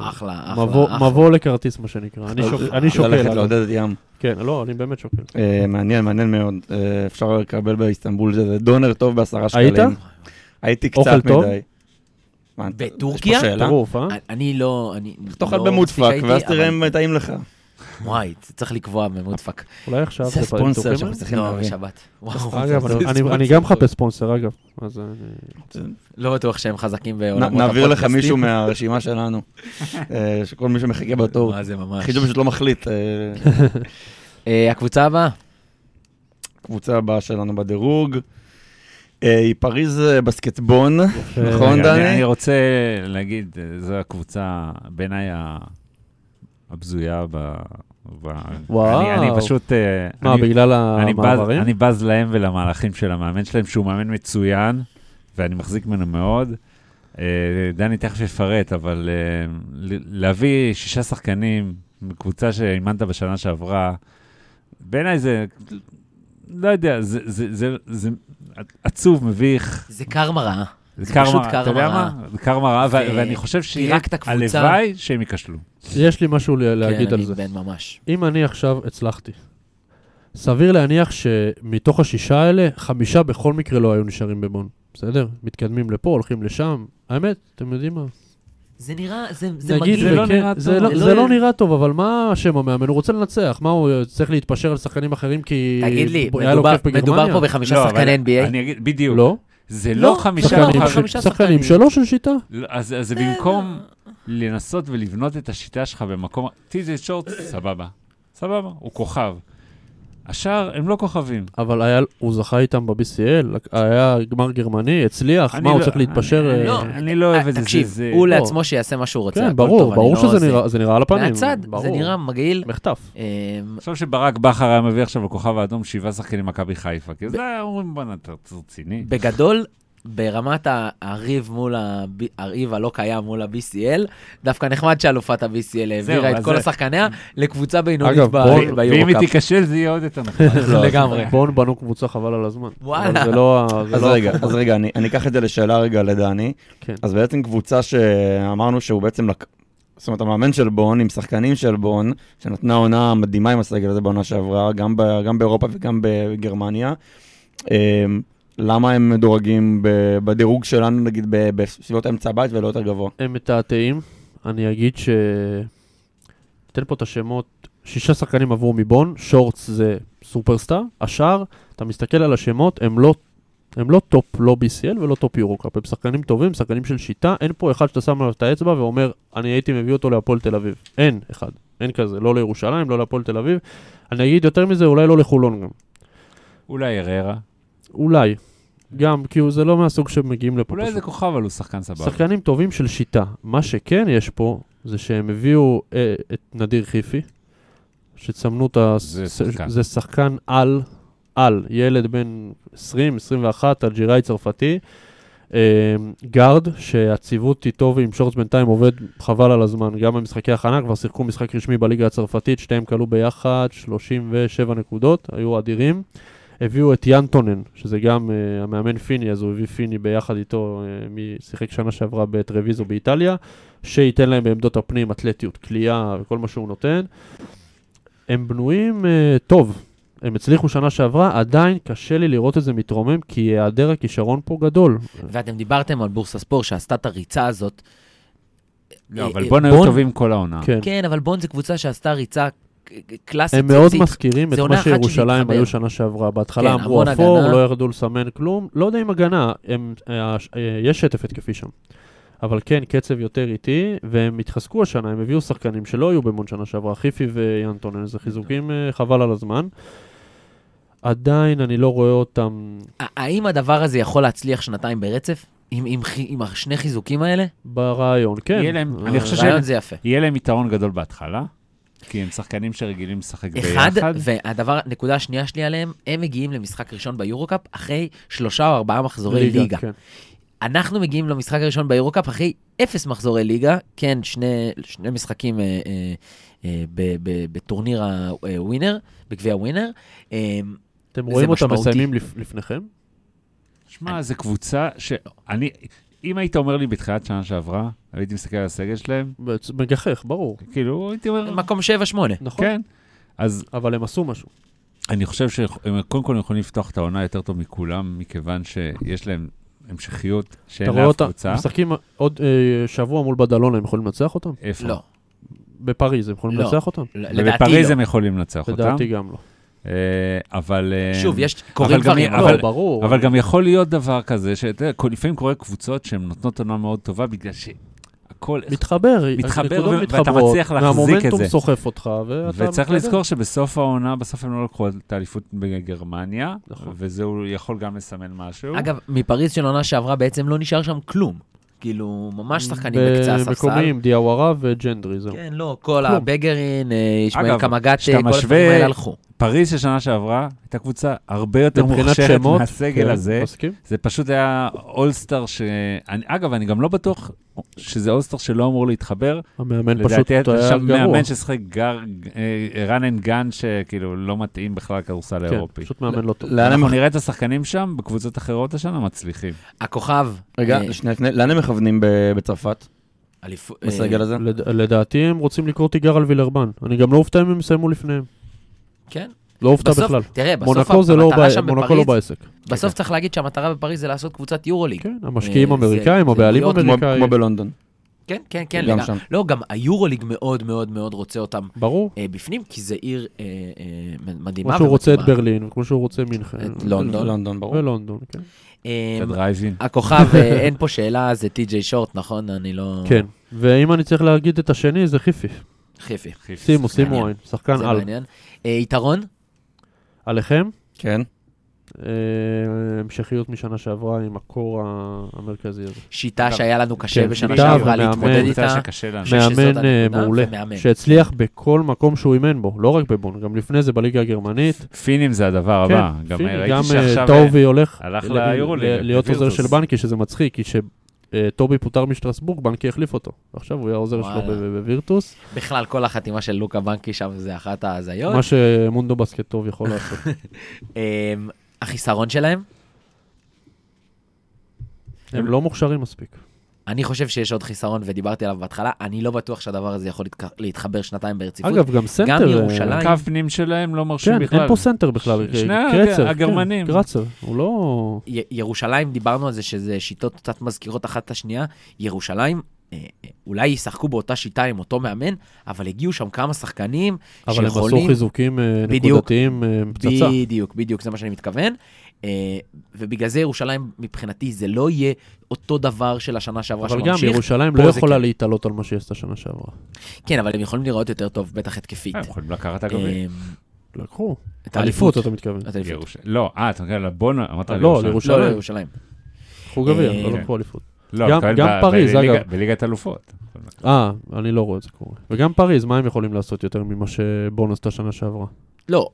D: אה,
A: אחלה, אחלה,
D: מבוא-
A: אחלה.
D: מבוא לכרטיס, מה שנקרא. אני שוק- אני שוקל.
B: ללכת
D: אגב.
B: לעודד את ים.
D: כן, לא, אני באמת שוקל.
B: אה, מעניין, מעניין מאוד. אה, אפשר לקבל באיסטנבול, זה זה דונר טוב בעשרה שקלים.
D: היית?
B: הייתי קצת
D: אוכל טוב?
B: מדי. מה,
A: בטורקיה?
B: יש פה שאלה?
D: טירוף, אה?
A: אני לא... אני
B: תאכל
A: לא
B: במודפק,
A: מספיק
B: ואז
A: הייתי,
B: תראה
A: אבל-
B: אם טעים לך.
A: וואי, זה צריך לקבוע במודפק.
D: אולי עכשיו.
B: זה
D: פ-
B: הספונסר
D: ניתוחים?
B: שאנחנו צריכים
A: לא,
B: להביא.
A: בשבת. וואו,
D: אגב,
B: זה
D: אני- אני-
B: ספונסר.
D: אני גם מחפש ספונסר, אגב. אז אה, אני-
A: לא בטוח שהם חזקים
B: נ-
A: בעולמות
B: נעביר לך
A: הפודקאסטים.
B: מישהו מהרשימה שלנו, אה, שכל מי שמחכה בתור.
A: מה זה ממש.
B: חידוש פשוט לא מחליט. אה,
A: אה, הקבוצה הבאה,
B: הקבוצה הבאה שלנו בדירוג. אה, היא פריז אה, בסקטבון, נכון
C: רגע, אני-
B: דני?
C: אני רוצה להגיד, אה, זו הקבוצה בעיניי ה- הבזויה ב... ב-
D: וואו.
C: אני- אני פשוט... אה,
D: מה,
C: אני-
D: בגלל
C: אני בז,
D: המעברים?
C: אני בז להם ולמהלכים של המאמן שלהם, שהוא מאמן מצוין, ואני מחזיק ממנו מאוד. אה, דני תכף יפרט, אבל אה, ל- להביא שישה שחקנים מקבוצה שאימנת בשנה שעברה, בעיניי זה, לא יודע, זה, זה, זה, זה עצוב, מביך.
A: זה קרמה רעה.
C: זה
A: פשוט
C: קרמה, אתה
A: קרמה
C: יודע
A: רעה.
C: מה? זה קרמה רעה, ו-
A: ו-
C: ואני חושב
A: פירקת קבוצה.
C: הלוואי שהם ייכשלו.
D: יש לי משהו ל- להגיד על זה.
A: כן, אני בן ממש.
D: אם אני עכשיו הצלחתי, סביר להניח שמתוך השישה האלה, חמישה בכל מקרה לא היו נשארים בבון. בסדר? מתקדמים לפה, הולכים לשם. האמת, אתם יודעים מה?
A: זה נראה, זה זה
D: נגיד,
A: מגעיל.
C: זה לא
D: וכן,
C: נראה
D: זה
C: טוב.
D: לא-
A: זה
D: זה
A: לא-
D: לא נראה טוב, אבל מה אשם המאמן? הוא רוצה לנצח. מה, הוא צריך להתפשר על שחקנים אחרים כי...
A: תגיד לי,
D: היה לו
A: מדובר-
D: כיף בגרמניה?
A: מדובר פה בחמישה
C: לא,
A: שחקני
C: אבל
A: NBA?
C: אני אגיד, בדיוק.
D: לא.
C: זה
A: לא,
C: לא חמישה
A: שחקנים
C: כוכבים.
A: של- חמישה שחקנים.
D: שחקנים שלו של שיטה.
C: לא, אז, אז זה במקום
A: לא-
C: לנסות ולבנות את השיטה שלך במקום... טי.ג'יי שורט, סבבה. סבבה, הוא כוכב. השאר הם לא כוכבים.
D: אבל היה- הוא זכה איתם ב-BCL, היה גמר גרמני, הצליח,
C: אני
D: מה, הוא
C: לא-
D: צריך להתפשר?
C: אני-
D: אה,
A: לא.
C: אני לא אוהב את זה.
A: תקשיב,
C: זה- זה-
A: הוא
D: לא.
A: לעצמו שיעשה מה שהוא רוצה.
D: כן,
A: הכל טוב,
D: ברור,
A: אני
D: ברור
A: לא
D: שזה
A: זה.
D: נראה- זה נראה על הפנים.
A: מהצד, זה
D: ברור.
A: נראה
D: (laughs)
A: מגעיל.
D: מחטף.
A: אמ,
C: עכשיו שברק בכר היה מביא עכשיו בכוכב האדום שבעה שחקנים מכבי חיפה, כי זה אומרים, בואנה, אתה אתה רציני.
A: בגדול, ברמת ה- הריב מול ה... הריב הלא קיים מול ה-BCL, דווקא נחמד שאלופת ה-BCL העבירה
C: אז
A: את כל
C: זה-
A: השחקניה לקבוצה בינונית
D: אגב,
A: ב-
D: בואו-
C: ואם היא
A: ביורוקאפ.
C: תיכשל זה יהיה עוד יותר
D: (laughs)
C: נחמד.
A: (laughs) לא, לגמרי.
D: בון בנו קבוצה חבל על הזמן.
A: וואלה.
D: אבל זה לא... ה- זה
B: אז
D: לא
B: רגע,
D: הפורמט.
B: אז רגע, אני אני אקח את זה לשאלה רגע לדני.
D: כן.
B: אז בעצם קבוצה שאמרנו שהוא בעצם, לק- זאת אומרת, המאמן של בון עם שחקנים של בון, שנתנה עונה מדהימה עם הסגל הזה בעונה שעברה, גם, ב, גם באירופה וגם בגרמניה. אמ, למה הם מדורגים ב- בדירוג שלנו, נגיד, ב- בסביבות אמצע הבית ולא יותר גבוה?
D: הם מתעתעים. אני אגיד ש... תן פה את השמות. שישה שחקנים עברו מבון, שורטס זה סופרסטאר, השאר, אתה מסתכל על השמות, הם לא... הם לא טופ, לא BCL ולא טופ יורוקאפ, הם שחקנים טובים, שחקנים של שיטה, אין פה אחד שאתה שם עליו את האצבע ואומר, אני הייתי מביא אותו להפועל תל אביב. אין אחד, אין כזה, לא לירושלים, לא להפועל תל אביב. אני אגיד יותר מזה, אולי לא לחולון גם.
C: אולי אררה.
D: אולי. גם, כי הוא- זה לא מהסוג שמגיעים לפה.
C: אולי
D: פשוט.
C: זה כוכב, אבל הוא שחקן סבבה.
D: שחקנים טובים של שיטה. מה שכן יש פה, זה שהם הביאו אה, את נדיר חיפי, שצמנו את ה...
C: זה
D: ש-
C: שחקן.
D: זה שחקן על, על, ילד בן 20, 21, אלג'יראי צרפתי. אה, גארד, שהציוות איתו ועם שורץ בינתיים עובד חבל על הזמן, גם במשחקי הכנה, כבר שיחקו משחק רשמי בליגה הצרפתית, שתיהם כלו ביחד 37 נקודות, היו אדירים. אה, הביאו את ינטונן, שזה גם אה, המאמן פיני, אז הוא הביא פיני ביחד איתו, אה, מי שיחק שנה שעברה בטרוויזו באיטליה, שייתן להם בעמדות הפנים אתלטיות, כליאה וכל מה שהוא נותן. הם בנויים אה, טוב, הם הצליחו שנה שעברה, עדיין קשה לי לראות את זה מתרומם, כי היעדר הכישרון פה גדול.
A: ואתם דיברתם על בורסה ספורט שעשתה את הריצה הזאת.
C: לא,
A: אה,
C: אבל
A: אה,
C: בון היו
A: בון-
C: טובים כל העונה.
D: כן.
A: כן, אבל בון זו קבוצה שעשתה ריצה ק- ק- קלאסית.
D: הם מאוד
A: ציצית.
D: מזכירים את
A: כן, זה
D: מה
A: עונה אחת
D: שירושלים
A: שזה
D: היו
A: התחבר.
D: שנה שעברה. בהתחלה
A: כן,
D: אמרו
A: המון
D: אפור,
A: הגנה.
D: לא ירדו לסמן כלום. לא יודע אם הגנה, הם- אה, הש- אה, יש שטף התקפי שם. אבל כן, קצב יותר איטי, והם התחזקו השנה, הם הביאו שחקנים שלא היו במון שנה שעברה, חיפי ויאנטונן, זה חיזוקים אה, חבל על הזמן. עדיין אני לא רואה אותם
A: ה- האם הדבר הזה יכול להצליח שנתיים ברצף? עם, עם, חי- עם השני חיזוקים האלה?
D: ברעיון, כן.
C: יהיה להם-
D: אה,
C: אני חושב
A: הרעיון
C: שהם-
A: זה יפה.
C: יהיה להם יתרון גדול בהתחלה, כי הם שחקנים שרגילים לשחק
A: אחד,
C: ביחד.
A: והדבר, נקודה השנייה שלי עליהם, הם מגיעים למשחק ראשון ביורו-קאפ אחרי שלושה או ארבעה מחזורי ליגה.
D: כן.
A: אנחנו מגיעים למשחק הראשון ביורו-קאפ אחרי אפס מחזורי ליגה, כן, שני, שני משחקים אה, אה, אה, ב- ב- בטורניר הווינר, בגביע ווינר. אה,
D: אתם
A: זה
D: רואים אותם
A: משמעותי.
D: מסיימים לפ- לפניכם?
C: שמע, זו קבוצה שאני... אם היית אומר לי בתחילת שנה שעברה, הייתי מסתכל על הסגל שלהם,
D: בעצ- מגחך, ברור.
C: כאילו, הייתי אומר,
A: מקום 7-8.
D: נכון.
C: כן. אז
D: אבל הם עשו משהו.
C: אני חושב שהם קודם כל יכולים לפתוח את העונה יותר טוב מכולם, מכיוון שיש להם המשכיות
D: אתה
C: שאין
D: רואה
C: לאף
D: אותם,
C: קבוצה.
D: משחקים עוד אה, שבוע מול בדלונה, הם יכולים לנצח אותם?
C: איפה?
A: לא,
D: בפריז, הם יכולים
A: לא.
D: לנצח אותם?
A: לא, לדעתי
C: ובפריז
A: לא.
C: הם יכולים לנצח אותם.
D: לדעתי גם לא.
C: אה, אבל... אה,
A: שוב, יש, קורים
C: גם-
A: דברים,
C: אבל-
A: אבל...
D: לא, ברור.
C: אבל גם יכול להיות דבר כזה, שאתה יודע, לפעמים קורה קבוצות שהן נותנות עונה מאוד טובה, בגלל שהכל...
D: מתחבר, אה,
C: מתחבר
D: הנקודות
C: ו- ואתה
D: מתחברות,
C: מצליח להחזיק את
D: והמומנטום
C: זה.
D: סוחף אותך, ואתה...
C: וצריך
D: מתקדם.
C: לזכור שבסוף העונה, בסוף הם לא לקחו את האליפות בגרמניה,
D: נכון.
C: וזה הוא יכול גם לסמן משהו.
A: אגב, מפריז של עונה שעברה בעצם לא נשאר שם כלום. כאילו, ממש שחקנים בקצה הספסל.
D: במקומיים, דיאווארה וג'נדרי, זהו.
A: כן, לא, כל
D: כלום.
A: הבגרין, אה, ישמעאל
C: אגב,
A: קמגטה,
C: כשאתה
A: כל הדברים
C: משווה-
A: האלה הלכו.
C: פריז של שנה שעברה הייתה קבוצה הרבה יותר
D: מבחינת
C: מוכשרת
D: שמות,
C: מהסגל
D: כן,
C: הזה.
D: מסכים?
C: זה פשוט היה אולסטאר ש... אני- אגב, אני גם לא בטוח שזה אולסטאר שלא אמור להתחבר.
D: המאמן פשוט
C: לדעתי
D: היה
C: היה עכשיו
D: גרוע.
C: מאמן ששחק גר... אה, רן אנד גן, שכאילו לא מתאים בכלל לכדורסל
D: כן,
C: האירופי.
D: פשוט מאמן לא טוב.
B: לאן הם
C: אנחנו נראה את השחקנים שם בקבוצות אחרות השנה מצליחים.
A: הכוכב...
B: רגע,
A: אה,
B: שנייה, לפני- לאן הם מכוונים ב- בצרפת,
A: אליפו- אה,
B: בסגל הזה?
D: לד- לדעתי הם רוצים לקרוא תיגר על וילרבן. אני גם לא אופתע אם הם יסיימו לפניהם.
A: כן.
D: לא אופתע
A: בסוף,
D: בכלל.
A: תראה, בסוף
D: מונקו זה לא
A: המטרה
D: ב-
A: שם
D: מונקו לא
A: בפריז,
D: בעסק.
A: בסוף צריך להגיד שהמטרה בפריז זה לעשות קבוצת יורוליג.
D: כן, המשקיעים
A: אה, זה-
D: אמריקאים,
A: זה
D: הבעלים
A: להיות
B: כמו-
D: אמריקאים.
B: כמו בלונדון.
A: כן, כן, כן.
B: גם
A: לגמרי.
B: שם.
A: לא, גם היורוליג מאוד מאוד מאוד רוצה אותם
D: ברור.
A: אה, בפנים, כי זה עיר אה, אה, מדהימה.
D: כמו שהוא רוצה את
A: ומתאימה.
D: ברלין, כמו שהוא רוצה מינכן.
A: את לונדון.
B: לונדון, ברור.
D: ולונדון, כן.
A: אה,
C: הדרייבין.
A: הכוכב, אה, אין פה שאלה, זה טי.ג'יי שורט, נכון? אני לא...
D: כן. ואם אני צריך להגיד את השני, זה חיפי.
A: חיפי.
D: שימו,
A: מעניין.
D: שימו עין. שחקן
A: זה
D: על.
A: מעניין. אה, יתרון?
D: עליכם?
B: כן.
D: אה, המשכיות משנה שעברה עם הקור ה- המרכזי הזה.
A: שיטה
C: גם.
A: שהיה לנו קשה
D: כן,
A: בשנה
D: שיטה
A: שעברה
D: ומאמן.
A: להתמודד
C: קבוצה
A: איתה.
C: שקשה לנו.
A: חושב שזאת
D: מאמן אה,
A: הנקודה,
D: מעולה,
A: ומאמן.
D: שהצליח בכל מקום שהוא אימן בו, לא רק בבון, גם לפני זה בליגה הגרמנית.
C: פינים זה הדבר הבא.
D: כן,
C: גם
D: פיני,
C: אה,
D: גם,
C: ראיתי
D: אה,
C: שעכשיו... אה,
D: טובי הולך
C: הלך
D: ל-
C: ליורוליג,
D: ל- להיות עוזר
C: לווירטוס.
D: של בנקי, שזה מצחיק, כי כשטובי פוטר משטרסבורג, בנקי החליף אותו. עכשיו הוא יהיה העוזר שלו
A: וואלה.
D: ב- ב- בווירטוס,
A: בכלל, כל החתימה של לוקה בנקי שם זה אחת ההזיות.
D: מה שמונדו בסקט טוב יכול
A: (laughs)
D: לעשות.
A: אמ, החיסרון שלהם?
D: הם לא מוכשרים מספיק.
A: אני חושב שיש עוד חיסרון, ודיברתי עליו בהתחלה, אני לא בטוח שהדבר הזה יכול להתק- להתחבר שנתיים ברציפות.
D: אגב, גם סנטר... אה,
A: ירושלים.
C: הקו פנים שלהם לא מרשים
D: כן,
C: בכלל.
D: אין פה סנטר בכלל,
C: ש- שני
D: קרצר, כן,
C: הגרמנים.
D: קרצר, הוא לא...
A: י- ירושלים, דיברנו על זה שזה שיטות קצת מזכירות אחת את השנייה. ירושלים, אה, אה, אולי ישחקו באותה שיטה עם אותו מאמן, אבל הגיעו שם כמה שחקנים
D: אבל הם עשו
A: שיכולים...
D: חיזוקים אה,
A: בדיוק.
D: נקודתיים, אה, פצצה.
A: בדיוק, בדיוק, זה מה שאני מתכוון. אה, ובגלל זה ירושלים, מבחינתי, זה לא יהיה אותו דבר של השנה שעברה
D: אבל גם
A: שממשיך.
D: ירושלים
A: פה
D: לא
A: זה
D: יכולה
A: כן.
D: להתעלות על מה שהיא עשתה שנה שעברה.
A: כן, אבל הם יכולים לראות יותר טוב, בטח התקפית.
D: אה,
C: הם יכולים לקחת את הגביע.
A: אה,
D: לקחו.
A: את האליפות.
D: אתה מתכוון.
A: את האליפות.
C: ירוש- לא, אה, אתה מתכוון לבון, אמרת
D: לא,
C: על
D: לירושלים.
A: לא, לא, ירושלים.
D: לקחו גביע,
A: אה,
D: לא
C: כן.
D: לקחו אליפות.
C: לא,
D: גם-
C: מתכוון
D: גם
C: ב-
D: פריז,
C: בליגה-
D: אגב.
C: בליגת אלופות.
D: אה, אני לא רואה את זה קורה. וגם פריז, מה הם יכולים לעשות יותר ממה שבון עשתה שנה שעברה?
A: לא,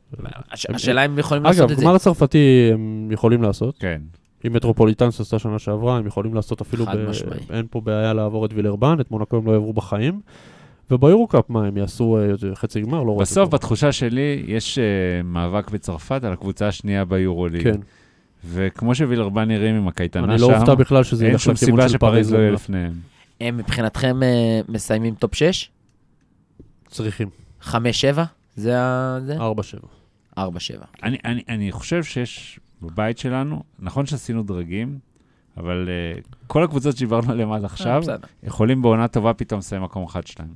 A: הש-
D: הם-
A: השאלה אם יכולים לעשות
D: אגב,
A: את זה.
D: גמר צרפתי הם יכולים לעשות.
C: כן.
D: אם מטרופוליטנס עשתה שנה שעברה, הם יכולים לעשות אפילו...
A: חד
D: ב-
A: משמעי.
D: אין פה בעיה לעבור את וילרבן, את מונקו הם לא יעברו בחיים. וביורוקאפ, מה, הם יעשו אה, חצי גמר? לא רואה את זה
C: בסוף,
D: קורה.
C: בתחושה שלי, יש אה, מאבק בצרפת על הקבוצה השנייה ביורוליג.
D: כן.
C: וכמו שווילרבן נראים עם הקייטנה
D: אני
C: שם,
D: לא אופתע בכלל שזה
C: אין
D: ילך
C: שום
D: לכיוון
C: סיבה
D: של פריז.
C: שפריז לא יהיה
D: לא
C: לפניהם.
A: הם מבחינתכם אה, מסיימים טופ 6?
D: צריכים.
A: 5-7? זה ה... זה?
D: 4-7.
A: 4-7.
C: אני, אני, אני חושב שיש בבית שלנו, נכון שעשינו דרגים, אבל uh, כל הקבוצות שדיברנו עליהן עד עכשיו,
A: אה, בסדר.
C: יכולים בעונה טובה פתאום לסיים מקום אחד שלהם.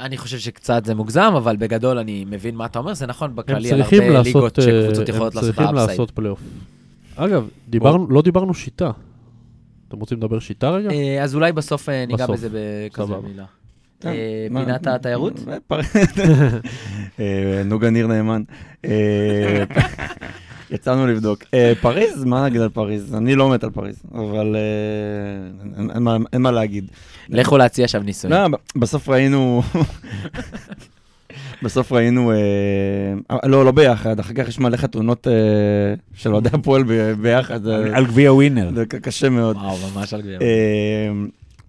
A: אני חושב שקצת זה מוגזם, אבל בגדול אני מבין מה אתה אומר, זה נכון
D: הם
A: בכללי על
D: צריכים
A: הרבה ליגות
D: לעשות, אה,
A: שקבוצות
D: הם
A: יכולות לעשות
D: צריכים
A: אפסייד.
D: לעשות פלייאוף. אגב, דיברנו- לא דיברנו שיטה. אתם רוצים לדבר שיטה רגע?
A: אז אולי בסוף אה, ניגע
D: נכון. בסוף.
A: בזה בכזה
D: סבבה.
A: מילה.
B: כן,
A: אה,
B: מה-
A: פינת התיירות?
B: אה, פר- אה, נוגה ניר נאמן. אה, (laughs) יצאנו לבדוק. אה, פריז? מה נגיד על פריז? אני לא מת על פריז, אבל אה, אין- אין מה- אין מה להגיד.
A: (laughs) לכו להציע שם ניסויים.
B: לא, ב- בסוף ראינו... (laughs) בסוף ראינו, אה, לא, לא ביחד, אחר כך יש מלא חתונות אה, של אוהדי הפועל ב- ביחד,
D: אה,
B: זה-
C: על גביע ווינר.
B: זה ק- קשה מאוד.
A: וואו, ממש על גביע.
B: אמ,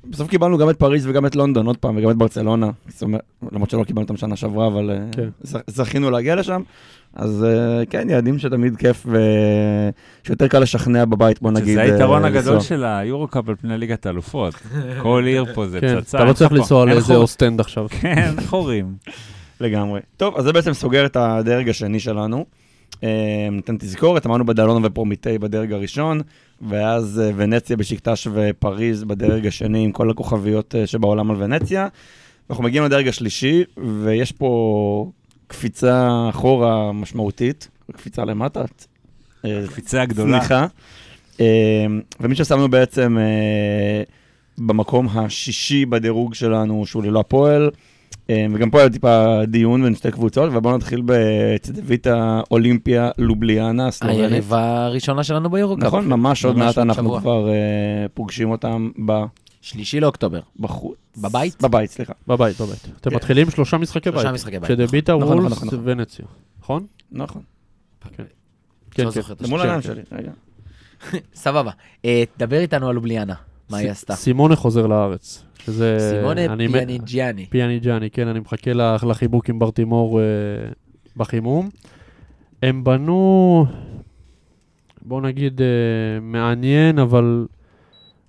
B: בסוף קיבלנו גם את פריז וגם את לונדון עוד פעם, וגם את ברצלונה. זאת אומרת, למרות שלא קיבלנו אותם שנה שעברה, אבל אה,
D: כן.
B: זכ- זכינו להגיע לשם. אז אה, כן, יעדים שתמיד כיף ושיותר קל לשכנע בבית, בוא נגיד.
C: שזה
B: אה,
C: היתרון הגדול
B: לנסוע.
C: של היורו-קאפ על פני ליגת האלופות. כל עיר פה זה
D: כן,
C: פצצה.
D: אתה לא
C: אין
D: צריך
C: לך פה-
D: לנסוע
C: אין לך
D: לאיזה
C: חור-
D: אוסטנד עכשיו.
C: כן, אין חורים.
B: לגמרי. טוב, אז זה בעצם סוגר את הדרג השני שלנו. אמ, ניתן תזכורת, אמרנו בדלון ופרומיטי בדרג הראשון, ואז אה, ונציה בשקטש ופריז בדרג השני עם כל הכוכביות אה, שבעולם על ונציה. אנחנו מגיעים לדרג השלישי, ויש פה קפיצה אחורה משמעותית, קפיצה למטה. אה,
C: קפיצה גדולה.
B: צניחה. אמ, ומי ששמנו בעצם אה, במקום השישי בדירוג שלנו, שהוא ללא הפועל, אמ, וגם פה היה טיפה דיון בין שתי קבוצות, ובואו נתחיל בצדדית האולימפיה לובליאנה הסלובנית.
A: היריבה הראשונה שלנו ביורוקאפ.
B: נכון, ממש עוד
A: ממש
B: מעט
A: עוד
B: אנחנו
A: שבוע.
B: כבר אה, פוגשים אותם ב-
A: שלישי לאוקטובר.
B: בחוץ.
A: בבית?
B: בבית, סליחה.
D: (laughs) בבית, בבית. אתם
B: כן.
D: מתחילים שלושה משחקי בית.
A: שלושה משחקי בית.
D: שזה ביטה,
B: נכון, נכון,
D: וולס
B: נכון, נכון.
D: ונציה. נכון?
B: נכון.
D: כן,
A: לא
D: כן.
A: זוכר את
B: זה מול
A: השם.
B: העיניים שלי, רגע.
A: סבבה. אה, דבר איתנו על לובליאנה, מה היא
D: ס-
A: עשתה. אה,
D: סימונה חוזר לארץ. שזה...
A: סימונה
D: אני מ-
A: פיאניג'יאני.
D: פיאניג'אני, כן, אני מחכה לח- לחיבוק עם ברטימור אה, בחימום. הם בנו, בוא נגיד, אה, מעניין, אבל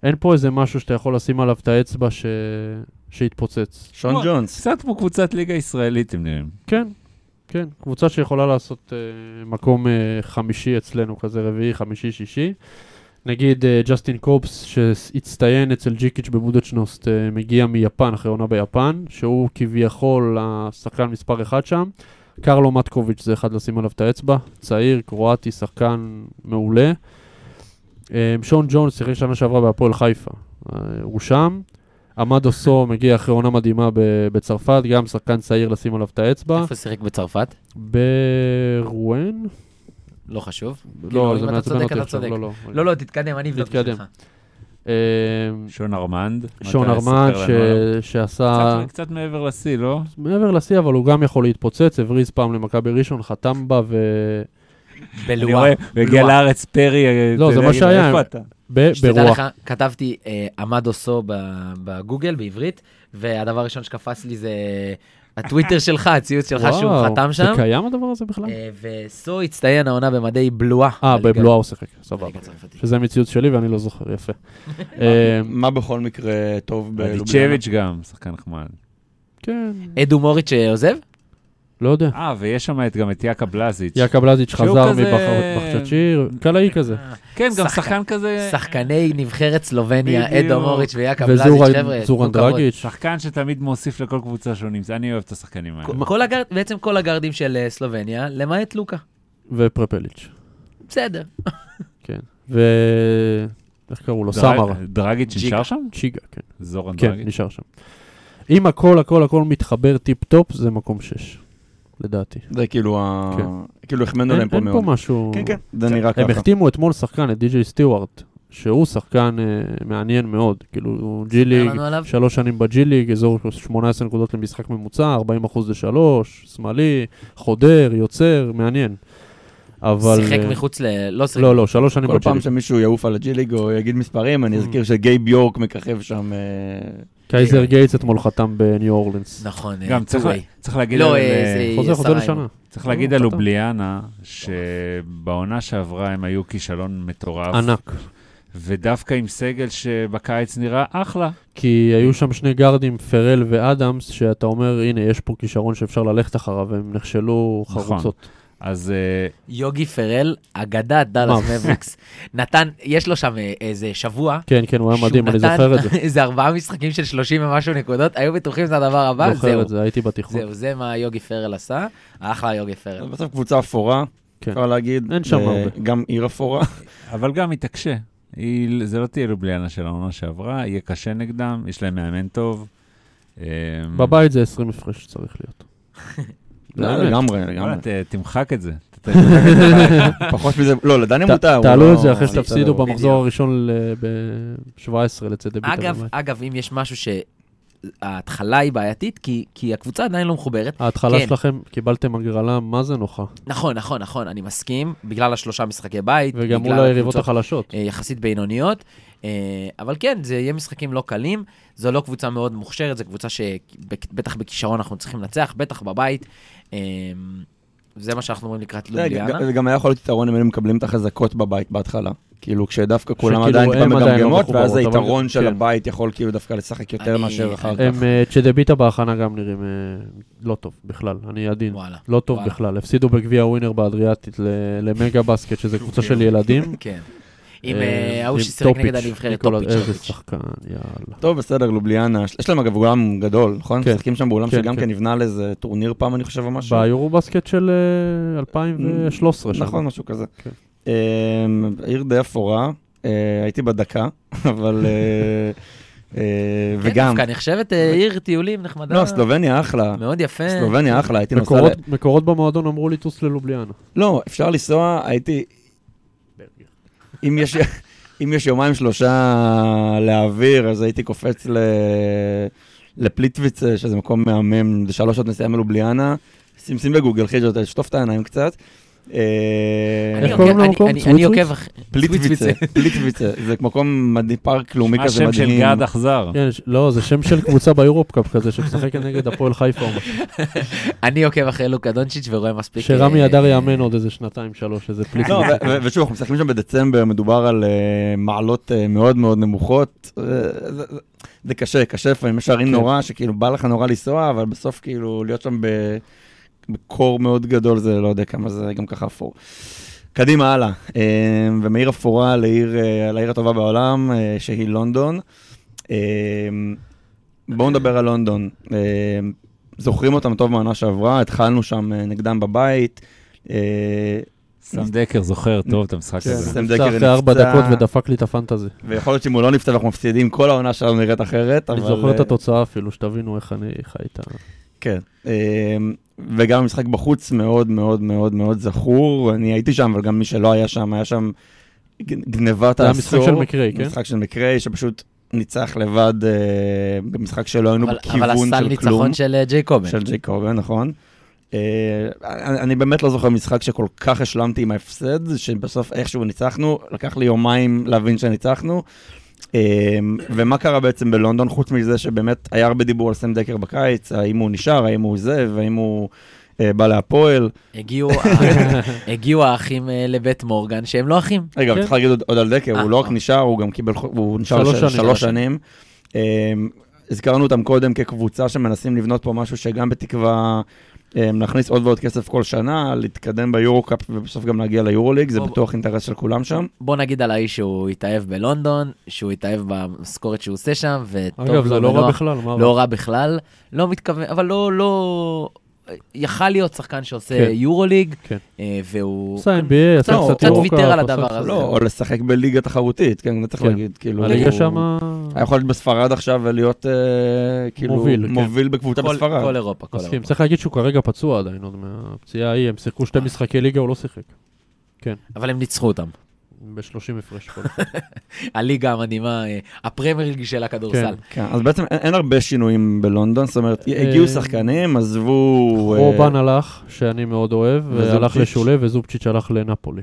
D: אין פה איזה משהו שאתה יכול לשים עליו את האצבע ש... שיתפוצץ.
B: שון
C: וואי.
B: ג'ונס.
C: קצת כמו קבוצת ליגה ישראלית, הם נראים.
D: כן, כן, קבוצה שיכולה לעשות אה, מקום אה, חמישי אצלנו, כזה רביעי, חמישי, שישי. נגיד אה, ג'סטין קופס, שהצטיין אצל ג'יקיץ' בבודדשנוסט, אה, מגיע מיפן, אחרי עונה ביפן, שהוא כביכול השחקן מספר אחד שם. קרלו מטקוביץ' זה אחד לשים עליו את האצבע, צעיר, קרואטי, שחקן מעולה. אה, שון ג'ונס שיחק שנה שעברה בהפועל חיפה, אה, הוא שם. עמדו סו מגיע אחרי עונה מדהימה ב- בצרפת, גם שחקן צעיר לשים עליו את האצבע.
A: איפה שיחק בצרפת?
D: ברואן?
A: לא חשוב.
D: לא,
A: כאילו, אם
D: זה
A: אתה
D: מעצבן
A: צודק,
D: אותי
A: אתה
D: עכשיו,
A: צודק.
D: לא, לא.
A: לא, לא, תתקדם, אני אבדוק
D: תתקדם.
A: בשבילך.
D: אה,
C: שון ארמנד.
D: שון
C: מתי
D: ארמן,
C: ספר
D: ש- אה,
C: לנו?
D: שעשה...
C: קצת- קצת מעבר לשיא, לא?
D: מעבר לשיא, אבל הוא גם יכול להתפוצץ, הבריז פעם למכבי ראשון, חתם בה, וברואן,
C: אני רואה,
A: בלואה.
C: הוא הגיע
A: בלואה.
C: לארץ פרי, אה,
D: לא,
C: אתה
D: זה
C: יודע,
D: מה
C: יגיד,
D: שהיה,
C: איפה
D: הם-
C: אתה?
A: שתדע לך, כתבתי אה, עמד אוסו ב- בגוגל, בעברית, והדבר הראשון שקפץ לי זה הטוויטר שלך, הציוץ שלך שהוא חתם שם.
D: זה קיים הדבר הזה בכלל?
A: אה, וסו הצטיין העונה במדי בלואה.
D: אה,
A: בליגה-
D: בבלואה הוא שיחק,
A: בליגה
D: סבבה.
A: הצרפתית.
D: שזה מציאות שלי ואני לא זוכר,
A: (laughs)
D: יפה. אה,
B: מה בכל מקרה טוב בלובליאנה?
C: אדיצ'ביץ' גם, שחקן נחמד.
D: כן,
A: אדו מוריץ' אה, שעוזב?
D: לא יודע.
C: אה, ויש שם את- גם את יאקה בלזיץ'.
D: יעקב לזיץ'
C: שהוא
D: חזר
C: כזה-
D: מבחצ'צ'יר, קלעי כזה.
C: כן, גם
A: שחקן.
C: שחקן כזה...
A: שחקני נבחרת סלובניה,
C: בדיוק.
A: אדו מוריץ' ויעקב
D: וזורן
A: לזיץ', חבר'ה,
D: זורן
A: תנו כבוד.
D: דרגיץ'.
C: שחקן שתמיד מוסיף לכל קבוצה שהוא נמצא. אני אוהב את השחקנים האלה.
A: כל הגארד- בעצם כל הגארדים של אה, סלובניה, למעט לוקה.
D: ופרפליץ',
A: בסדר.
D: כן. ו... איך קראו לו?
C: דרג-
D: סמרה.
C: דרגיץ'
A: ג'יגה.
C: נשאר שם?
D: צ'יגה, כן.
C: זורן
D: כן,
C: דרגיץ'.
D: נשאר שם. אם הכל הכל הכל מתחבר טיפ-טופ, זה מקום 6, לדעתי.
B: זה כאילו ה...
C: כן.
B: כאילו החמאנו
D: אין
B: להם פה
D: אין פה
B: מאוד.
D: משהו...
B: כן, כן, זה נראה ככה.
D: הם החתימו אתמול שחקן, את די.ג'יי סטיוארט, שהוא שחקן אה, מעניין מאוד. כאילו, הוא ג'י
A: היה
D: ליג,
A: לנו עליו?
D: שלוש שנים בג'י ליג, אזור 18 נקודות למשחק ממוצע, 40 אחוז לשלוש, שמאלי, חודר, יוצר, מעניין. אבל...
A: שיחק
D: אה,
A: מחוץ ל... לא שיחק.
D: לא, לא, שלוש שנים
B: כל
D: בג'י
B: פעם
D: ליג. כן.
B: שמישהו יעוף על הג'י ליג או יגיד מספרים, אני אזכיר שגייב יורק מככב שם. אה,
D: קייזר גייטס אתמול חתם בניו אורלינס.
A: נכון, אה,
C: גם צריך,
A: טורי.
C: צריך להגיד
A: לא,
C: על,
A: אה,
C: אה,
A: זה-
D: חוזר, חוזר
A: שרה
D: לשנה.
A: עם-
C: צריך להגיד על
D: חתם.
C: לובליאנה, שבעונה שעברה הם היו כישלון מטורף.
D: ענק.
C: ודווקא עם סגל שבקיץ נראה אחלה.
D: כי היו שם שני גארדים, פרל ואדמס, שאתה אומר, הנה, יש פה כישרון שאפשר ללכת אחריו, והם נכשלו
C: נכון.
D: חרוצות.
C: אז אה,
A: יוגי פרל, אגדת דאלאס
D: מה?
A: מבריקס, נתן, יש לו שם אה, איזה שבוע.
D: כן, כן, הוא היה
A: שהוא
D: מדהים, אני
A: נתן
D: זוכר את זה.
A: (laughs) איזה ארבעה משחקים של 30 ומשהו נקודות, היו בטוחים שזה הדבר הבא,
D: זוכר
A: זהו.
D: את זה, נכון. הייתי בתיכון.
A: זהו, זה מה יוגי פרל עשה. אחלה יוגי פרל.
B: בסוף קבוצה אפורה,
D: כן.
B: אפשר להגיד.
D: אין שם
B: אה,
D: הרבה.
B: גם עיר אפורה.
C: אבל גם היא תקשה. היא, זה לא תהיה לובליאנה של העונה שעברה, יהיה קשה נגדם, יש להם מאמן טוב. אה,
D: בבית זה 20 הפרש צריך להיות. (laughs) באמת.
B: לא, לגמרי, לגמרי.
C: וואלה, ת- תמחק את זה. ת- תמחק את זה.
B: פחות מזה, לא, לדני
D: ת-
B: מותר. הוא
D: תעלו
B: לא-
D: את זה אחרי
B: בסדר,
D: שתפסידו
B: הוא-
D: במחזור הראשון ב-17 לצד ביטר.
A: אגב,
D: בבית.
A: אגב, אם יש משהו שההתחלה היא בעייתית, כי- כי הקבוצה עדיין לא מחוברת.
D: ההתחלה
A: כן.
D: שלכם, קיבלתם הגרלה, מה זה נוחה.
A: נכון, נכון, נכון, אני מסכים, בגלל השלושה משחקי בית.
D: וגם לא מול
A: בגלל
D: היריבות
A: הקבוצות,
D: החלשות.
A: אה, יחסית בינוניות, אה, אבל כן, זה יהיה משחקים לא קלים, זו לא קבוצה מאוד מוכשרת, זו קבוצה שבטח בכישרון אנחנו צריכים לנצח, בטח בבית. אה, זה מה שאנחנו אומרים לקראת
B: זה
A: לוליאנה.
D: כן.
B: גם- זה גם היה יכול להיות יתרון אם היינו מקבלים את החזקות בבית בהתחלה. כאילו, כשדווקא כולם
D: שכאילו
B: עדיין טיפה
D: הם עדיין לא
B: מגמגמות, ואז
D: מחוברות, אבל-
B: היתרון של
D: כן.
B: הבית יכול כאילו דווקא לשחק יותר
A: אני-
B: מאשר אחר
D: הם,
B: כך.
D: אה, צ'דביטה בהכנה גם נראים אה, לא טוב בכלל, אני עדין.
A: וואלה.
D: לא טוב
A: וואלה.
D: בכלל. הפסידו בגביע ווינר באדריאטית ל- למגה בסקט, שזה קבוצה של ילדים.
A: כן. עם
D: אה,
A: אה, ההוא
D: עם
A: ששיחק נגד
D: טופיץ', אה,
A: הנבחרת
D: ניקולה-
A: טופיץ'.
D: איזה
A: טופיץ'.
D: שחקן, יאללה.
B: טוב, בסדר, לובליאנה. יש להם אגב אולם גדול, נכון?
D: כן.
B: משחקים שם באולם
D: כן,
B: שגם
D: כן.
B: כן נבנה לאיזה טורניר פעם, אני חושב, או משהו.
D: ביורו בסקט של אה, 2013 שם.
B: נכון, משהו כזה.
D: כן.
B: אמ, עיר די אפורה, אה, הייתי בדקה, (laughs) אבל... אה, אה, וגם...
A: כן, דווקא נחשבת אה, עיר טיולים נחמדה.
B: לא, סלובניה אחלה.
A: מאוד יפה.
B: סלובניה אחלה, הייתי נוסע...
D: מקורות-
B: ל-
D: מקורות במועדון אמרו לי טוס ללובליאנה.
B: לא, אפשר לנסוע, הייתי... אם יש... אם יש יומיים שלושה להעביר, אז הייתי קופץ ל... לפליטוויץ, אה, שזה מקום מהמם, זה שלוש שעות נסיעה מלובליאנה. שים שים בגוגל, אחי, זה שטוף את העיניים קצת. אה,
A: אני
D: איך קוראים
A: עוקב-
D: למקום?
A: אני- אני- אני
D: סוויטסוויט?
A: עוקב אחרי...
B: פליטוויצה, פליטוויצה, זה מקום מדהים, פארק לאומי
C: מה
B: כזה
C: השם של
B: מדהים.
C: גד אכזר?
D: כן, ש- לא, זה שם של קבוצה ביורופ קאפ כזה, שמשחקת נגד הפועל חיפה או משהו.
A: (laughs) אני עוקב אחרי לוקה דונצ'יץ' ורואה מספיק...
D: שרמי
A: אה,
D: אדר יאמן עוד איזה שנתיים, שלוש, איזה פליק.
B: לא, ו- ו- ושוב, אנחנו משחקים שם בדצמבר, מדובר על אה, מעלות אה, מאוד מאוד נמוכות. אה, זה- זה- זה קשה, קשה לפעמים, יש ערים
D: כן.
B: נורא, שכאילו בא לך נורא לנסוע, אבל בסוף כאילו להיות שם ב- בקור מאוד גדול, זה לא יודע כמה זה גם ככה אפור. קדימה, הלאה. אה, ומעיר אפורה לעיר, אה, לעיר הטובה בעולם, אה, שהיא לונדון. אה, בואו נדבר על לונדון. אה, זוכרים אותם טוב מהעונה שעברה, התחלנו שם אה, נגדם בבית. אה,
C: סם דקר זוכר טוב את המשחק
B: כן.
C: הזה.
B: סם
D: נפצע
B: דקר
D: אחרי ארבע
B: נפצע.
D: דקות ודפק לי את הפנטזי.
B: ויכול להיות שאם הוא לא נפצע ואנחנו מפסידים, כל העונה שלנו נראית אחרת, אבל...
D: אני זוכר את
B: אה,
D: התוצאה אפילו, שתבינו איך אני איך הייתה.
B: כן. אה, וגם המשחק בחוץ מאוד מאוד מאוד מאוד זכור. אני הייתי שם, אבל גם מי שלא היה שם, היה שם גנ- גנבת
D: זה היה
B: העשור.
D: משחק של מקרי, כן?
B: משחק של מקרי, שפשוט ניצח לבד אה, במשחק שלא היינו
A: אבל- אבל
B: בכיוון
A: הסל
B: של כלום.
A: ניצחון של אה, ג'יי קובן.
B: של ג'י קורבן, נכון. אה, אני אני באמת לא זוכר משחק שכל כך השלמתי עם ההפסד, שבסוף איכשהו ניצחנו, לקח לי יומיים להבין שניצחנו. אה, ומה קרה בעצם בלונדון, חוץ מזה שבאמת היה הרבה דיבור על סם דקר בקיץ, האם הוא נשאר, האם הוא עוזב, האם הוא אה, בא להפועל.
D: (laughs)
A: הגיעו ה- הגיעו האחים אה, לבית מורגן, שהם לא אחים.
B: רגע, אבל
D: כן.
B: צריך להגיד עוד- עוד על דקר,
A: אה,
B: הוא לא רק
A: אה.
B: נשאר, הוא גם קיבל, חו- הוא נשאר
D: שלוש
B: לש-
D: שנים.
B: שלוש שנים. אמ, הזכרנו אותם קודם כקבוצה שמנסים לבנות פה משהו שגם בתקווה אמ, להכניס עוד ועוד כסף כל שנה, להתקדם ביורו-קאפ ובסוף גם להגיע ליורו-ליג, זה
A: בוא-
B: בטוח אינטרס של כולם שם.
A: בוא נגיד על האיש שהוא התאהב בלונדון, שהוא התאהב במשכורת שהוא עושה שם, וטוב לו
D: אגב, זה לא רע
A: ונוח.
D: בכלל, מה
A: לא רע בכלל, לא מתכוון, אבל לא, לא... יכל להיות שחקן שעושה
D: כן.
A: יורוליג,
D: כן.
A: אה, והוא...
D: עשה NBA, עשה
B: לא,
D: קצת
B: קצת
D: יורוקה.
A: ויתר על הדבר הזה.
B: לא, או לשחק בליגה תחרותית, כן, זה צריך
D: כן.
B: להגיד, כאילו...
D: הליגה
B: הוא-
D: שמה...
B: היה יכול להיות בספרד עכשיו ולהיות אה, כאילו
D: מוביל, כן.
B: מוביל בקבוצה
A: כל, כל
B: בספרד.
A: אירופה, כל
D: מסכים,
A: אירופה.
D: צריך להגיד שהוא כרגע פצוע עדיין, עוד מהפציעה ההיא, הם שיחקו שתי משחקי ליגה, הוא לא שיחק.
A: אבל הם ניצחו אותם.
D: ב-30 הפרש. כל
A: הליגה המדהימה, אה, הפרמייר ליג של הכדורסל.
B: כן, אז בעצם אין- אין הרבה שינויים בלונדון, זאת אומרת, הגיעו
D: אה,
B: שחקנים, עזבו... אה,
D: רובן הלך, שאני מאוד אוהב, והלך
B: וזובצ'יץ'.
D: לשולה, וזובצ'יץ' הלך לנפולי.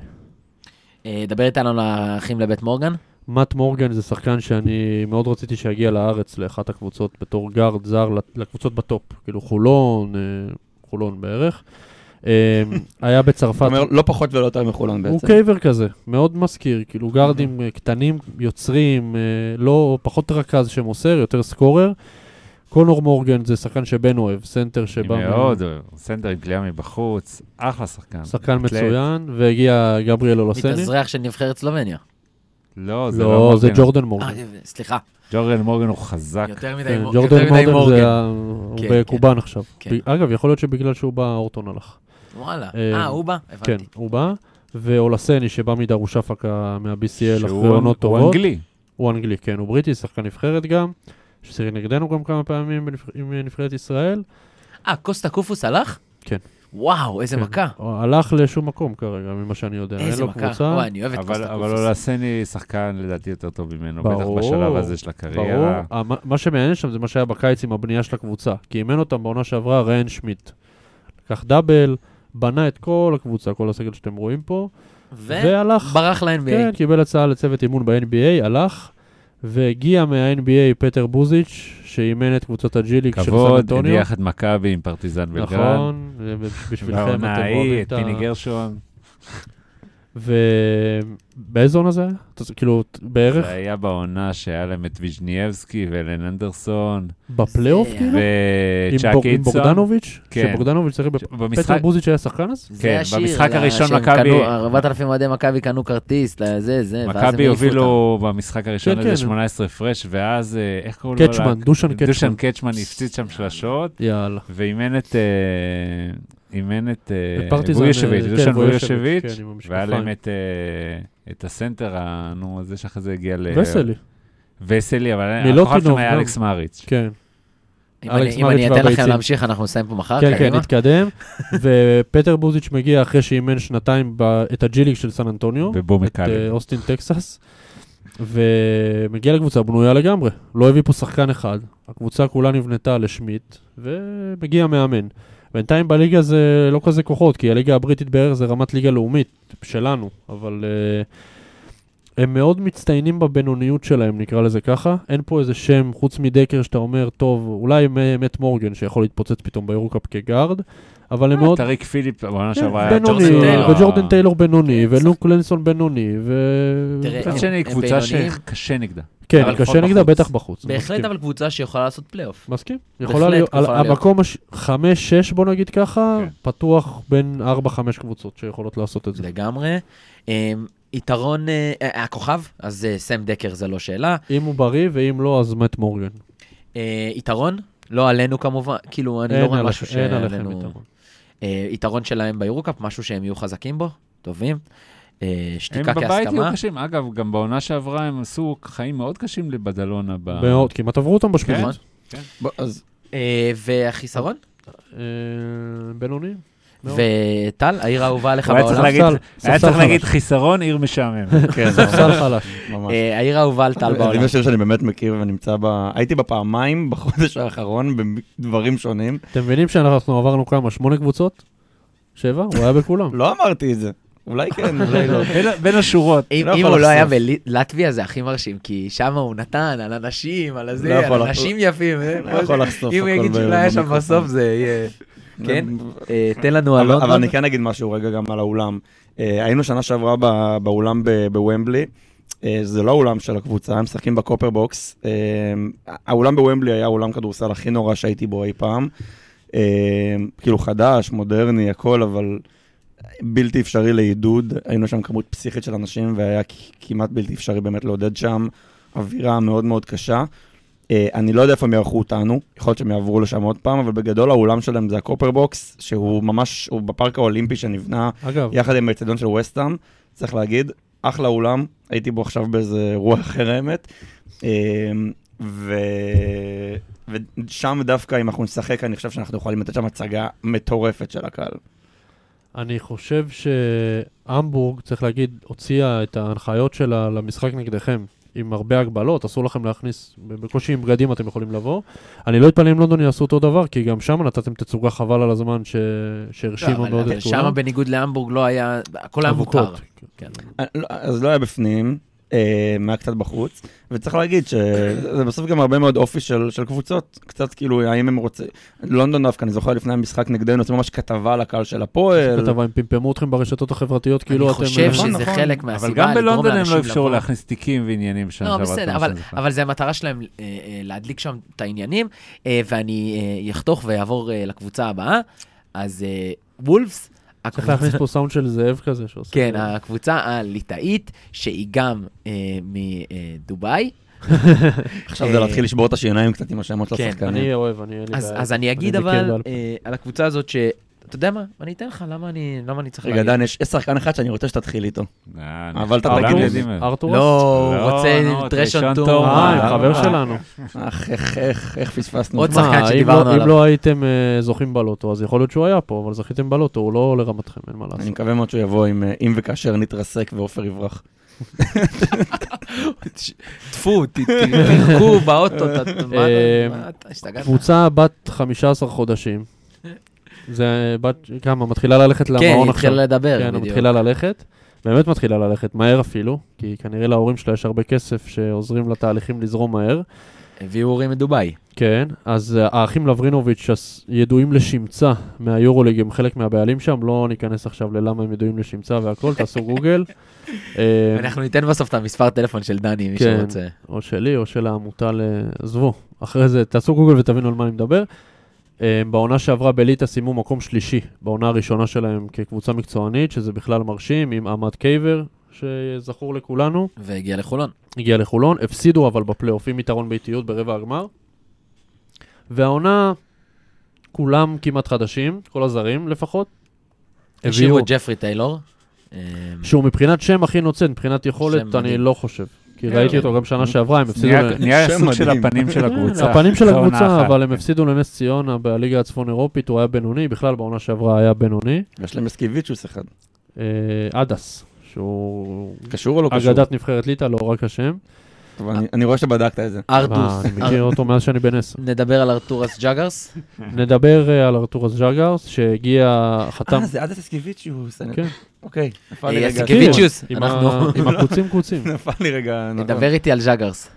A: אה, דבר איתנו על האחים לבית מורגן.
D: מאט מורגן זה שחקן שאני מאוד רציתי שיגיע לארץ לאחת הקבוצות בתור גארד זר לת- לקבוצות בטופ, כאילו חולון, אה, חולון בערך. אה, היה
B: אתה
D: בצרפת,
B: אומר, לא פחות ולא יותר מחולון
D: הוא
B: בעצם.
A: אוקיי.
D: קייבר כזה, מאוד מזכיר, כאילו גארדים אה, קטנים, יוצרים, אה, לא, פחות רכז שמוסר, יותר סקורר. קונור מורגן זה שחקן שבן אוהב, סנטר
C: אני
D: שבא... מה-
C: מאוד אוהב. סנטר עם גלייה מבחוץ, אחלה שחקן.
D: שחקן
C: אתלט.
D: מצוין, והגיע גבריאל אולוסני.
A: מתאזרח של נבחרת סלובניה.
C: לא, זה לא
D: לא,
C: מורגן.
D: זה ג'ורדן
A: אה,
D: מורגן.
A: סליחה,
C: ג'ורדן מורגן הוא חזק.
A: יותר מדי
D: כן,
A: מור-
D: ג'ורדן
A: יותר מדי
D: מורגן זה...
A: מורגן.
D: ה- הוא
A: כן,
D: בקובאן עכשיו.
A: כן.
D: ב- אגב, יכול להיות שבגלל שהוא בא, אורטון הלך.
A: וואלה.
D: אה,
A: אה, הוא בא?
D: כן,
A: הבנתי.
D: הוא בא. ואולסני שבא מדרוש אפקה מה-BCL
C: שהוא
D: אחרי עונות
C: הוא
D: טובות.
C: אנגלי.
D: הוא אנגלי, כן, הוא בריטי, שחקן נבחרת גם. ששיחק נגדנו גם כמה פעמים בנבח- עם נבחרת ישראל.
A: אה, קוסטה קופוס הלך?
D: כן.
A: וואו, איזה
D: כן.
A: מכה.
D: הוא הלך לשום מקום כרגע, ממה שאני יודע. אין
A: איזה
D: לו
A: מכה.
D: קבוצה. לא
A: וואי, אני אוהב את
C: אבל
A: קוסטה
C: אבל
A: קופוס.
C: אולסני שחקן לדעתי יותר טוב ממנו, בטח
D: ברור.
C: בשלב הזה של
D: ברור.
C: הקריירה.
D: אה, מה- מה שמעניין שם זה מה שהיה בקיץ עם הבנייה של הקבוצה. כי אימן אותם בעונה שעברה ריין שמיט. לקח דאבל, בנה את כל הקבוצה, כל הסגל שאתם רואים פה, והלך.
A: וברח ל-NBA.
D: כן, קיבל הצעה לצוות אימון ב-NBA, הלך, והגיע מה-NBA פטר בוזיץ', שאימן את קבוצת הג'יליק של סן
C: כבוד,
D: אנטוניו.
C: הניח את מכבי עם פרטיזן בלגרן.
D: נכון, ובשבילכם אתם
C: והעונה
D: אוהבים
C: ההיא,
D: את
C: את
D: ה...
C: פיני גרשון.
D: ובאיזה עונה זה היה? אתה זוכר, כאילו, בערך?
C: זה היה בעונה שהיה להם את ויז'ניאבסקי ואלן אנדרסון,
D: בפלייאוף
A: זה-
D: כאילו? עם
C: וצ'אק
D: בוג- עם
C: אידסון.
D: בוגדנוביץ'?
C: כן.
D: שבוגדנוביץ' שיחק בפ- פטר
C: במשחק,
D: בוזיץ' היה שחקן אז?
A: זה
C: כן,
A: השיר,
C: במשחק
A: לה-
C: הראשון
A: שהם
C: מכבי-
A: קנו- 4,000 אוהדי מכבי קנו כרטיס, לזה, זה, ואז הם
C: מכבי
A: העיפו אותם.
C: הובילו במשחק הראשון
D: כן,
C: איזה
D: כן.
C: 18 הפרש, ואז, אה, איך קראו לו?
D: קצ'מן, דושן קצ'מן.
C: דושן קצ'מן הפציץ שם שלשות,
D: יאללה.
C: ואימן את... אה, אימן את... אה,
D: ופרטיזן,
C: וויושביץ',
D: אה, כן,
C: דושן
D: וויושביץ',
C: וויושביץ',
D: כן, עם
C: והיה
D: המשקפיים.
C: להם את, אה, את הסנטר, ה- נו, זה שאחרי זה הגיע ל...
D: וסלי,
C: וסלי, אבל
D: מילוטינוב
C: הכוכב שם היה
D: גם.
C: אלכס מאריץ'.
D: כן.
A: אם
D: אלכס
A: אני- אם
D: מריץ'
A: אני אתן לכם
D: והביצים.
A: להמשיך, אנחנו נסיים פה מחר.
D: כן, כן,
A: קדימה.
D: נתקדם. (laughs) ופטר בוזיץ' מגיע אחרי שאימן שנתיים ב- את הג'יליג של סן אנטוניו, את
C: ובומקאלי.
D: אה, אוסטין טקסס, ומגיע לקבוצה בנויה לגמרי. לא הביא פה שחקן אחד, הקבוצה כולה נבנתה לשמיט, ומגיע מאמן. בינתיים בליגה זה לא כזה כוחות, כי הליגה הבריטית בערך זה רמת ליגה לאומית שלנו, אבל אה, הם מאוד מצטיינים בבינוניות שלהם, נקרא לזה ככה. אין פה איזה שם חוץ מדקר שאתה אומר, טוב, אולי מ- מת מורגן שיכול להתפוצץ פתאום ביורוקאפ כגארד, אבל הם מאוד...
C: טריק פיליפ, בעונה
D: כן,
C: שעברה היה
D: בינוני,
C: ג'ורדן טיילור.
D: וג'ורדן טיילור בינוני,
A: כן,
D: ולוק לנסון בינוני, ו...
A: תראה,
D: כן.
C: מצד שני,
A: הם
C: קבוצה
A: בינוניים.
C: שקשה נגדה.
D: כן,
A: אבל
D: קשה
A: לפחות
D: נגדה,
A: בחוץ.
D: בטח בחוץ.
A: בהחלט,
D: מסכים.
A: אבל קבוצה שיכולה לעשות פלייאוף.
D: מסכים.
A: בהחלט
D: יכולה להיות, על-
A: יכולה להיות.
D: המקום הש- חמש, שש, בוא נגיד ככה,
C: כן.
D: פתוח בין ארבע, חמש קבוצות שיכולות לעשות את זה.
A: לגמרי. אמ, יתרון, אה, אה, הכוכב, אז אה, סם דקר זה לא שאלה.
D: אם הוא בריא, ואם לא, אז מת מורגן.
A: אה, יתרון, לא עלינו כמובן, כאילו, אני לא
D: אין
A: רואה
D: עליכם-
A: משהו
D: אין עליכם
A: שעלינו...
D: יתרון.
A: אה, יתרון שלהם ביורוקאפ, משהו שהם יהיו חזקים בו, טובים. אה,
C: הם
A: שתיקה
C: בבית היו
A: כהסכמה.
C: קשים. אגב, גם בעונה שעברה הם עשו חיים מאוד קשים לבדלונה. ב-
D: מאוד, כמעט עברו אותם בשמינית.
A: כן.
B: בוא, אז
A: אה, והחיסרון?
D: אה, בינוני?
B: לא.
D: מאוד.
A: וטל, העיר האהובה עליך
C: הוא היה צריך
A: בעולם.
C: להגיד-
D: ספסל,
C: היה צריך
D: ספסל
C: להגיד
D: חלש.
C: חיסרון עיר משעמם.
D: ספסל חלש.
B: כן, ממש.
A: אה, העיר האהובה על טל
B: אני
A: בעולם.
B: חושב שאני באמת מכיר ונמצא ב... הייתי בפעמיים בחודש האחרון בדברים שונים.
D: אתם מבינים שאנחנו עברנו כמה? שמונה קבוצות? שבע? הוא היה
A: (laughs)
D: בכולם.
B: לא אמרתי את זה. אולי כן, אולי לא.
C: (laughs) בין- בין השורות.
A: אם
B: לא
A: אם
B: יכול
A: הוא לא היה
B: לחשוף.
A: בלטביה זה הכי מרשים, כי שם הוא נתן על אנשים, על
B: לא
A: הזה,
B: יכול
A: על
B: לחשוף.
A: אנשים יפים. אה,
B: לא יכול לחשוף
A: אם הוא
B: הכל
A: יגיד שהוא לא היה שם
B: במיקרופון.
A: בסוף זה יהיה... כן? אה, תן לנו על
B: אבל, אבל
A: לונדון.
B: אני כן אגיד משהו רגע גם על האולם. אה, היינו שנה שעברה ב- באולם ב- בוומבלי, אה, זה לא האולם של הקבוצה, הם משחקים בקופר בוקס. אה, האולם בוומבלי היה האולם כדורסל הכי נורא שהייתי בו אי פעם. אה, כאילו חדש, מודרני, הכל, אבל בלתי אפשרי לעידוד. היינו שם כמות פסיכית של אנשים, והיה כ- כמעט בלתי אפשרי באמת לעודד שם אווירה מאוד מאוד קשה. אה, אני לא יודע איפה הם יערכו אותנו, יכול להיות שהם יעברו לשם עוד פעם, אבל בגדול האולם שלהם זה הקופר בוקס, שהוא ממש, הוא בפארק האולימפי שנבנה
D: אגב,
B: יחד עם האצטדיון של ווסטהאם, צריך להגיד, אחלה אולם, הייתי בו עכשיו באיזה אירוע אחר האמת. אה, ו... ושם דווקא אם אנחנו נשחק, אני חושב שאנחנו יכולים לתת שם הצגה מטורפת של הקהל.
D: אני חושב שהמבורג, צריך להגיד, הוציאה את ההנחיות שלה למשחק נגדכם, עם הרבה הגבלות, אסור לכם להכניס, בקושי עם בגדים אתם יכולים לבוא. אני לא אתפלא אם לונדון יעשו אותו דבר, כי גם שם נתתם תצוגה חבל על הזמן ש...
A: לא,
D: שהרשימה
A: אבל-
D: מאוד
A: אבל
D: את
A: שם
D: כולם.
A: בניגוד להמבורג לא היה, הכל היה מותר.
D: אבוקות.
A: כן.
B: אה, לא- אז לא היה בפנים, אה, היה קצת בחוץ, וצריך להגיד שזה בסוף גם הרבה מאוד אופי של, של קבוצות, קצת כאילו, האם הם רוצים... לונדון דווקא, אני זוכר לפני המשחק נגדנו, עשו ממש כתבה לקהל של הפועל.
D: כן. כתבה, הם פמפמו אתכם ברשתות החברתיות, כאילו
A: אני
D: אתם...
A: חושב
B: נכון,
A: שזה
B: נכון.
A: חלק
C: אבל
A: מהסיבה
C: גם
A: לגרום
C: בלונדון הם
A: לאנשים
C: לא אפשרו
A: לבוא.
C: להכניס תיקים ועניינים שם.
A: לא,
C: שעברת,
A: בסדר,
C: מה
A: אבל,
C: שאני זוכר.
A: אבל זה המטרה שלהם אה, אה, להדליק שם את העניינים, אה, ואני אה, אחתוך ואעבור אה, לקבוצה הבאה. אז אה, וולפס,
D: צריך
A: הקבוצה,
D: להכניס פה סאונד של זאב כזה שעושה...
A: כן, הקבוצה הליטאית, שהיא גם אה, מדובאי.
B: עכשיו זה להתחיל לשבור את השיניים קצת עם השמות של
A: כן,
B: השחקנים.
D: אני אוהב, אני... אין לי
A: אז,
D: בעיה.
A: אז אני אגיד
D: מכיר
A: אבל
D: בעל פה.
A: אה, על הקבוצה הזאת ש... אתה יודע מה? אני אתן לך, למה אני, למה אני צריך לא,
B: רגע, דן, יש יש שחכן אחד שאני רוצה שתתחיל איתו.
C: אה,
B: אבל אתה
C: כולם
B: תגיד לי.
C: יודעים את זה.
D: ארתורס?
A: לא,
C: לא,
A: הוא רוצה
C: נו,
A: טרשון
C: טרשון
A: טור.
C: טור.
D: אה,
B: אה,
D: הם חבר
B: אה.
D: שלנו.
B: אך, איך, איך, איך פספסנו.
A: עוד
B: מה,
A: שחקן
D: מה, אם
A: שדיברנו
D: לא-
A: עליו.
D: אם לא הייתם אה, זוכים בלוטו, אז יכול להיות שהוא היה פה, אבל זכיתם בלוטו, הוא לא לרמתכם, אין מה
B: אני
D: לעשות.
B: מקווה מאוד שהוא יבוא עם אה, אם וכאשר נתרסק ועופר יברח.
A: טפו, ת- ת- תלכו באוטו, ת- ת- מה
D: אה,
A: מה אתה השתגעת?
D: קבוצה בת 15 חודשים. זה בת, כמה, מתחילה ללכת
A: כן,
D: למעון
A: היא
D: עכשיו.
A: התחילה לדבר,
D: כן, היא
A: בדיוק.
D: מתחילה ללכת. באמת מתחילה ללכת, מהר אפילו, כי כנראה להורים שלה יש הרבה כסף שעוזרים לתהליכים לזרום מהר.
A: הביאו הורים מדובאי.
D: כן, אז אה, האחים לברינוביץ' הס- ידועים לשמצה מהיורוליג, הם חלק מהבעלים שם, לא ניכנס עכשיו ללמה הם ידועים לשמצה והכל, תעשו
A: (laughs)
D: גוגל. אה,
A: אנחנו ניתן בסוף את המספר טלפון של דני, אם מישהו
D: כן.
A: רוצה.
D: או שלי, או של העמותה ל... עזבו, אחרי זה תעשו גוגל ותבינו על מה אני מדבר. אה, בעונה שעברה בליטא סיימו מקום שלישי, בעונה הראשונה שלהם כקבוצה מקצוענית, שזה בכלל מרשים, עם עמד קייבר, שזכור לכולנו,
A: והגיע לחולון.
D: הגיע לחולון, הפסידו אבל בפלייאוף עם יתרון באיטיות ברבע הגמר. והעונה, כולם כמעט חדשים, כל הזרים לפחות.
A: השאירו את ג'פרי טיילור. אה,
D: שהוא מבחינת שם הכי נוצן, מבחינת יכולת,
A: שם
D: אני
A: מדהים.
D: לא חושב. כי
C: כן.
D: ראיתי אותו גם שנה שעברה, הם הפסידו... ל-
C: נהיה- נהיה
B: שם
C: סוג של
B: מדהים.
C: הפנים
D: (laughs)
C: של הקבוצה.
D: כן, הפנים של
C: זה עונה
D: הקבוצה,
C: אחת.
D: אבל הם הפסידו לנס ציונה בליגה הצפון אירופית, הוא היה בינוני, בכלל בעונה שעברה היה בינוני.
B: יש להם אסקיביצ'וס אחד.
D: אה, עדס, שהוא
B: קשור או לא קשור?
D: אגדת נבחרת ליטא, לא רק השם.
B: טוב, אני- אני רואה שבדקת את זה.
D: אה,
A: ארטוס.
D: אני מכיר
A: אר-
D: אותו מאז שאני בן עשר.
A: נדבר על ארתורס
D: (laughs)
A: ג'אגרס.
B: כן.
D: נדבר אה, על ארתורס ז'אגרס, שהגיע, חתם.
B: אה, זה עד אסקיביצ'וס. אני-
D: כן,
B: אוקיי. נפל לי
A: אה,
B: רגע.
A: אסקיביצ'יוס.
D: עם
A: אנחנו-
D: ה- עם הקוצים קוצים.
B: (laughs) נפל לי רגע. נכון.
A: נדבר איתי על ז'אגרס.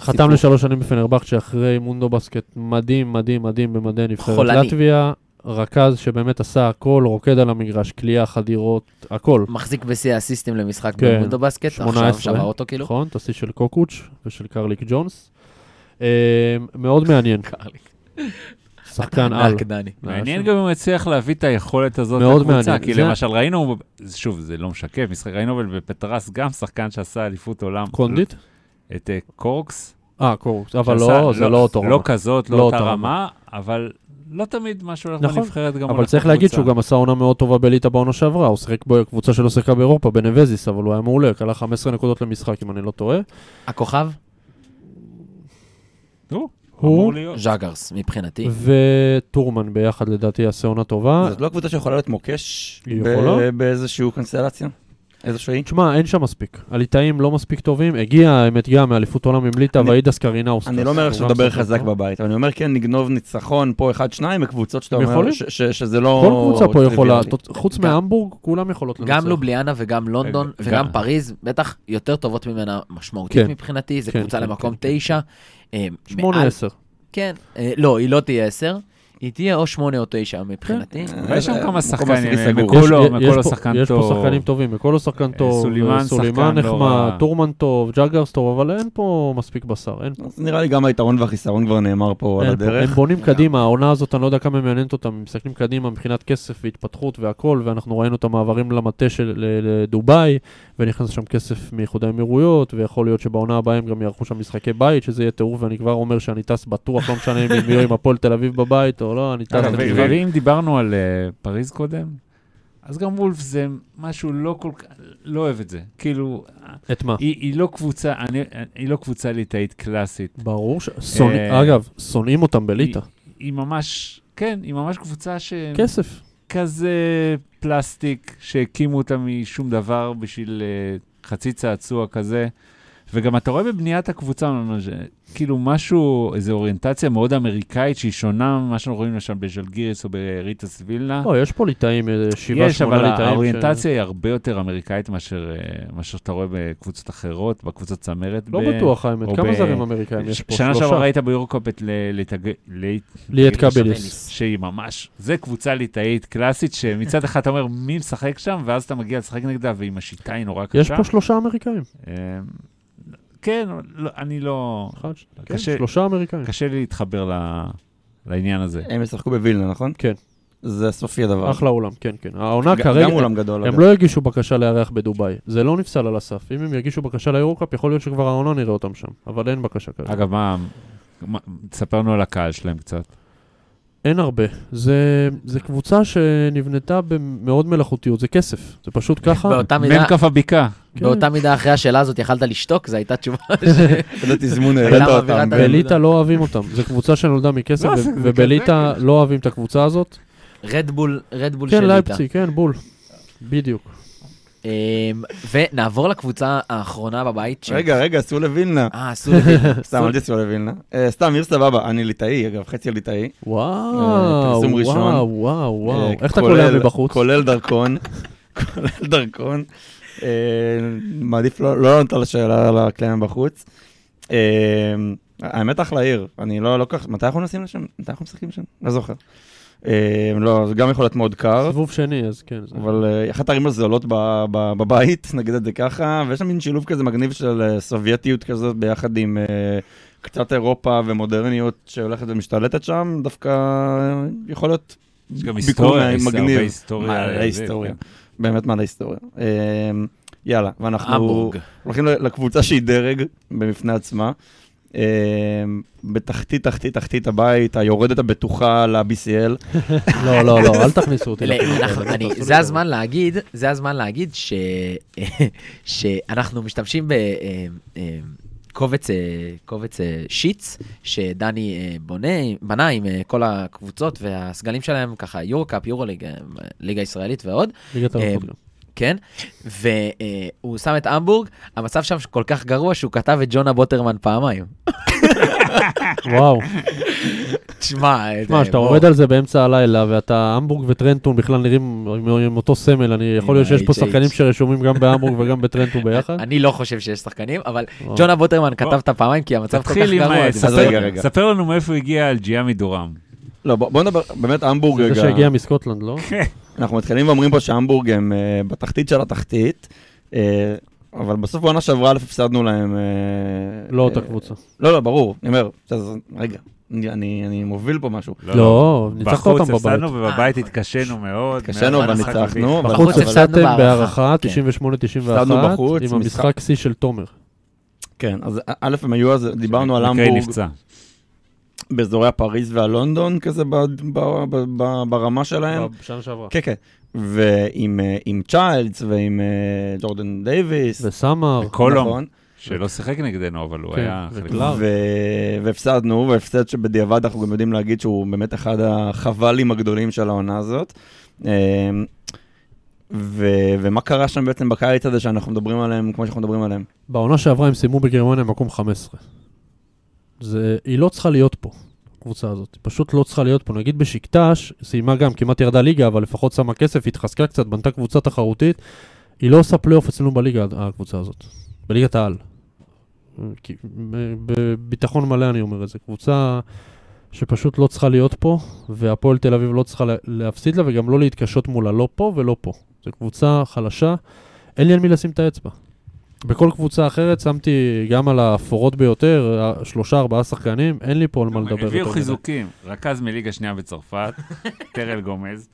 D: חתם
B: סיפור.
D: לשלוש שנים בפנרבכצ'ה אחרי מונדו בסקט מדהים, מדהים, מדהים במדעי נבחרת
A: חולני.
D: לטביה. רכז שבאמת עשה הכל, רוקד על המגרש, כליאה, חדירות, הכל.
A: מחזיק בשיא האסיסטים למשחק
D: כן.
A: במונדו בסקט. עכשיו
D: 18.
A: שווה אותו כאילו.
D: נכון, את השיא של קוקוץ' ושל קרליק ג'ונס. אה, מאוד מעניין,
A: (laughs)
D: שחקן נכון. כן, על.
A: ענק, דני.
C: מעניין גם אם הוא יצליח להביא את היכולת הזאת
D: מאוד
C: לקבוצה,
D: מעניין.
C: כי
D: זה-
C: למשל ראינו, שוב, זה לא משקף, משחק, ראינו אבל בפטרס גם שחקן שעשה אליפות עולם.
D: קונדיט?
C: את אה, קורקס.
D: אה, קורקס, אבל
C: שעשה-
D: לא, זה לא אותו רמה.
C: לא כזאת,
D: לא
C: לא אותה
D: אותה
C: רמה, אבל לא תמיד מה שהולך
D: נכון,
C: בנבחרת גם הולך
D: אבל צריך להגיד
C: בקבוצה.
D: שהוא גם עשה עונה מאוד טובה בליטא בעונה שעברה, הוא שיחק בקבוצה שלא שיחקה באירופה, בנבזיס, אבל הוא היה מעולה, כלה 15 נקודות למשחק, אם אני לא טועה.
A: הכוכב?
C: הוא,
D: הוא-
C: אמור להיות.
A: ז'אגרס, מבחינתי.
D: וטורמן ביחד לדעתי יעשה עונה טובה.
B: זאת לא קבוצה שיכולה להיות מוקש?
D: היא
B: ב-
D: יכולה.
B: באיזשהו קונסטלציה? איזושהי?
D: תשמע, אין שם מספיק. הליטאים לא מספיק טובים, הגיע האמת גם מאליפות עולם עם ליטא,
B: אני-
D: ואידס קרינאוס.
B: אני לא אומר
D: הוא
B: עכשיו
D: גם
B: לדבר
D: שחקן
B: חזק
D: טוב.
B: בבית, אבל אני אומר כן, נגנוב ניצחון פה אחד, שניים, בקבוצות שאתה אומר
D: יכולים.
B: ש- ש- שזה לא...
D: כל קבוצה פה יכולה,
B: טריוויאלי.
D: תוצ- חוץ
A: גם-
D: מהמבורג, כולם יכולות לנצח.
A: גם לובליאנה וגם לונדון
C: אה,
A: וגם
C: גם.
A: פריז, בטח יותר טובות ממנה משמעותית
D: כן.
A: מבחינתי, זו
D: כן,
A: קבוצה
D: כן,
A: למקום
D: כן, כן.
A: תשע. אה, מעל-
D: 8-10.
A: כן, אה, לא, היא לא תהיה עשר, היא תהיה או שמונה או תשע
D: כן.
A: מבחינתי.
B: אה,
C: ויש שם
B: אה,
C: כמה
B: מקום
C: שחקנים,
B: עשירי סגור.
C: מקולו,
D: יש- יש
C: מקולו
D: פה-
C: שחקן
D: יש פה
C: טוב.
D: שחקנים טובים, מקולו שחקן טוב,
C: סולימן
D: אה,
C: שחקן
D: סולימן
C: לא
D: נחמד,
C: רע.
D: טורמן טוב, ג'אגרס טוב, אבל אין פה מספיק בשר, אין פה.
B: אז נראה לי גם היתרון והחיסרון כבר נאמר פה על
D: אין פה. הם
B: הדרך.
D: בונים קדימה, העונה הזאת, אני לא יודע כמה מעניינת אותם, הם מסתכלים קדימה מבחינת כסף והתפתחות והכל, ואנחנו ראינו את המעברים למטה של ל- לדובאי, ונכנס שם כסף מאיחוד האמירויות, ויכול להיות שבעונה הבאה הם גם יערכו שם משחקי בית, שזה יהיה טירוף, ואני כבר אומר שאני טס בטוח, לא משנה אם הם יהיו עם הפועל תל אביב בבית או לא, אני טס
C: אגב, ו-
D: לטבעי.
C: ואם אה, דיברנו על אה, פריז קודם, אז גם וולף זה משהו לא כל כך, לא אוהב את זה. כאילו,
D: את מה?
C: היא היא לא קבוצה, אני- היא לא קבוצה ליטאית קלאסית.
D: ברור ש... שונא-
C: אה,
D: אגב, שונאים אותם בליטא.
C: היא ממש, כן, היא ממש קבוצה ש...
D: כסף.
C: כזה פלסטיק שהקימו אותה משום דבר בשביל אה, חצי צעצוע כזה, וגם אתה רואה בבניית הקבוצה, ממש, כאילו משהו, איזו אוריינטציה מאוד אמריקאית שהיא שונה ממה שאנחנו רואים למשל בז'לגיריס או בריטס וילנה.
D: לא, יש פה ליטאים, איזה שבעה,
C: אה. יש,
D: שמונה
C: אבל
D: ליטאים. ש-
C: האוריינטציה היא הרבה יותר אמריקאית מאשר אה, מאשר שאתה רואה בקבוצות אחרות, בקבוצות צמרת.
D: לא
C: ב-
D: בטוח האמת,
C: או
D: כמה
C: ב-
D: זרים אמריקאים
C: ש-
D: יש פה?
C: שנה
D: שלושה.
C: שעברה ראית ביורוקופ את ל- ליטג- לית...
D: ליאת
A: קבליס.
D: קבליס.
C: שהיא ממש, זה קבוצה ליטאית קלאסית, שמצד אחד אתה אומר מי משחק שם, ואז אתה מגיע לשחק נגדה, ועם השיטה היא נורא קשה.
D: יש פה שלושה אמריקאים.
C: אה, כן, לא, אני לא...
D: אחד, שני, כן,
C: קשה-
D: שלושה אמריקאים.
C: קשה לי להתחבר ל- לעניין הזה.
B: הם ישחקו בווילנה, נכון?
D: כן.
B: זה סופי הדבר.
D: אחלה אולם, כן, כן. העונה
B: ג-
D: כרגע,
B: גם אולם גדול. אגב.
D: הם לא יגישו בקשה לארח בדובאי. זה לא נפסל על הסף. אם הם יגישו בקשה ליורוקאפ, יכול להיות שכבר העונה נראה אותם שם. אבל אין בקשה כרגע.
C: אגב, מה... מה- תספר לנו על הקהל שלהם קצת.
D: אין הרבה. זה, זה קבוצה שנבנתה במאוד מלאכותיות, זה כסף. זה פשוט ככה.
A: באותה מידה,
C: מ"ם כף הבקעה.
D: כן.
A: באותה מידה אחרי השאלה הזאת יכלת לשתוק, זו הייתה תשובה.
B: איזה לא תזמון
A: למה
B: העלית
A: אווירת
B: אותם.
A: ה-
D: בליטא לא אוהבים אותם. זו קבוצה שנולדה מכסף,
C: לא, זה-
D: ו-
C: זה
D: ובליטא
C: כזה, כן.
D: לא אוהבים את הקבוצה הזאת.
A: רדבול, רדבול
D: כן,
A: של ליטא. אה,
D: לייפציג, כן, בול. בדיוק.
A: אמ, ונעבור לקבוצה האחרונה בבית. ש-
B: רגע, רגע, סעו לווילנה.
A: אה, עשו
D: (laughs)
A: לוין.
B: סתם, אל תסעו לווילנה. אה, סתם, עיר סבבה, אני ליטאי, אגב, חצי ליטאי.
D: וואו,
B: פרסום ראשון.
D: וואו, וואו, וואו.
B: אה,
D: איך אתה
B: כולל-
D: קולע מבחוץ?
B: כולל דרכון, (laughs) כולל דרכון. אה, מעדיף לא לא לענות על השאלה על הקלעים בחוץ. אה, האמת אחלה עיר, אני לא לא כל כך, מתי אנחנו נוסעים לשם? מתי אנחנו משחקים שם? לא זוכר. אה, לא, זה גם יכול להיות מאוד קר.
D: סיבוב שני, אז כן. זה-
B: אבל אה, אחת הערים הזולות ב- ב- בבית, (laughs) נגיד את זה ככה, ויש שם מין שילוב כזה מגניב של אה, סובייטיות כזאת ביחד עם אה, קצת אירופה ומודרניות שהולכת ומשתלטת שם, דווקא אה, יכול להיות
C: יש גם
B: ביקור
C: היסטוריה, יש הרבה
B: מגניב.
C: היסטוריה.
B: מלא
C: זה,
B: היסטוריה,
C: כן.
B: באמת מלא היסטוריה. אה, יאללה, ואנחנו
A: המבורג.
B: הולכים ל- לקבוצה שהיא דרג בפני עצמה. אה, בתחתית, תחתית, תחתית הבית, היורדת הבטוחה ל-BCL.
D: לא, לא, לא, אל תכניסו אותי.
A: ל-
D: לפינות
A: אנחנו-
D: האלה.
A: אני-
D: תעשו
A: זה
D: לי
A: הזמן להגיד, זה הזמן להגיד ש- (laughs) שאנחנו משתמשים בקובץ קובץ אה, שיטס שדני אה, בונה, בנה עם אה, כל הקבוצות והסגלים שלהם, ככה יורו-קאפ, יורו-ליג, אה, ליגה ישראלית ועוד,
D: טובה. ליגת האלופות גם.
A: כן? והוא שם את המבורג, המצב שם כל כך גרוע שהוא כתב את ג'ונה בוטרמן פעמיים.
D: וואו.
A: תשמע, אה,
D: תשמע, כשאתה עובד על זה באמצע הלילה, ואתה המבורג וטרנטון בכלל נראים עם- עם אותו סמל, אני יכול להיות שיש פה
A: ה-HH.
D: שחקנים שרשומים גם בהמבורג וגם בטרנטון ביחד.
A: אני לא חושב שיש שחקנים, אבל
D: וואו.
A: ג'ונה בוטרמן
C: בוא.
A: כתב את הפעמיים כי המצב כל כך
C: תתחיל עם...
A: גרוע.
C: אה,
A: אז
B: אז רגע,
C: ספר-
B: רגע.
C: ספר לנו מאיפה הגיע אלג'יה מדורם.
B: לא, בוא בוא נדבר, באמת המבורג
D: זה
B: רגע.
D: שהגיע מסקוטלנד,
A: (laughs)
D: לא?
B: אנחנו מתחילים ואומרים פה שהמבורג הם אה, בתחתית של התחתית, אה, אבל בסוף בעונה שעברה א' הפסדנו להם... אה,
D: לא אותה
B: אה,
D: קבוצה.
B: לא, לא, ברור, אני אומר, אז רגע, אני- אני אני מוביל פה משהו.
D: לא, ניצחת אותם
C: בחוץ
D: בבית.
C: הפסדנו ובבית התקשנו מאוד.
B: אה, התקשינו
A: מאוד,
B: אבל
A: המשחק
B: ניצחנו, אבל-
D: בחוץ
A: אבל-
D: הפסדתם
A: הפסדנו
D: בהערכה,
A: כן.
D: 98-91,
B: בחוץ,
D: עם
B: משחק-
D: המשחק שיא של תומר.
B: כן, אז א- א' הם היו אז, דיברנו על
C: מקרי
B: המבורג
C: נפצע.
B: באזורי הפריז והלונדון כזה ב- ב- ב- ב- ברמה שלהם.
D: בשנה שעברה.
B: כן, כן. ועם אה, עם צ'יילדס ועם אה, ג'ורדן דייוויס.
D: וסמר,
C: קולום,
B: נכון.
C: שלא שיחק נגדנו, אבל הוא
D: כן,
C: היה חלק...
D: וקלאר.
B: ו- והפסדנו, והפסד שבדיעבד אנחנו גם יודעים להגיד שהוא באמת אחד החבלים הגדולים של העונה הזאת. אמ, ו- ומה קרה שם בעצם בקיץ הזה שאנחנו מדברים עליהם כמו שאנחנו מדברים עליהם?
D: בעונה שעברה הם סיימו בגרמניה במקום 15. זה, היא לא צריכה להיות פה, הקבוצה הזאת. היא פשוט לא צריכה להיות פה. נגיד בשקטש, סיימה גם, כמעט ירדה ליגה, אבל לפחות שמה כסף, התחזקה קצת, בנתה קבוצה תחרותית. היא לא עושה פלייאוף אצלנו בליגה, הקבוצה הזאת. בליגת העל. כי- בביטחון מלא אני אומר את זה. קבוצה שפשוט לא צריכה להיות פה, והפועל תל אביב לא צריכה לה- להפסיד לה, וגם לא להתקשות מולה, לא פה ולא פה. זו קבוצה חלשה, אין לי על מי לשים את האצבע. בכל קבוצה אחרת שמתי גם על האפורות ביותר, ה- שלושה, ארבעה שחקנים, אין לי פה על מה לדבר.
C: הביאו
D: יותר מדי.
C: חיזוקים, רכז מליגה שנייה
D: (laughs)
C: בצרפת, טרל גומז,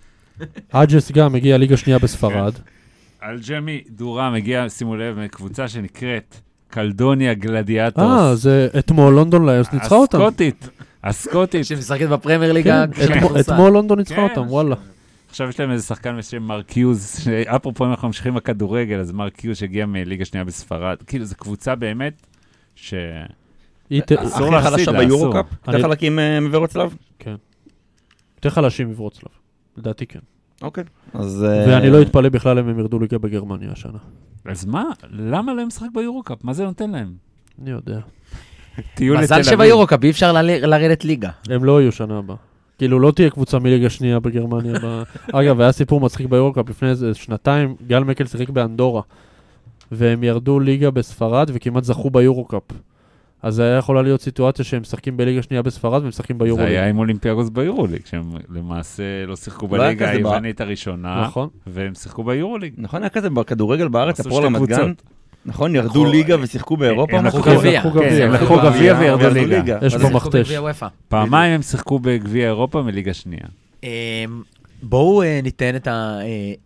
D: אג'ס גם הגיע ליגה שנייה בספרד.
C: אלג'מי דורם הגיע, שימו לב, מקבוצה שנקראת קלדוניה גלדיאטוס.
D: אה, זה אתמול לונדון ליוס ניצחה אותם.
C: הסקוטית, הסקוטית.
A: שמשחקת בפרמייר ליגה.
D: כן,
A: כשהיא
D: אתמול-
A: מכוסה.
D: אתמול לונדון ניצחה
C: כן,
D: אותם, וואלה.
C: עכשיו יש להם איזה שחקן בשם מרקיוז, שאפרופו אם אנחנו ממשיכים בכדורגל, אז מרקיוז הגיע מליגה שנייה בספרד. כאילו, זו קבוצה באמת, ש...
D: היא ת-
C: אסור
B: הכי
C: להפסיד
B: חלשה
C: לה, אסור.
B: ביורו-קאפ? יותר
D: אני-
B: חלקים אה, מוורוצלב?
D: יותר חלשים מברוצלב. לדעתי כן.
B: אוקיי. אז... אה,
D: ואני לא אתפלא בכלל אם הם ירדו ליגה בגרמניה השנה.
C: אז מה, למה להם לשחק לא ביורו-קאפ? מה זה נותן להם?
D: אני יודע.
C: טיול לתל
A: מזל
C: אביב.
A: שביורוקאפ אי אפשר לל- לרדת ליגה.
D: הם לא יהיו שנה הבאה. כאילו, לא תהיה קבוצה מליגה שנייה בגרמניה. ב... אגב, היה סיפור מצחיק ביורוקאפ לפני איזה שנתיים, גל מקל שיחק באנדורה, והם ירדו ליגה בספרד וכמעט זכו ביורוקאפ. אז זה היה יכולה להיות סיטואציה שהם משחקים בליגה שנייה בספרד והם משחקים
C: זה
D: ביורוליג.
C: היה עם אולימפיאגוס ביורוליג, שהם למעשה לא שיחקו
B: לא היה
C: בליגה
B: כזה ב-
C: היוונית הראשונה,
D: נכון.
C: והם שיחקו ביורוליג.
B: נכון, היה כזה בכדורגל בארץ,
C: עשו
B: הפועל
C: שתי
B: רמת גן?
C: קבוצות.
B: נכון, ירדו
A: לקחו-
B: ליגה ושיחקו באירופה?
C: הם לקחו
A: לקחו גביע.
C: כן,
D: גביע.
C: הם
D: לקחו
C: לקחו גביע וירדו ליגה.
D: יש
B: אז
D: פה
B: זה-
D: מח- מכתש.
A: בגביע וופא.
C: פעמיים הם שיחקו בגביע אירופה מליגה שנייה.
A: אמ, בואו אה, ניתן את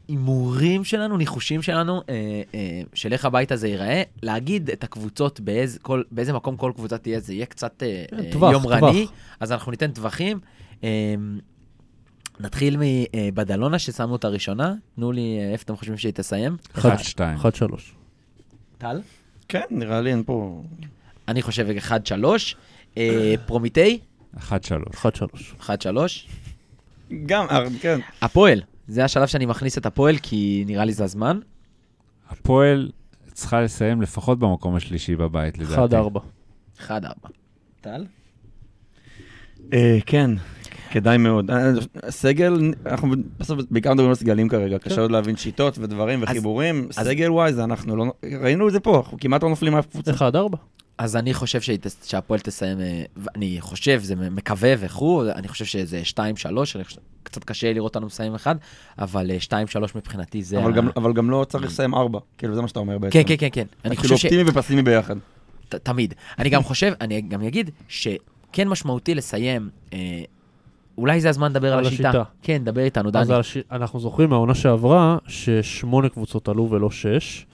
A: ההימורים שלנו, ניחושים שלנו, אה, אה, של איך הבית הזה ייראה, להגיד את הקבוצות, באיז- כל- באיזה מקום כל קבוצה תהיה, זה יהיה קצת אה,
D: כן,
A: אה,
D: טווח,
A: יומרני,
D: טווח.
A: אז אנחנו ניתן טווחים. אמ, נתחיל אה, מבדלונה, ששמנו את הראשונה, תנו לי אה, איפה אתם חושבים שהיא תסיים.
C: 1-2.
D: אחד, אחד, שלוש.
A: טל?
B: כן, נראה לי אין פה...
A: אני חושב 1-3. פרומיטי?
C: 1-3.
D: אחד, שלוש.
A: 1-3.
B: גם, אה, כן.
A: הפועל, זה השלב שאני מכניס את הפועל, כי נראה לי זה הזמן.
C: הפועל צריכה לסיים לפחות במקום השלישי בבית, לדעתי.
D: אחד, ארבע.
A: 1-4. טל?
B: אה, כן, כדאי מאוד. אה, סגל, אנחנו בסוף בעיקר מדברים על סגלים כרגע, קשה עוד להבין שיטות ודברים
A: כן. אז-
B: וחיבורים.
A: אז-
B: סגל וואי, זה אנחנו לא... ראינו את זה פה, אנחנו כמעט לא נופלים מאף קבוצה.
D: אחד, ארבע.
A: אז אני חושב שהיא תס- שהפועל תסיים, אה, ו- אני חושב, זה מ- מקווה וכו', אני חושב שזה 2-3, אני חושב- קצת קשה לראות אותנו מסיים אחד, אבל אה, 2-3 מבחינתי זה...
B: אבל
A: ה-
B: גם- אבל גם לא צריך לסיים ארבע, כאילו זה מה שאתה אומר בעצם.
A: כן, כן, כן, כן. אני
B: כאילו
A: חושב ש... אה,
B: אופטימי ופסימי ביחד.
A: ת- תמיד. אני גם חושב, אני גם אגיד, שכן משמעותי לסיים, אה, אולי זה הזמן לדבר על
D: על
A: השיטה.
D: השיטה.
A: כן, דבר איתנו,
D: אז
A: דני.
D: הש- אנחנו זוכרים מהעונה שעברה ששמונה קבוצות עלו ולא שש.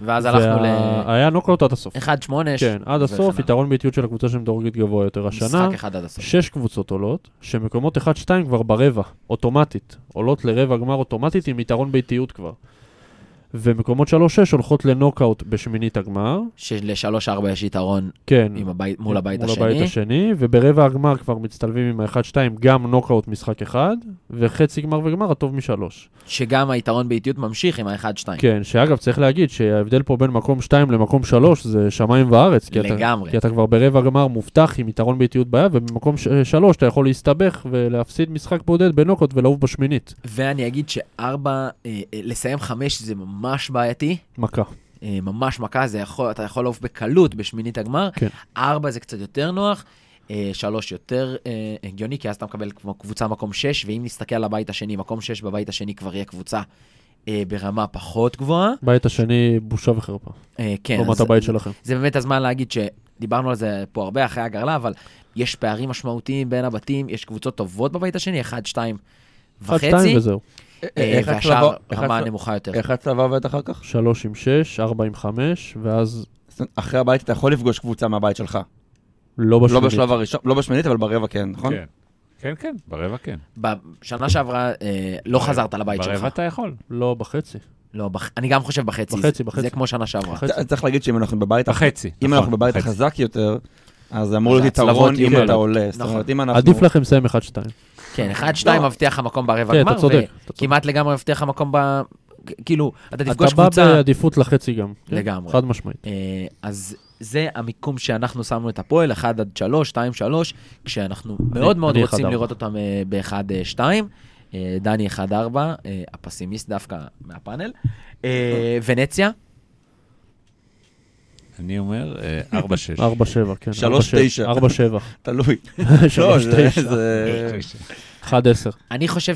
A: ואז הלכנו ל...
D: היה נוקאוט עד הסוף.
A: 1-8.
D: כן, עד הסוף, יתרון באיטיות של הקבוצה שמדורגת גבוה יותר. השנה,
A: משחק אחד עד הסוף.
D: שש קבוצות עולות, שמקומות 1-2 כבר ברבע, אוטומטית. עולות לרבע גמר אוטומטית עם יתרון באיטיות כבר. ומקומות 3-6 הולכות לנוקאוט בשמינית הגמר,
A: של-3-4 יש יתרון
D: כן,
A: עם הבית- מול הבית
D: מול
A: השני.
D: הבית השני, וברבע הגמר כבר מצטלבים עם ה-1-2, גם נוקאוט משחק אחד, וחצי גמר וגמר הטוב משלוש.
A: שגם היתרון באיטיות ממשיך עם ה-1-2.
D: כן, שאגב, צריך להגיד שההבדל פה בין מקום 2 למקום 3 זה שמיים וארץ. כי אתה-
A: לגמרי.
D: כי אתה כבר ברבע גמר מובטח עם יתרון באיטיות ביד, ובמקום ש- אה, שלוש אתה יכול להסתבך ולהפסיד משחק בודד בנוקאוט ולעוף בשמינית.
A: ואני אגיד שארבע, אה, אה, לסיים חמש זה ממש בעייתי,
D: מכה.
A: אה, ממש מכה, זה יכול, אתה יכול לעוף בקלות בשמינית הגמר,
D: כן.
A: ארבע זה קצת יותר נוח, אה, שלוש יותר אה, הגיוני, כי אז אתה מקבל כמו קבוצה מקום שש, ואם נסתכל על הבית השני, מקום שש בבית השני כבר יהיה קבוצה אה, ברמה פחות גבוהה.
D: בית השני, בושה וחרפה.
A: אה, כן,
D: לעומת
A: אז
D: הבית שלכם.
A: זה באמת הזמן להגיד שדיברנו על זה פה הרבה אחרי הגרלה, אבל יש פערים משמעותיים בין הבתים, יש קבוצות טובות בבית השני, אחד, שתיים
D: אחד,
A: וחצי.
D: שתיים וזהו.
A: אה,
B: איך
A: והשאר
B: הצלבה- איך
A: רמה
B: הצל-
A: נמוכה יותר.
B: איך הצלבה הבאת אחר כך?
D: שלוש עם שש, ארבע עם חמש, ואז
B: זאת אומרת, אחרי הבית אתה יכול לפגוש קבוצה מהבית שלך.
D: לא
B: לא
D: בשמינית.
B: בשלב הראשון, לא בשמינית, אבל ברבע כן, נכון?
C: כן. כן, כן, ברבע כן.
A: בשנה שעברה אה, לא
C: ברבע-
A: חזרת לבית
C: ברבע
A: שלך.
C: אתה יכול.
D: לא, בחצי.
A: לא, בח- אני גם חושב בחצי.
D: בחצי,
A: זה- זה
D: בחצי.
A: כמו שנה שעברה.
D: בחצי.
B: צ- צריך להגיד שאם אנחנו בבית,
C: בחצי.
B: אם
C: נכון,
B: אנחנו בבית
C: בחצי.
B: החזק יותר, אז זה אמור
A: אז
B: להיות
A: ההצלבות
B: יתרון
A: יהיו
B: אם
A: כאלה.
B: אתה עולה. זאת
A: נכון.
B: אומרת, אם אנחנו...
D: עדיף לכם לסיים אחד, שתיים.
A: כן, אחד, שתיים
B: לא.
A: מבטיח לך מקום ברבע
D: כן,
A: הגמר.
D: אתה צודק, אתה צודק.
A: וכמעט לגמרי מבטיח לך מקום ב... כאילו, אתה
D: אתה
A: תפגוש
D: בא
A: קבוצה...
D: בעדיפות לחצי גם. כן?
A: לגמרי.
D: חד משמעית.
A: אה, אז זה המיקום שאנחנו שמנו את הפועל, 1 עד 3, 2, 3, כשאנחנו מאוד מאוד
D: אני
A: רוצים
D: 1-4.
A: לראות אותם אה, ב-1, 2. אה, דני 1-4, אה, הפסימיסט דווקא מהפאנל. אה, ונציה,
C: אני אומר, אה, 4-6.
D: ארבע, שבע, כן.
B: שלוש,
D: ארבע, שבע.
B: תשע.
D: ארבע, שבע.
B: תלוי. (laughs) לא,
D: שלוש,
B: זה...
D: תשע.
B: זה-
D: אחד, עשר.
A: אני חושב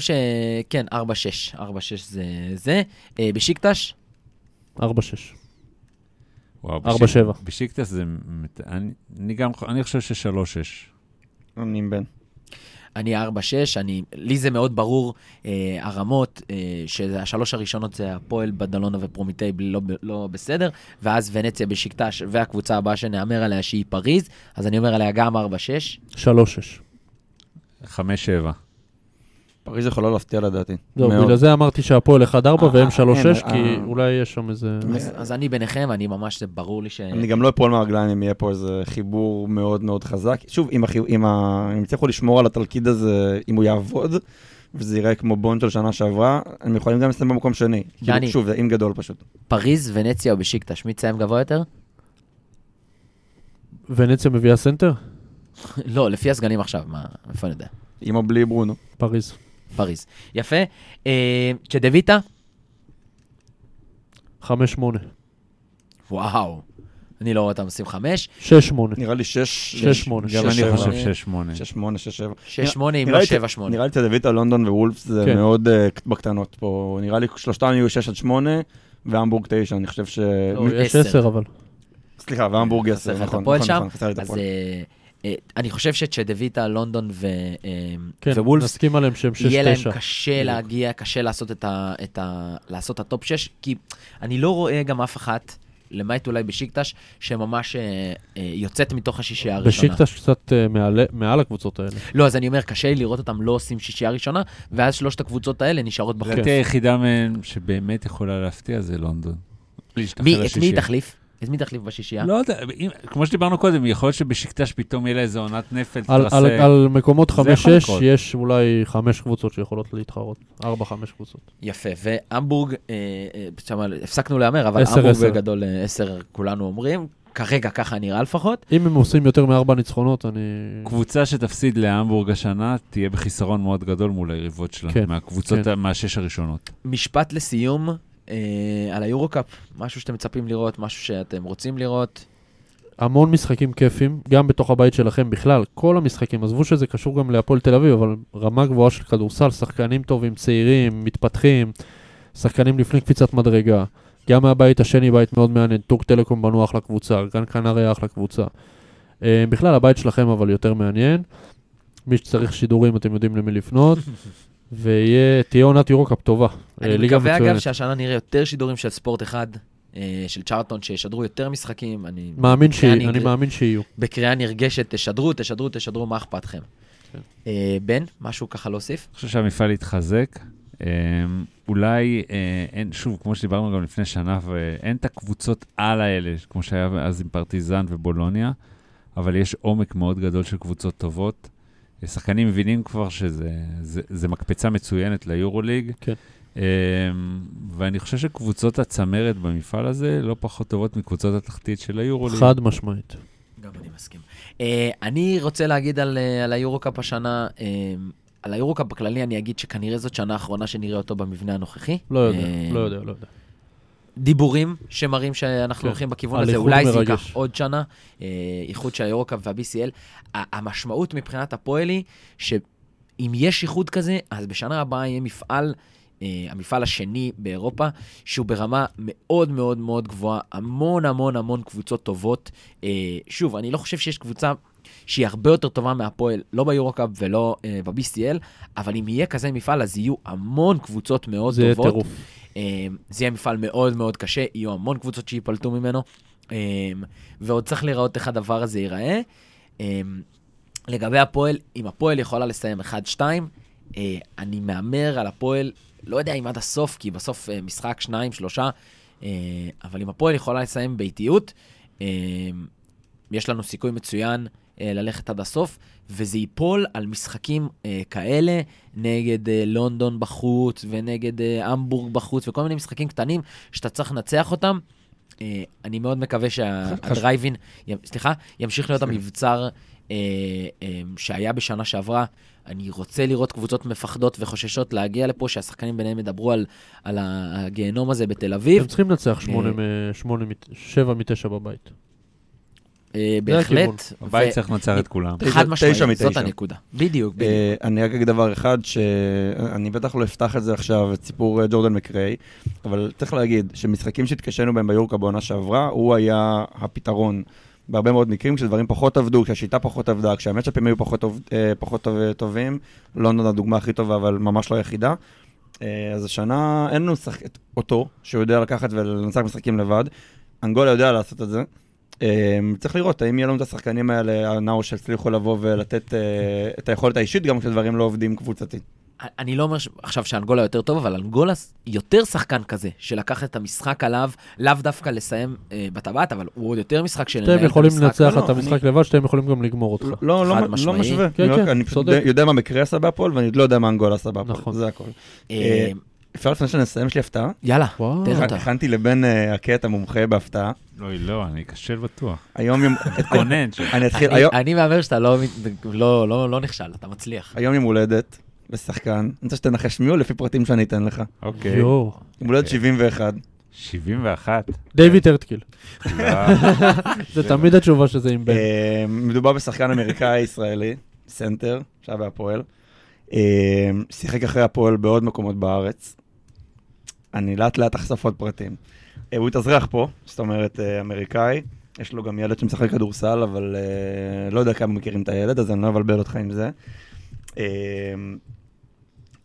A: כן, שכן, 4-6, 4-6 זה זה. אה, בשיקטש,
D: ארבע, שש.
C: וואו,
D: ארבע,
C: בשיק-
D: שבע.
C: בשיקטס זה... מת- אני- אני גם... ח- אני חושב ש-3-6.
B: לא, אני עם בן.
A: אני 4-6, אני, לי זה מאוד ברור, אה, הרמות, אה, שהשלוש הראשונות זה הפועל, בדלונה ופרומיטי, בלי- לא, ב- לא בסדר, ואז ונציה בשקטש, והקבוצה הבאה שנהמר עליה שהיא פריז, אז אני אומר עליה גם 4-6.
D: שלוש, שש.
C: 5-7.
B: פריז יכולה להפתיע לדעתי.
D: זהו,
B: מאוד.
D: בגלל זה אמרתי שהפועל 1-4 והם
B: אה,
D: 3-6,
A: כן,
B: אין,
D: כי
B: אה.
D: אולי יש שם איזה...
A: אז, אז אני ביניכם, אני ממש, זה ברור לי ש...
B: אני גם לא אפול מהרגליים אם יהיה פה איזה חיבור מאוד מאוד חזק. שוב, אם החי- אם ה- אם יצליחו לשמור על התלכיד הזה, אם הוא יעבוד, וזה ייראה כמו בונד של שנה שעברה, הם יכולים גם לסיים במקום שני. כאילו,
A: דני.
B: שוב, זה עם גדול פשוט.
A: פריז, ונציה או בשקטש, מי תסיים גבוה יותר?
D: ונציה מביאה סנטר?
A: (laughs) לא, לפי הסגנים עכשיו, מה, איפה אני יודע?
B: עם או בלי ברונו.
D: פריז.
A: פריז. יפה. אה, צ'דוויטה?
D: 5-8.
A: וואו. אני לא רואה אותם עושים חמש. אה,
D: 6-8.
B: נראה לי 6...
D: שש, שמונה.
C: גם
B: שש,
C: אני
B: שבע.
C: חושב שש, שמונה.
B: 6, 8, 6, 7.
A: שש, שמונה, אם
B: נראה
A: לא
B: לי ש-
A: שבע, שמונה.
B: נראה לי תדוויטה, לונדון ווולפס זה
D: כן.
B: מאוד אה, בקטנות פה. נראה לי שלושתם יהיו 6 עד 8, והמבורג 9, אני חושב ש...
A: לא,
B: מ-
D: יש
A: עשר.
D: 10 אבל.
B: סליחה, והמבורג
A: חסר
B: 10,
A: לך את
B: נכון,
A: הפועל
B: נכון,
A: שם?
B: נכון, חסר לי את
A: אז
B: הפועל.
A: אה, אה, אני חושב שצ'דוויטה, לונדון ו- אה,
D: כן,
A: ווולפס,
D: נסכים עליהם שהם 6-9.
A: יהיה להם קשה
D: בדיוק.
A: להגיע, קשה לעשות את ה- את ה- לעשות את הטופ 6, כי אני לא רואה גם אף אחת, למעט אולי בשיקטש, שממש אה, אה, יוצאת מתוך השישייה הראשונה.
D: בשיקטש קצת אה, מעל- מעל הקבוצות האלה.
A: לא, אז אני אומר, קשה לי לראות אותם לא עושים שישייה ראשונה, ואז שלושת הקבוצות האלה נשארות בחוץ.
D: כן.
C: לדעתי היחידה מהם שבאמת יכולה להפתיע זה לונדון. להשתחרר
A: מי, את מי
C: לשישייה.
A: היא תחליף? את מי תחליף בשישייה?
C: לא יודע, אם- כמו שדיברנו קודם, יכול להיות שבשקטש פתאום יהיה לה איזה עונת נפל,
D: על- על-
C: תעשה-
D: על מקומות 5-6
C: יכול לקרות.
D: יש אולי 5 קבוצות שיכולות להתחרות. 4-5 קבוצות.
A: יפה, והמבורג, אה, אה, שם הפסקנו להמר, אבל
D: עשר,
A: המבורג
D: עשר.
A: בגדול אה, עשר כולנו אומרים, כרגע ככה נראה לפחות.
D: אם הם עושים יותר מארבע ניצחונות, אני...
C: קבוצה שתפסיד להמבורג השנה, תהיה בחיסרון מאוד גדול מול היריבות שלה,
D: כן,
C: מהקבוצות,
D: כן.
C: ה- מהשש הראשונות.
A: משפט לסיום אה, על היורו-קאפ, משהו שאתם מצפים לראות, משהו שאתם רוצים לראות.
D: אה, המון משחקים כיפים, גם בתוך הבית שלכם בכלל, כל המשחקים, עזבו שזה קשור גם להפועל תל אביב, אבל רמה גבוהה של כדורסל, שחקנים טובים, צעירים, מתפתחים, שחקנים לפני קפיצת מדרגה. גם מהבית השני, בית מאוד מעניין, טורק טלקום בנו אחלה קבוצה, גן קנריה אחלה קבוצה. אה, בכלל, הבית שלכם אבל יותר מעניין. מי שצריך שידורים, אתם יודעים למי לפנות.
A: (laughs)
D: ותהיה עונת יורוקאפ טובה. אה,
A: אני
D: ליגה
A: מקווה אגב
D: מצוינת.
A: שהשנה נראה יותר שידורים של ספורט אחד, אה, של צ'ארטון, שישדרו יותר משחקים. כן, אני
D: מאמין
A: בקריאה
D: שיהיו, אני
A: נגר-
D: מאמין שיהיו.
A: בקריאה נרגשת, תשדרו, תשדרו, תשדרו, מה אכפתכם.
D: כן.
A: אה, בן, משהו ככה להוסיף?
C: אני חושב שהמפעל יתחזק. אה, אולי אה, אין, שוב, כמו שדיברנו גם לפני שנה, ואין את הקבוצות על האלה, כמו שהיה אז עם פרטיזן ובולוניה, אבל יש עומק מאוד גדול של קבוצות טובות. אה, שחקנים מבינים כבר שזה זה, זה מקפצה מצוינת ליורוליג.
D: כן.
C: אה, ואני חושב שקבוצות הצמרת במפעל הזה לא פחות טובות מקבוצות התחתית של היורוליג.
D: חד משמעית.
A: גם אני מסכים. אה, אני רוצה להגיד על, אה, על היורו-קאפ השנה, אה, על היורו-קאפ בכללי אני אגיד שכנראה זאת שנה האחרונה שנראה אותו במבנה הנוכחי.
D: לא יודע,
A: אה,
D: לא יודע, לא יודע.
A: דיבורים שמראים שאנחנו
D: כן.
A: הולכים בכיוון
D: על
A: הזה,
D: איחוד
A: אולי זה
D: מרגש.
A: ייקח עוד שנה, אה, איחוד של היורוקאפ וה-BCL. ה- המשמעות מבחינת הפועל היא שאם יש איחוד כזה, אז בשנה הבאה יהיה מפעל, אה, המפעל השני באירופה, שהוא ברמה מאוד מאוד מאוד גבוהה, המון המון המון קבוצות טובות. אה, שוב, אני לא חושב שיש קבוצה שהיא הרבה יותר טובה מהפועל, לא ביורוקאפ ולא אה, ב-BCL, אבל אם יהיה כזה מפעל, אז יהיו המון קבוצות מאוד
D: זה יהיה
A: טובות.
D: טירוף.
A: אמ, זה יהיה מפעל מאוד מאוד קשה, יהיו המון קבוצות שייפלטו ממנו, אמ, ועוד צריך לראות איך הדבר הזה ייראה. אמ, לגבי הפועל, אם הפועל יכולה לסיים 1-2, אה, אני מהמר על הפועל, לא יודע אם עד הסוף, כי בסוף אה, משחק, שניים, שלושה, אה, אבל אם הפועל יכולה לסיים באיטיות, אה, יש לנו סיכוי מצוין אה, ללכת עד הסוף, וזה ייפול על משחקים אה, כאלה, נגד אה, לונדון בחוץ, ונגד אה, המבורג בחוץ, וכל מיני משחקים קטנים שאתה צריך לנצח אותם. אה, אני מאוד מקווה שהדרייבין, סליחה, ימשיך להיות המבצר אה, אה, שהיה בשנה שעברה. אני רוצה לראות קבוצות מפחדות וחוששות להגיע לפה, שהשחקנים ביניהם ידברו על, על הגיהנום הזה בתל אביב.
D: אתם צריכים לנצח
A: אה,
D: 7 מ-9 בבית.
A: אה,
D: זה הכיוון.
A: בהחלט.
C: הבית
A: ו-
C: צריך לנצח את כולם.
B: תשע-
A: חד
B: תשע
A: משמעית,
B: מתשע.
A: זאת הנקודה. בדיוק, בדיוק.
B: אה, אני רק אגיד דבר אחד, שאני בטח לא אפתח את זה עכשיו, את סיפור אה, ג'ורדן מקריי, אבל צריך להגיד שמשחקים שהתקשינו בהם ביורקה בעונה שעברה, הוא היה הפתרון. בהרבה מאוד מקרים, כשדברים פחות עבדו, כשהשיטה פחות עבדה, כשהמצ'אפים היו פחות, טוב, אה, פחות טוב, טובים, לונדון הדוגמה הכי טובה, אבל ממש לא היחידה. אה, אז השנה אין לנו שח... את אותו, שהוא יודע לקחת ולנצח משחקים לבד. אנגולה יודע לעשות את זה. אה, צריך לראות האם יהיה לנו את השחקנים האלה, הנאו שהצליחו לבוא ולתת אה, את היכולת האישית גם כשדברים לא עובדים קבוצתית.
A: אני לא אומר ש- עכשיו שאנגולה יותר טוב, אבל אנגולה ס- יותר שחקן כזה, שלקח את המשחק עליו, לאו דווקא לסיים אה, בטבעת, אבל הוא עוד יותר משחק של לנהל
D: אתם
A: את
D: יכולים
A: המשחק.
D: לנצח
B: לא,
D: את המשחק לבד, שאתם יכולים גם לגמור אותך.
B: לא, לא,
A: חד
B: לא, לא
A: משמעי.
B: משווה.
D: כן,
B: אני רק-
D: כן,
B: אני פשוט
D: צודק.
B: יודע מה מקרה עשה בהפועל ואני לא יודע מה אנגולה עשה בהפועל.
D: נכון.
B: זה הכל.
A: אה,
B: אפשר לפני שנסיים, יש לי הפתעה.
A: יאללה,
D: וואו.
A: תן אותה.
B: הכנתי לבן אה, הקטע מומחה בהפתעה.
C: אוי, לא, אני אכשל בטוח.
B: היום
A: (laughs)
B: יום...
C: תתכונן ש...
B: אני אתחיל,
A: אני-
B: היום-
A: אני מהמר שאתה לא מת- לא- לא לא נכשל, אתה מצליח.
B: היום יום הולדת לשחקן, אני רוצה שתנחש מי הוא לפי פרטים שאני אתן לך.
C: אוקיי.
D: יואו.
B: יום הולדת
C: אוקיי.
B: 71.
C: 71?
D: דיוויד הרטקיל.
C: לא.
D: זה לא- תמיד התשובה שזה עם בן.
B: אה, מדובר בשחקן אמריקאי ישראלי, סנטר, שהיה בהפועל. אה, שיחק אחרי הפועל בעוד מקומות בארץ. אני לאט לאט אחשוף עוד פרטים. אה, הוא התאזרח פה, זאת אומרת אה, אמריקאי. יש לו גם ילד שמשחק כדורסל, אבל אה, לא יודע כמה מכירים את הילד, אז אני לא אבלבל אותך עם זה. אה,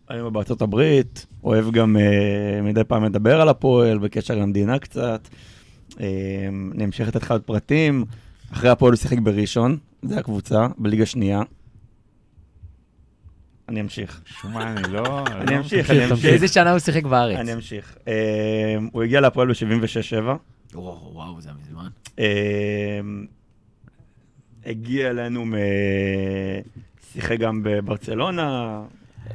B: היום הוא בארצות הברית, אוהב גם אה, מדי פעם לדבר על הפועל, בקשר למדינה קצת. אה, אני אמשיך לתת לך עוד פרטים. אחרי הפועל הוא שיחק בראשון, זה הקבוצה, בליגה שנייה. אני אמשיך.
C: שום מה, אני לא...
B: אני
C: לא-
B: אמשיך,
D: תמשיך,
B: אני
D: תמשיך.
B: אמשיך.
A: באיזה שנה הוא שיחק בארץ?
B: אני אמשיך. אה, הוא הגיע להפועל ב-76-7.
A: וואו, וואו, זה מזמן.
B: אמ, הגיע אלינו, מ... שיחק גם בברצלונה,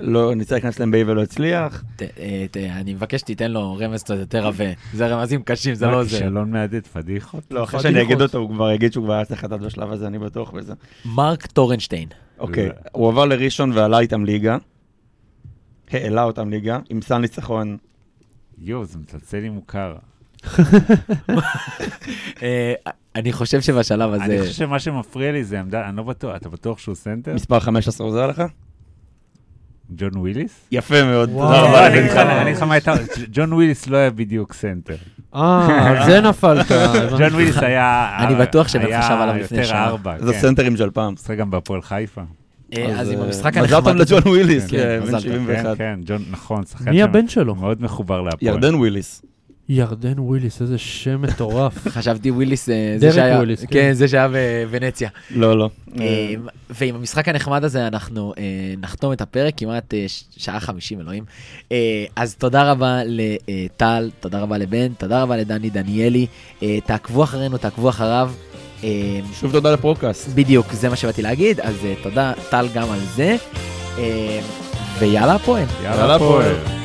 B: לא, ניסה להיכנס להם ולא הצליח.
A: ת- אה, ת- אני מבקש שתיתן לו רמז קצת יותר עבה. זה רמזים קשים, זה
C: מה,
A: לא זה.
C: כישלון מהדהד, פדיחות?
B: לא, אחרי
A: פדיחות.
B: שאני אגיד אותו, הוא כבר יגיד שהוא כבר היה צריך לדעת בשלב הזה, אני בטוח בזה.
A: מרק טורנשטיין.
B: אוקיי, הוא עבר לראשון ועלה איתם ליגה. העלה אותם ליגה, עם סל ניצחון
C: יואו, זה מצלצל לי מוכר.
A: אה, אני חושב שבשלב הזה...
C: אני חושב שמה שמפריע לי זה עמדה, אני לא בטוח, אתה בטוח שהוא סנטר?
B: מספר 15 עוזר לך?
C: ג'ון וויליס?
B: יפה מאוד,
D: וואו.
B: תודה רבה.
D: אה,
C: אני
B: לא, אני
C: אגיד לך-
B: איתך.
C: אני אגיד לך מה הייתה, ג'ון וויליס לא היה בדיוק סנטר.
D: אה, על זה נפלת.
C: ג'ון וויליס היה... אה,
A: אני בטוח שבן
C: היה
A: חשב עליו לפני שנה.
C: יותר ארבע,
B: זה
C: כן.
B: סנטרים של פעם.
C: עושה גם בהפועל חיפה.
A: אה, אז עם
B: אה,
A: המשחק
B: מזל טוב
A: הנחמד... הזה-
B: לג'ון וויליס,
A: כן,
B: כן,
A: מזל
B: בן
A: טוב.
B: 71.
C: כן, כן, ג'ון, נכון, שחקן
D: מי
C: שם
D: הבן שלו?
C: מאוד מחובר
A: כן.
C: להפועל.
B: ירדן וויליס.
D: ירדן וויליס, איזה שם מטורף.
A: חשבתי וויליס, אה, זה
D: דרק
A: שהיה...
D: וויליס, כן.
A: כן, זה שהיה בוונציה.
B: לא, לא.
A: אה, ועם המשחק הנחמד הזה אנחנו אה, נחתום את הפרק כמעט אה, ש- שעה חמישים, אלוהים. אה, אז תודה רבה לטל, תודה רבה לבן, תודה רבה לדני דניאלי. אה, תעקבו אחרינו, תעקבו אחריו. אה,
B: שוב תודה לפרוקאסט.
A: בדיוק, זה מה שבאתי להגיד, אז אה, תודה טל גם על זה. אה, ויאללה הפועל.
C: יאללה הפועל.